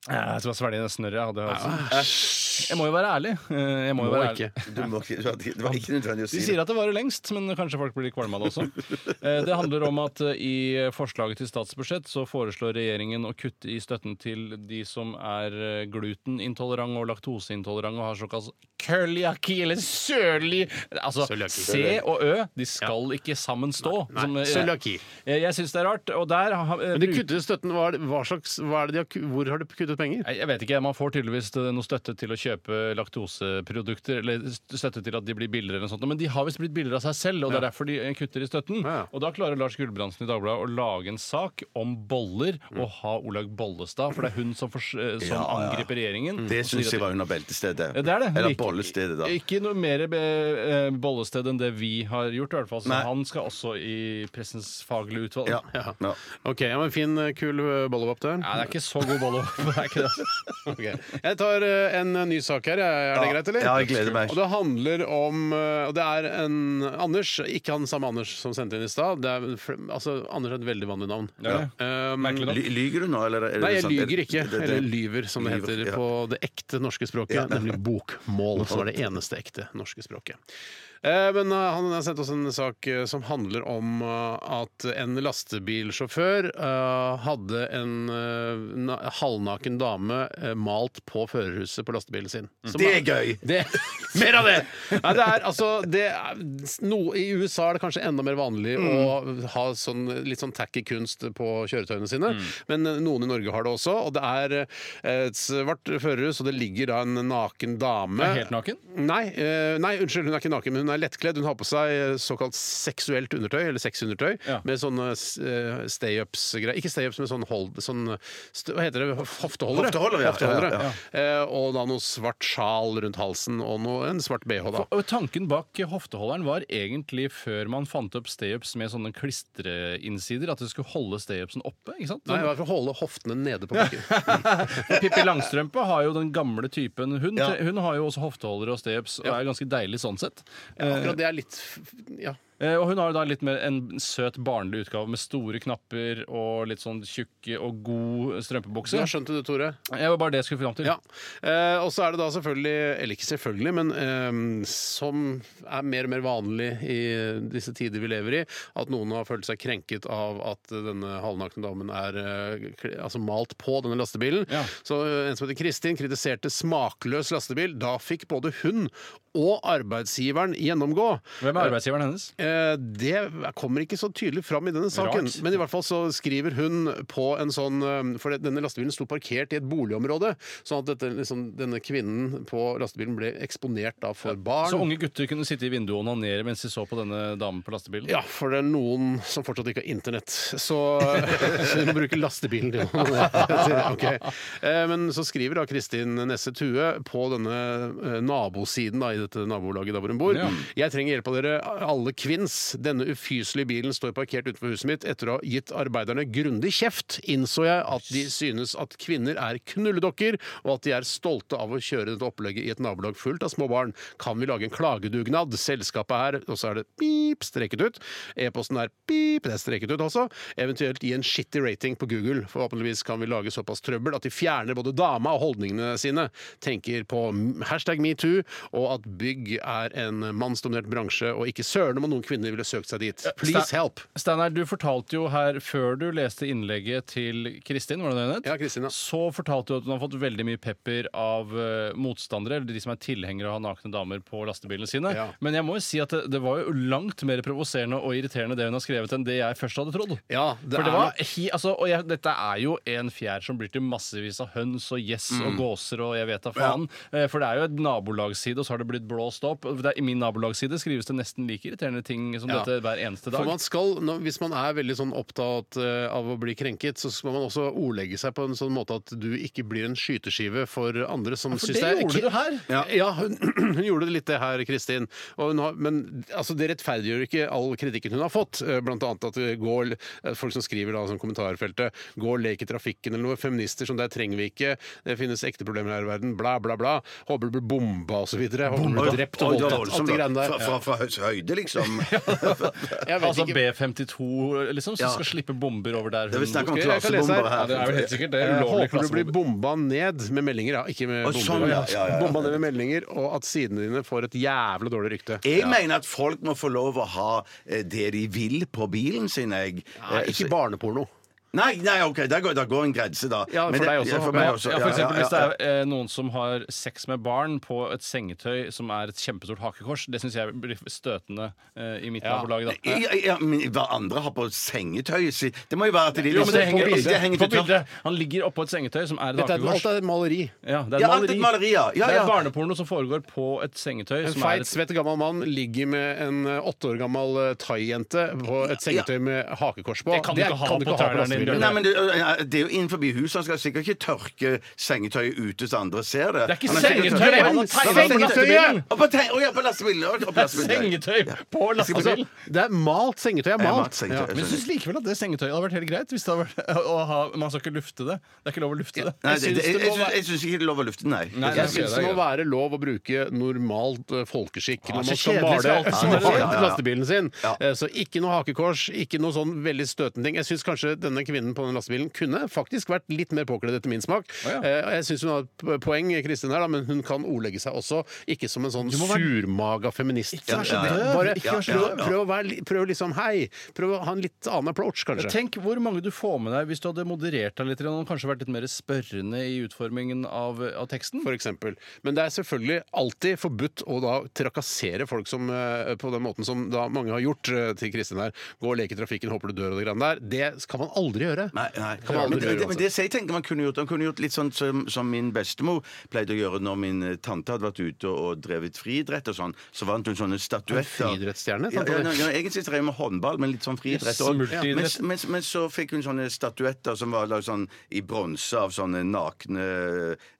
S7: Eh, Jeg tror jeg svelget det snørret jeg hadde. i halsen. Jeg må jo være ærlig. Eh, Jeg må jo
S9: Må
S7: være ærlig.
S9: ikke.
S6: Du må ikke, det var ikke nødvendig å si
S7: De
S6: det.
S7: sier at det varer lengst, men kanskje folk blir litt kvalme av det også. Eh, Det handler om at eh, i forslaget til statsbudsjett så foreslår regjeringen å kutte i støtten til de som er eh, glutenintolerante og laktoseintolerante og har såkalt cøliaki eller sørlig Altså
S9: Cøliaki.
S7: C og Ø, de skal ikke sammen stå.
S9: Nei,
S7: som, eh,
S9: cøliaki.
S7: eh, Jeg syns det er rart, og der har- eh,
S9: Men de
S7: bruk-
S9: kuttet støtten. Hva er det, hva slags, hva er det de har, ku- hvor har de
S5: ut
S9: kuttet
S5: penger?
S7: Nei, Jeg vet ikke, Man får tydeligvis eh, noe støtte til å kjøpe laktoseprodukter, eller st- støtte til at de blir billigere, eller noe sånt, men de har visst blitt billigere av seg selv, og det er derfor de eh, kutter i støtten.
S5: Ja.
S7: Og da klarer Lars Gulbrandsen i Dagbladet å lage en sak om boller, og ha Olaug Bollestad, for det er hun som, fors- eh,
S6: Mm.
S7: som
S6: Ja, ja.
S7: angriper regjeringen.
S6: Det
S7: og sier
S6: syns
S7: at-
S6: jeg var under beltestedet.
S7: Ja, det er det. Men
S6: Eller
S7: ikke-
S6: bollestedet, da.
S7: Ikke noe mer be, eh, bollested enn det vi har gjort, i hvert fall. Så
S6: Nei.
S7: han skal også i pressens faglige utvalg.
S6: Ja. Ja.
S5: OK, ja, men fin, eh, kul eh, bollevopp der.
S7: Nei, det er ikke så god bolle. Det er ikke det. altså.
S5: Ok. Jeg tar eh, en ny sak her. Er det
S6: Ja.
S5: greit, eller?
S6: Ja, jeg gleder meg.
S5: Og det handler om eh, Og det er en Anders, ikke han samme Anders som sendte inn i stad. Det er- Altså, Anders er et veldig vanlig navn.
S7: Ja.
S5: Um,
S7: Merkelig nok.
S6: Ly- Lyger du nå, eller? er det
S5: Nei, jeg
S6: sant?
S5: lyger ikke.
S6: Er det- det- det-
S5: Eller lyver, som det
S6: Lyver,
S5: heter
S6: ja.
S5: på det ekte norske språket,
S6: Ja.
S5: nemlig bokmål. Som er det eneste ekte norske språket. Eh, Men eh, han har sendt oss en sak eh, som handler om eh, at en lastebilsjåfør eh, hadde en eh, na- halvnaken dame eh, malt på førerhuset på lastebilen sin. Som
S6: Mm. Det er gøy!
S5: det, mer av det! Nei, det er, altså, det er, no, I USA er det kanskje enda mer vanlig
S6: Mm.
S5: å ha sånn, litt sånn tacky kunst på kjøretøyene sine,
S7: Mm.
S5: men eh, noen i Norge har det også. Og det er eh, et svart førerhus, og det ligger da en naken dame
S7: Er helt naken?
S5: Nei, eh, nei, unnskyld, hun er ikke naken, men hun er lettkledd. Hun har på seg eh, såkalt seksuelt undertøy, eller sexundertøy,
S7: Ja.
S5: med sånne eh, stay-ups-greier. Ikke stay-ups, men sånn hold... Sånn, st hva heter det? Hofteholdere.
S6: Hofteholder, ja.
S5: Hofteholdere.
S6: Ja, ja,
S5: Eh, og da noe svart sjal rundt halsen, og noe, en svart bh, da.
S7: Og tanken bak hofteholderen var egentlig før man fant opp stayups med sånne klistreinsider, at det skulle holde stayupsen oppe. ikke sant?
S5: Nei, i
S7: Sånn,
S5: hvert fall holde hoftene nede på bakken.
S7: for Pippi Langstrømpe har jo den gamle typen. Hun,
S6: Ja.
S7: hun har jo også hofteholdere og stayups og er ganske deilig sånn sett.
S5: Akkurat det er litt f- Ja.
S7: Eh, Og hun har jo da litt mer en søt barnlig utgave med store knapper og litt sånn tjukk og god
S5: Så
S7: strømpebukse.
S5: jeg skjønte det, Tore.
S7: Det var bare det jeg skulle fram til.
S5: Ja. Eh, og så er det da selvfølgelig, eller ikke selvfølgelig, men eh, som er mer og mer vanlig i disse tider vi lever i, at noen har følt seg krenket av at denne halvnakne damen er eh, kl- altså malt på denne lastebilen.
S7: Ja.
S5: Så eh, en som heter Kristin kritiserte smakløs lastebil. Da fikk både hun og arbeidsgiveren gjennomgå.
S7: Hvem er arbeidsgiveren hennes?
S5: Eh, Det kommer ikke så tydelig fram i denne saken.
S7: Rart.
S5: Men i hvert fall så skriver hun på en sånn eh, For det- denne lastebilen sto parkert i et boligområde, sånn at dette, liksom, denne kvinnen på lastebilen ble eksponert da for barn.
S7: Så unge gutter kunne sitte i vinduet og onanere mens de så på denne damen på lastebilen?
S5: Ja, for det er noen som fortsatt ikke har internett. Så, så de må bruke lastebilen til noe. Ok. Eh, Men så skriver da Kristin Nesse Tue på denne eh, nabosiden da, i dette nabolaget der hvor hun bor.
S7: Ja.
S5: Jeg trenger hjelp av dere alle kvinns. Denne ufyselige bilen står parkert utenfor huset mitt. Etter å ha gitt arbeiderne grundig kjeft, innså jeg at de synes at kvinner er knulledokker, og at de er stolte av å kjøre dette opplegget i et nabolag fullt av små barn. Kan vi lage en klagedugnad? Selskapet her, og så er det pip, streket ut. E-posten er pip, det er streket ut også. Eventuelt gi en shitty rating på Google. Forhåpentligvis kan vi lage såpass trøbbel at de fjerner både dama og holdningene sine. Tenker på hashtag metoo, og at bygg er en mannsdominert bransje, og ikke søren om noen kvinner ville søkt seg dit. Please
S7: Stein-
S5: help!
S7: Steinar, du fortalte jo her før du leste innlegget til Kristin, var det det hun het?
S5: Ja, Kristin, ja.
S7: Så fortalte du at hun har fått veldig mye pepper av eh, motstandere, eller de som er tilhengere av nakne damer på lastebilene sine.
S5: Ja.
S7: Men jeg må jo si at det, det var jo langt mer provoserende og irriterende det hun har skrevet, enn det jeg først hadde trodd.
S5: Ja, det
S7: For
S5: er
S7: det var, hi, altså, og jeg, dette er jo en fjær som blir til massevis av høns og gjess
S5: Mm.
S7: og gåser og jeg vet da faen. Eh, For det er jo et nabolagsside, og så har det blitt blåst opp. Og det er- I min nabolagsside skrives det nesten like irriterende ting som
S5: Ja.
S7: dette hver eneste dag.
S5: For man skal, når- hvis man er veldig sånn opptatt eh, av å bli krenket, så skal man også ordlegge seg på en sånn måte at du ikke blir en skyteskive for andre som
S7: for
S5: syns
S7: det
S5: er
S7: gjorde du her.
S5: Ja, hun, hun gjorde litt det her, Kristin. Og hun har, men altså, det rettferdiggjør ikke all kritikken hun har fått. Eh, Blant annet at det går, eh, folk som skriver da, sånn kommentarfeltet Gå og lek i trafikken eller noe. Feminister som deg trenger vi ikke. Det finnes ekte problemer her i verden. Bla, bla, bla. Håper du blir bomba osv. Håper du blir drept og
S6: Oi, det var
S5: voldtatt. Alt
S6: voldsomt,
S5: det
S6: da.
S5: greiene der.
S6: Fra, fra, fra høys høyde, liksom.
S5: Jeg vet
S7: Altså
S5: ikke-
S7: B-52, liksom, som skal slippe bomber over der
S6: Det er vel snakk om
S5: jeg kan lese
S6: klasebomber
S5: her.
S7: Ja, det er
S6: her.
S7: vel helt sikkert det.
S5: Jeg
S7: Ulovlig
S5: håper du blir
S7: klassebomber.
S5: bomba ned med meldinger, ja. Ikke med
S6: Å,
S5: bomber.
S6: sånn, ja, ja, ja, ja.
S5: Bomba ned med meldinger, og at sidene dine får et jævlig dårlig rykte.
S6: Jeg mener at folk må få lov å ha eh, det de vil på bilen sin, jeg.
S5: Nei,
S6: Eh,
S5: ikke
S6: så-
S5: barneporno.
S6: Nei, nei, OK, der går, der går en grense, da.
S7: Ja, for
S6: Men
S7: deg
S6: det-
S7: også.
S6: Ja, for meg også.
S7: Ja, for eksempel hvis det
S6: ja,
S7: er eh, noen som har sex med barn på et sengetøy som er et kjempestort hakekors, det syns jeg blir støtende eh, i midten av laget.
S6: ja,
S7: Da.
S6: ja, ja, men Hva andre har på sengetøyet sitt Det må jo være at de liksom
S7: Jo, men det
S6: På
S7: henger,
S6: bildet henger
S7: på
S6: til tørk.
S7: bildet. Han ligger oppå et sengetøy som er et
S9: Dette er, alt
S7: hakekors.
S9: er et maleri.
S7: Ja, det er
S6: Ja,
S7: et
S6: alt
S7: maleri.
S6: et maleri, ja. Ja,
S7: Det er
S6: ja.
S7: barneporno som foregår på et sengetøy.
S9: En
S7: som er
S9: feit,
S7: et-
S9: svett gammel mann ligger med en eh, åtte år gammel eh, thai-jente på et sengetøy med hakekors på.
S7: Det kan du ikke ha på tærne dine,
S9: lastebilen.
S6: Nei, men det, det er jo innenfor huset. Han skal sikkert ikke tørke sengetøyet ute så andre ser det.
S7: Det er ikke
S6: Han har sikkert
S7: sengetøy,
S6: tørket-
S7: han har
S9: sengetøy på lastebilen.
S6: Og på te- Å ja, på lastebilen! og- og på lastebilen.
S7: Sengetøy på
S9: Altså,
S7: lastebil!
S9: det er malt sengetøy. Er
S6: Jeg har
S9: malt.
S6: malt sengetøy,
S9: Ja.
S6: jeg
S7: Men jeg
S6: skjønner.
S7: syns likevel at det sengetøyet hadde vært helt greit. Hvis det hadde vært, å ha, man skal ikke lufte det. Det er ikke lov å lufte det.
S6: Nei,
S7: Jeg
S6: det,
S7: syns
S6: det, jeg,
S7: det må
S6: jeg,
S7: være-
S6: jeg syns ikke det er lov å lufte, nei.
S7: Nei,
S9: Jeg
S7: det er
S9: syns det må
S7: greit.
S9: være lov å bruke normalt eh, folkeskikk
S7: Ah,
S9: når
S7: så
S9: man skal
S7: kjedelig,
S9: male
S7: skal alltid sånn
S9: ja,
S6: være. Ja, ja, ja.
S9: lastebilen sin.
S6: Ja.
S9: Eh, Så ikke noe hakekors, ikke noe sånn veldig støtende ting. Jeg syns kanskje denne kvinnen på den lastebilen kunne faktisk vært litt mer påkledd etter min smak.
S7: ja.
S9: Eh, Jeg syns hun har et p- poeng, Kristin her, da, men hun kan ordlegge seg også. Ikke som en sånn surmaga feminist.
S7: Ikke vær så
S9: Ja, ja, ja.
S7: døv.
S9: Bare
S7: Ikke vær så
S9: prøv,
S6: døv, ja.
S9: prøv å være, li- prøv liksom hei. Prøv å ha en litt annen approach, kanskje.
S7: Tenk hvor mange du får med deg hvis du hadde moderert deg litt grann, og kanskje vært litt mer spørrende i utformingen av, av teksten.
S9: for eksempel. Men det er selvfølgelig alltid forbudt å da trakassere folk som, eh, på den måten som da mange har gjort eh, til Kristin her. Gå og leke i trafikken, håper du dør og det greiene der. Det kan man aldri gjøre.
S6: Nei, nei.
S9: Kan man
S6: Men,
S9: aldri
S6: det,
S9: gjøre,
S6: men det jeg tenker man kunne gjort Man kunne gjort litt sånn som, som min bestemor pleide å gjøre når min eh, tante hadde vært ute og, og drevet friidrett og sånn. Så vant hun sånne statuetter.
S9: En friidrettsstjerne,
S6: Ja,
S9: tante
S6: ja,
S9: di?
S6: ja, egentlig drev hun med håndball, men litt sånn friidrett
S7: Yes,
S6: òg.
S7: multiidrett.
S6: Men, men, men så fikk hun sånne statuetter som var laget sånn i bronse av sånne nakne,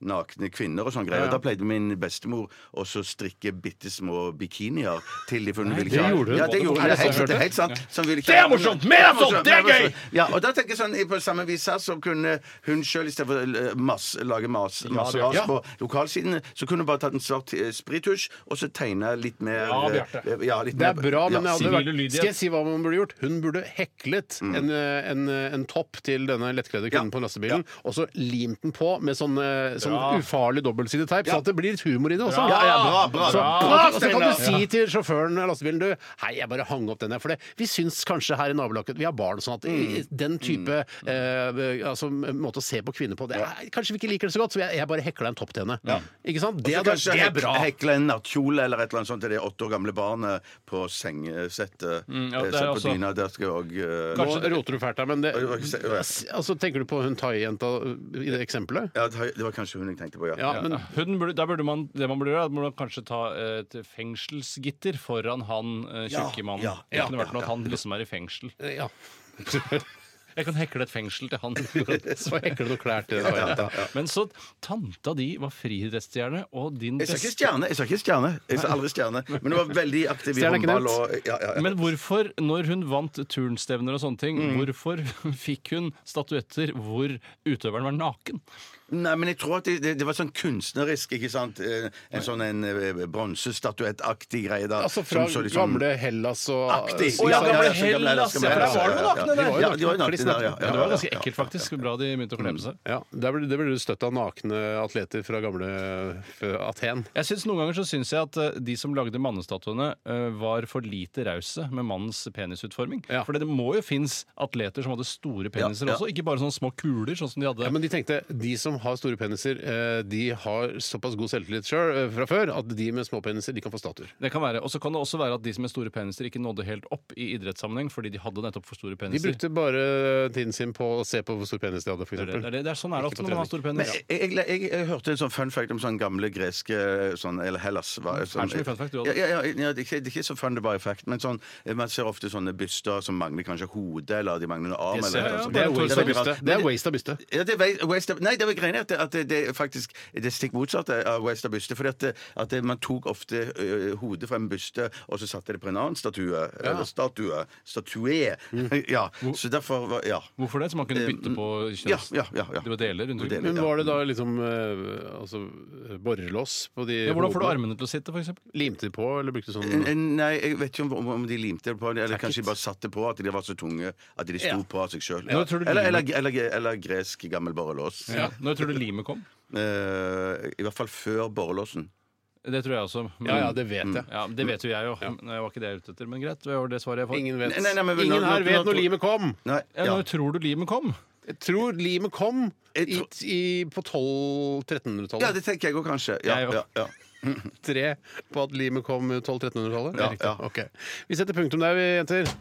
S6: nakne kvinner og sånn greier. Og Da pleide min bestemor også å strikke bitte små bikinier til de for hun ville
S9: det
S6: ikke ha-
S9: gjorde hun.
S6: Ja, det gjorde hun. Det er helt, det er helt sant. Så hun ville ikke
S7: Det er
S6: ha-
S7: morsomt! Mer av sånt! Det er gøy!
S6: ja, og da tenker jeg sånn, På samme vis her så kunne hun sjøl istedenfor å eh, mas- lage mas, masse ras på lokalsidene, så kunne hun bare tatt en svart eh, sprittusj og så tegna litt mer
S7: Ja,
S6: eh,
S7: Bjarte.
S6: Ja, litt
S9: Det er
S6: mer-
S9: bra, men jeg
S6: ja, Mm.
S9: hadde
S7: sivil
S9: vært,
S7: ulydighet.
S9: skal jeg si hva man burde gjort? Hun burde heklet en, eh, en, eh, en topp til denne lettkledde kvinnen
S6: Ja.
S9: på lastebilen, og så limt den på med sånn, eh, sånn
S7: Bra.
S9: ufarlig dobbeltsidig teip, sånn at det blir litt humor i det også.
S7: Bra. Ja, ja,
S6: bra, bra,
S9: så,
S6: bra.
S9: og så- og så
S6: Steinar.
S9: kan du si til sjåføren av lastebilen du, hei, jeg bare hang opp den her, for det, vi syns kanskje her i nabolaget vi har barn og sånn at eh,
S6: Mm.
S9: den type eh, altså, måte å se på kvinner på, det er, kanskje vi ikke liker det så godt, så jeg, jeg bare hekla en topp til henne. Ikke sant? Det,
S6: Så
S9: er-
S6: kanskje
S9: det er
S6: hek-
S9: bra.
S6: hekle en nattkjole eller et eller annet sånt til det åtte år gamle barnet på sengesettet.
S7: Mm, ja,
S6: eh,
S7: det er
S6: sånn på
S7: også-
S6: dyna, der skal jeg òg eh,
S9: Nå roter du fælt her, men det,
S6: Oi, oi, se- oi.
S9: altså, tenker du på hun thai-jenta i det eksempelet?
S6: ja, Det det var kanskje hun jeg tenkte på, ja.
S9: Ja, men
S7: Hunden burde, der burde man, det man burde gjøre, er at man burde kanskje ta et fengselsgitter foran han eh, tjukke
S6: Ja,
S7: mannen.
S6: ja,
S7: det
S6: ja,
S7: kunne
S6: ja,
S7: vært
S6: Eh,
S7: noe at han liksom er i fengsel.
S9: ja.
S7: Jeg kan hekle et fengsel til han.
S9: Så hekler du noe klær til det.
S6: ja, ja.
S7: Men så tanta di var friidrettsstjerne, og din
S6: Jeg sa ikke
S7: beste
S6: stjerne, jeg sa ikke stjerne. Jeg sa aldri stjerne. Men hun var veldig aktiv i
S9: Stjerne er ikke
S6: håndball
S9: nevnt.
S6: og ja, ja, ja.
S7: Men hvorfor, når hun vant turnstevner og sånne ting,
S6: Mm.
S7: hvorfor fikk hun statuetter hvor utøveren var naken?
S6: Nei, men jeg tror at det, det, det var sånn kunstnerisk, ikke sant? Eh, En sånn en eh, bronsestatuettaktig greie da.
S9: Altså fra
S6: som så litt sånn
S9: gamle Hellas og
S6: Aktig!
S9: Å,
S7: ja,
S9: ja,
S7: gamle
S9: gamle
S6: så gamle
S7: Hellas,
S6: gamle
S7: ja, for
S6: Hellas,
S7: der var det noe nakne der.
S6: Ja, de var jo nakne der, ja.
S7: Ja, det var ganske
S6: ja, ja.
S7: ekkelt, faktisk. Bra de begynte å klemme seg.
S9: ja, der ble, Det ble du støtt av nakne atleter fra gamle eh, Aten.
S7: Jeg synes Noen ganger så syns jeg at eh, de som lagde mannestatuene, eh, var for lite rause med mannens penisutforming.
S9: Ja.
S7: For det må jo finnes atleter som hadde store peniser
S6: Ja, ja.
S7: også, ikke bare sånne små kuler, sånn som de hadde.
S9: Ja, men de tenkte de som har store peniser, eh, de har såpass god selvtillit sjøl eh, fra før at de med små peniser de kan få statuer.
S7: det kan være. Og så kan det også være at de som med store peniser ikke nådde helt opp i idrettssammenheng fordi de hadde nettopp for store
S9: De
S7: peniser.
S9: brukte bare tiden sin på å se på hvor stor penis de hadde,
S7: det, er det,
S9: f.eks.
S7: det, er sånn er det
S9: Ikke
S7: ofte
S9: på
S7: når man har store
S6: Men eh,
S7: peniser.
S6: jeg, jeg, jeg, jeg hørte en sånn fun fact om sånn gamle greske sånn, Eller Hellas. Var, sånn,
S7: så mye fun fact du
S6: ja,
S7: hadde.
S6: ja, ja, ja, det, er ikke, det er ikke så fun det bare er fact, men sånn, eh, man ser ofte sånne byster som mangler kanskje hode, eller de mangler en arm.
S7: Det ser
S6: eller,
S7: jeg, ja,
S6: sånn.
S7: det er
S6: veldig
S7: waste av
S6: rart.
S9: byste. Det er waste av byste.
S6: Ja, det er vei- waste of, nei, det var greiene at, det- at det, det er faktisk det er stikk motsatte av waste av byste. Fordi at, det- at det, man tok ofte ø, hodet fra en byste, og så satte det på en annen statue. Eller statue. Statue.
S7: Mm.
S6: Ja, så derfor var Ja.
S7: Hvorfor det? Så man kunne bytte på
S6: Ja,
S7: kjønns...
S6: ja, ja, ja.
S7: Det var deler rundt omkring.
S6: deler.
S9: Men var det da liksom eh, altså, borrelås på de
S7: Ja, hvordan får du
S9: hodene?
S7: armene til å sitte, f.eks.?
S9: Limte de på, eller brukte sånn
S6: Eh, eh, Nei, jeg vet ikke om, om de limte det på, eller kanskje de bare satte på at de var så tunge at de sto på av seg sjøl.
S7: Når tror du
S6: Eller,
S7: limer-
S6: eller, eller, eller gresk gammel borrelås.
S7: Når tror du limet kom?
S6: Eh, I hvert fall før borrelåsen.
S7: Det tror jeg også. men-
S5: Ja, ja, det vet jeg.
S7: Ja, det vet jo jeg jo. Men Det var ikke det jeg er ute etter, men greit. Det var det svaret jeg fikk.
S5: Ingen vet.
S6: Nei, nei, nei, men-
S5: Ingen
S6: nå-
S5: her
S6: nå-
S5: vet
S6: nå-
S5: når limet kom.
S6: Nei,
S7: ja,
S6: ja.
S7: Når tror du limet kom?
S5: Jeg tror limet kom
S6: Jeg
S5: i,
S6: tror-
S5: i, på 1200-1300-tallet.
S6: ja, det tenker jeg òg, kanskje. Ja,
S7: Jeg òg.
S6: ja, ja.
S5: tre på at limet kom 1200-1300-tallet? Er
S6: Ja,
S5: det riktig?
S6: ja.
S5: Ok. Vi setter punktum der, vi, jenter.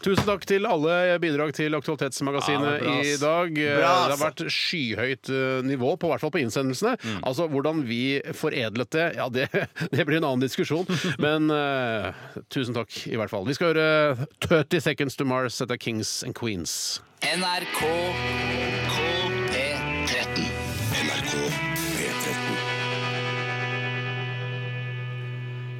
S5: Tusen takk til alle bidrag til
S7: Ja,
S5: Aktualitetsmagasinet
S7: det var bra, ass.
S5: i dag. Eh,
S6: Bra,
S5: det har
S6: ass.
S5: vært skyhøyt eh, nivå, på hvert fall på innsendelsene.
S7: Mm.
S5: Altså, Hvordan vi foredlet det, ja, det, det blir en annen diskusjon. Men eh, tusen takk, i hvert fall. Vi skal høre 30 Seconds to Mars etter Kings and Queens.
S3: NRK P13.
S2: NRK P13.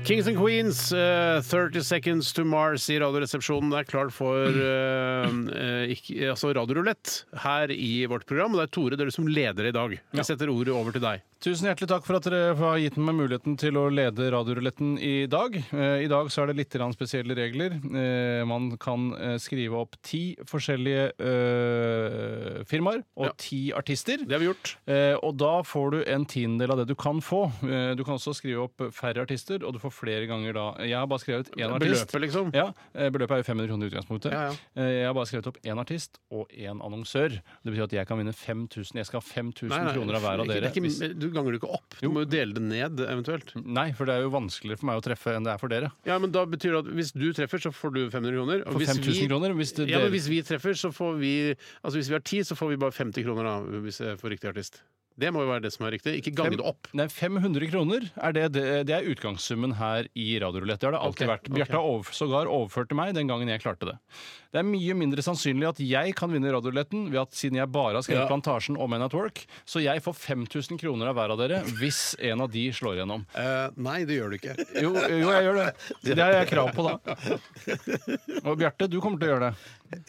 S5: Kings and Queens, eh, 30 Seconds to Mars i Radioresepsjonen. Det er klart for eh, eh, ikke, altså radiorulett her i vårt program. Og det er Tore, dere som leder i dag. Vi setter ordet over til deg.
S7: Tusen hjertelig takk for at dere har gitt meg muligheten til å lede Radioruletten i dag. Eh, I dag så er det litt grann spesielle regler. Eh, Man kan eh, skrive opp ti forskjellige eh, firmaer og
S5: Ja.
S7: ti artister.
S5: Det har vi gjort.
S7: Eh, og da får du en tiendedel av det du kan få. Eh, du kan også skrive opp færre artister, og du får flere ganger da. Jeg har bare skrevet én artist.
S5: Beløpet, liksom.
S7: Ja, eh, Beløpet er jo 500 kroner i utgangspunktet.
S5: Ja, ja.
S7: Eh, Jeg har bare skrevet opp én artist og én annonsør. Det betyr at jeg kan vinne 5000. Jeg skal ha 5000
S5: Nei, nei,
S7: kroner av hver av
S5: ikke-
S7: dere.
S5: det er
S7: hvis-
S5: Ikke, du ganger det ikke opp. Du må jo dele det ned, eventuelt.
S7: Nei, for det er jo vanskeligere for meg å treffe enn det er for dere.
S5: Ja, men da betyr det at Hvis du treffer, så får du 500 kroner.
S7: For 5000 kroner, hvis det
S5: ja, men
S7: dere-
S5: hvis vi treffer, så får vi Altså hvis vi har ti, så får vi bare 50 kroner, da, hvis jeg får riktig artist. Det må jo være det som er riktig. Ikke gange det opp.
S7: Nei, 500 kroner er det, det, det er utgangssummen her i Radiorulett. Det har det
S5: Ok,
S7: alltid vært. Bjarte har over, sågar overført til meg den gangen jeg klarte det. Det er mye mindre sannsynlig at jeg kan vinne Radioruletten ved at siden jeg bare har
S5: Ja.
S7: skrevet Plantasjen og Men at Work, så jeg får 5000 kroner av hver av dere hvis en av de slår gjennom.
S5: Eh, nei, det gjør du ikke.
S7: Jo, jo, jeg gjør det. Det har jeg krav på da. Og Bjarte, du kommer til å gjøre det.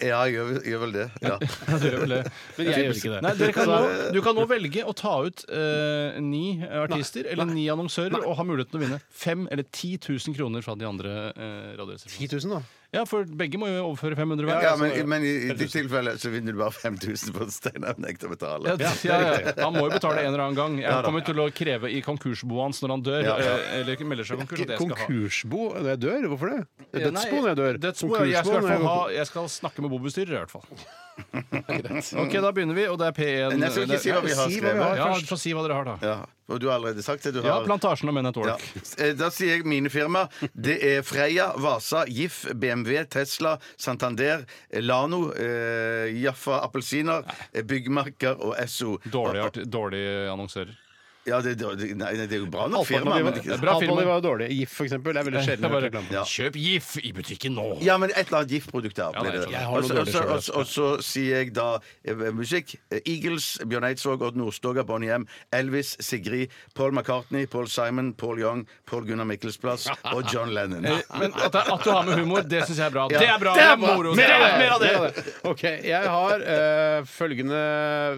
S6: ja jeg gjør, gjør vel det. Ja.
S7: Ja, dere gjør vel det.
S5: Men jeg gjør ikke det.
S7: Nei, dere kan nå, du kan nå velge å ta ut eh, ni artister eller ni annonsører og ha muligheten til å vinne 5 eller 10 000 kroner fra de andre eh, radioresepsjonene.
S5: 10 000, da.
S7: Ja, for begge må jo overføre 500 hver.
S6: Ja,
S7: altså.
S6: men, men i, i ditt tilfelle så vinner du bare 5000 på at Steinar nekter å betale.
S7: Ja, ja, ja. Han må jo betale en eller annen gang. Jeg kommer til å kreve i konkursboet hans når han dør.
S6: Ja, ja.
S7: eh, Eller melder seg konkurs. at jeg skal ha-
S5: Konkursbo når jeg dør? Hvorfor det? Det er
S7: Nei,
S5: Dødsbo når jeg dør.
S7: Dødsbo, jeg, skal i hvert
S5: Konkursbo når jeg
S7: fall ha,
S5: går-
S7: jeg skal snakke med bobestyrer, i hvert fall. OK, da begynner vi, og det er P1
S6: Men jeg skal ikke si hva vi har
S5: si hva vi har.
S6: skrevet.
S7: Ja, du får si hva dere har, da.
S6: Ja, og du har allerede sagt det. Du
S7: Ja,
S6: har...
S7: Plantasjen og Men at
S6: Ja.
S7: Work.
S6: Eh, Da sier jeg mine firma. Det er Freia, Vasa, GIF, BMW, Tesla, Santander, Lano, eh, Jaffa Appelsiner, eh, Byggmakker og Esso.
S7: Dårlig,
S6: Og-
S7: art- dårlig annonsører.
S6: Ja, det, det, nei, nei, det er jo bra nok firma.
S5: Alternativet
S6: Men,
S5: var-
S6: det-
S7: Bra firma.
S5: Alternativet var dårlig. GIF, for eksempel, er veldig
S7: Det
S5: sjelden
S7: er
S5: hørt
S7: bare,
S5: reklame for.
S6: Ja.
S7: Kjøp GIF i butikken nå!
S6: ja, men et eller annet GIF-produkt der. blir
S7: Ja, nei,
S6: det.
S7: jeg
S5: har noe
S6: Og så-
S5: dårlig
S6: og så-
S5: selv,
S6: og så- Og så sier jeg da eh, musikk. Eh, Eagles, Bjørn Eidsvåg, Odd Nordstoga, Bonnie M, Elvis, Sigrid, Paul McCartney, Paul Simon, Paul Young, Paul Gunnar Mikkelsplass og John Lennon.
S7: Eh, Men at, det- at du har med humor, det syns jeg er bra.
S6: Ja.
S7: Det er bra!
S6: Det
S7: Det
S6: er
S7: er
S6: bra.
S7: moro!
S6: Mer av det.
S7: Mer av det.
S5: Ja, det. OK. Jeg har eh, følgende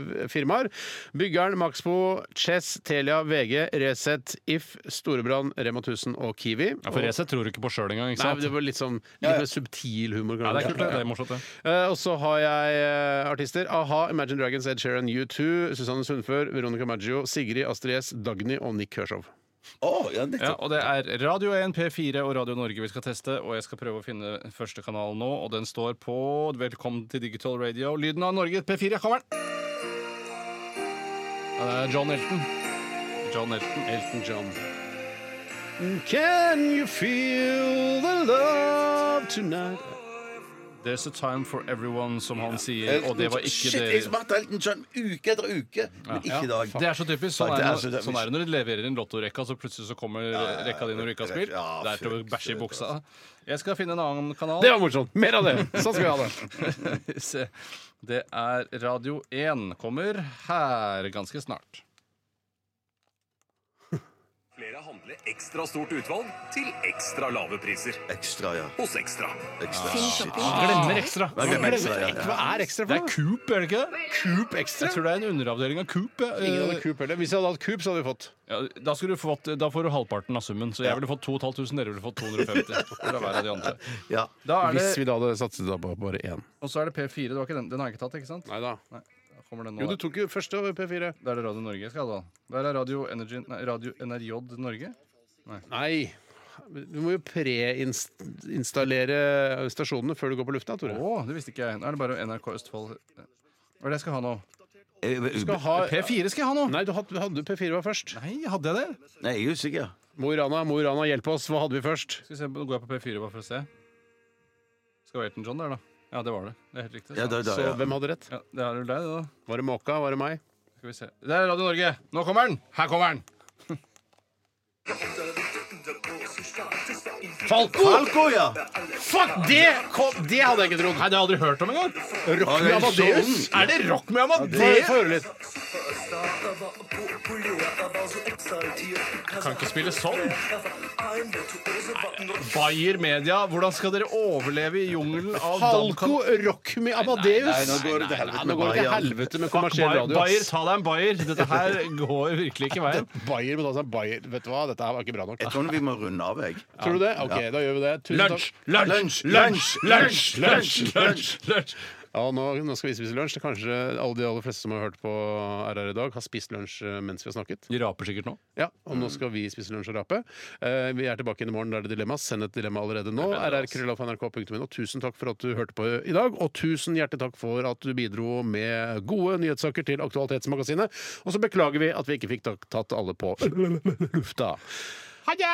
S5: eh, firmaer. Byggeren, Maxbo, Chess, Telia, VG, Resett, If, Storebrand, Rema 1000 og Kiwi.
S7: Ja, for Resett tror du ikke på sjøl engang. Ikke
S5: Nei,
S7: sant?
S5: det var litt sånn litt mer subtil humor.
S7: Ja, det er kult, det.
S5: kanskje.
S7: Det er morsomt, det.
S5: Eh, og så har jeg eh, artister. A-ha, Imagine Dragons, Ed Sheeran, U2, Susanne Sundfør, Veronica Maggio, Sigrid Astrid S, Dagny og Nick Kershaw.
S6: Å, ja, nettopp.
S7: Ja, og det er Radio 1, P4 og Radio Norge vi skal teste. Og jeg skal prøve å finne første kanal nå, og den står på Velkommen til Digital Radio. Lyden av Norge, P4. Kommer den! Ja, det er John Elton. John Elton. Elton John.
S9: Mm,
S5: Can you feel the love tonight?
S7: There's a time for everyone, som han sier. Og det var ikke
S6: Eh, Shit, jeg
S7: dere.
S6: smakt Elton John sånn uke etter uke, men ikke i dag.
S7: Det er så typisk. Sånn
S6: Fuck, det
S7: er det,
S6: er
S7: når-
S6: så typisk.
S7: sånn er det når du leverer inn lottorekka, så plutselig så kommer rekka di når du ikke har spilt.
S6: Ja, altså.
S7: Det er til å
S6: frykt,
S7: bæsje i buksa. Jeg skal finne en annen kanal.
S5: Det var morsomt! Mer av det! Sånn skal vi ha det.
S7: Se. Det er Radio 1 kommer her ganske snart.
S13: Flere handler ekstra stort utvalg til ekstra lave priser.
S6: Ekstra, ja.
S13: Hos Ekstra.
S6: Ekstra. Shit.
S7: Glemmer ekstra.
S6: Jeg glemmer ekstra, ja, ja.
S5: Hva er ekstra for
S7: Det er
S5: noe?
S7: Coop, er det ikke det?
S5: Coop ekstra?
S7: Jeg tror det er en underavdeling av Coop. jeg.
S5: Ingen hadde Coop heller. Hvis jeg hadde hatt Coop, så hadde vi fått.
S7: Ja, da, skulle du fått, da får du halvparten av summen. Så jeg ville fått 2500, dere ville fått 250. Fra hver av de andre.
S6: Ja.
S7: Da er
S5: Hvis
S7: det,
S5: vi da hadde satset da på bare én.
S7: og så er det P4. Det var ikke den, den har jeg ikke tatt, ikke sant?
S5: Nei da.
S7: Nei, da kommer den
S5: Jo,
S7: nå.
S5: du tok jo første over P4.
S7: Da er det Radio Norge jeg skal ha, da. Der er Radio, Energy, nei, Radio NRJ Norge.
S9: Nei. Du må jo preinstallere stasjonene før du går på lufta, Tore.
S7: Å, det visste ikke jeg. Nå er det bare NRK Østfold. Hva er det jeg skal ha nå?
S6: Eh,
S9: Du skal ha
S7: P4 skal jeg ha nå!
S9: Nei, du hadde, hadde du P4 var først.
S7: Nei, hadde jeg det?
S6: Nei, jeg er usikker.
S9: Mo i Rana, Mo i Rana, hjelp oss. Hva hadde vi først?
S7: Skal vi se, Nå går jeg på P4 bare for å se. Skal være Elton John der, da. Ja, det var det. Det er helt riktig.
S6: Ja, da, da,
S9: Så
S6: ja.
S9: hvem hadde rett?
S7: Ja, det er vel deg, det, da.
S9: Var det Måka? Var det meg?
S7: Skal vi se. Det er Radio Norge! Nå kommer den! Her kommer den!
S9: Falco!
S6: Falco, ja!
S7: Fuck! Det, kom, det hadde jeg ikke trodd. Nei, Det har jeg aldri hørt om engang.
S6: Ja, det
S7: Rock med
S6: er
S7: Amadeus?
S6: sånn.
S7: Er det rock med
S9: Få-
S7: Amadeus?
S9: få høre litt.
S7: Kan ikke spille sånn. Bayer Media, hvordan skal dere overleve i jungelen av
S9: Falco rock med Amadeus!
S6: Nei, nå går det til helvete
S9: Nå
S6: med
S9: går det til
S6: Bayern.
S9: helvete med
S7: Fuck,
S9: kommersiell
S7: Bayer,
S9: radio.
S7: Bayer,
S9: ass.
S7: ta deg en Bayer. Dette her går virkelig ikke veien.
S9: Bayer må ta seg en Bayer. altså, Vet du hva, dette her var ikke bra nok.
S6: Jeg tror vi må runde av, jeg.
S9: Tror du det? OK, da gjør vi det. Tusen
S7: Lunsj,
S9: takk.
S7: lunsj, lunsj, lunsj, lunsj, lunsj, lunsj.
S9: Ja, nå, nå skal vi spise lunsj. Kanskje alle de aller fleste som har hørt på RR i dag, har spist lunsj eh, mens vi har snakket.
S7: De raper sikkert nå.
S9: Ja, Og nå skal vi spise lunsj og rape. Eh, vi er tilbake inn i morgen. Da er det dilemma. Send et dilemma allerede nå. rrkrøllalfa.nrk.no. e Tusen takk for at du hørte på i dag, og tusen hjertelig takk for at du bidro med gode nyhetssaker til Aktualitetsmagasinet. Og så beklager vi at vi ikke fikk tak- tatt alle på lufta. Ha det!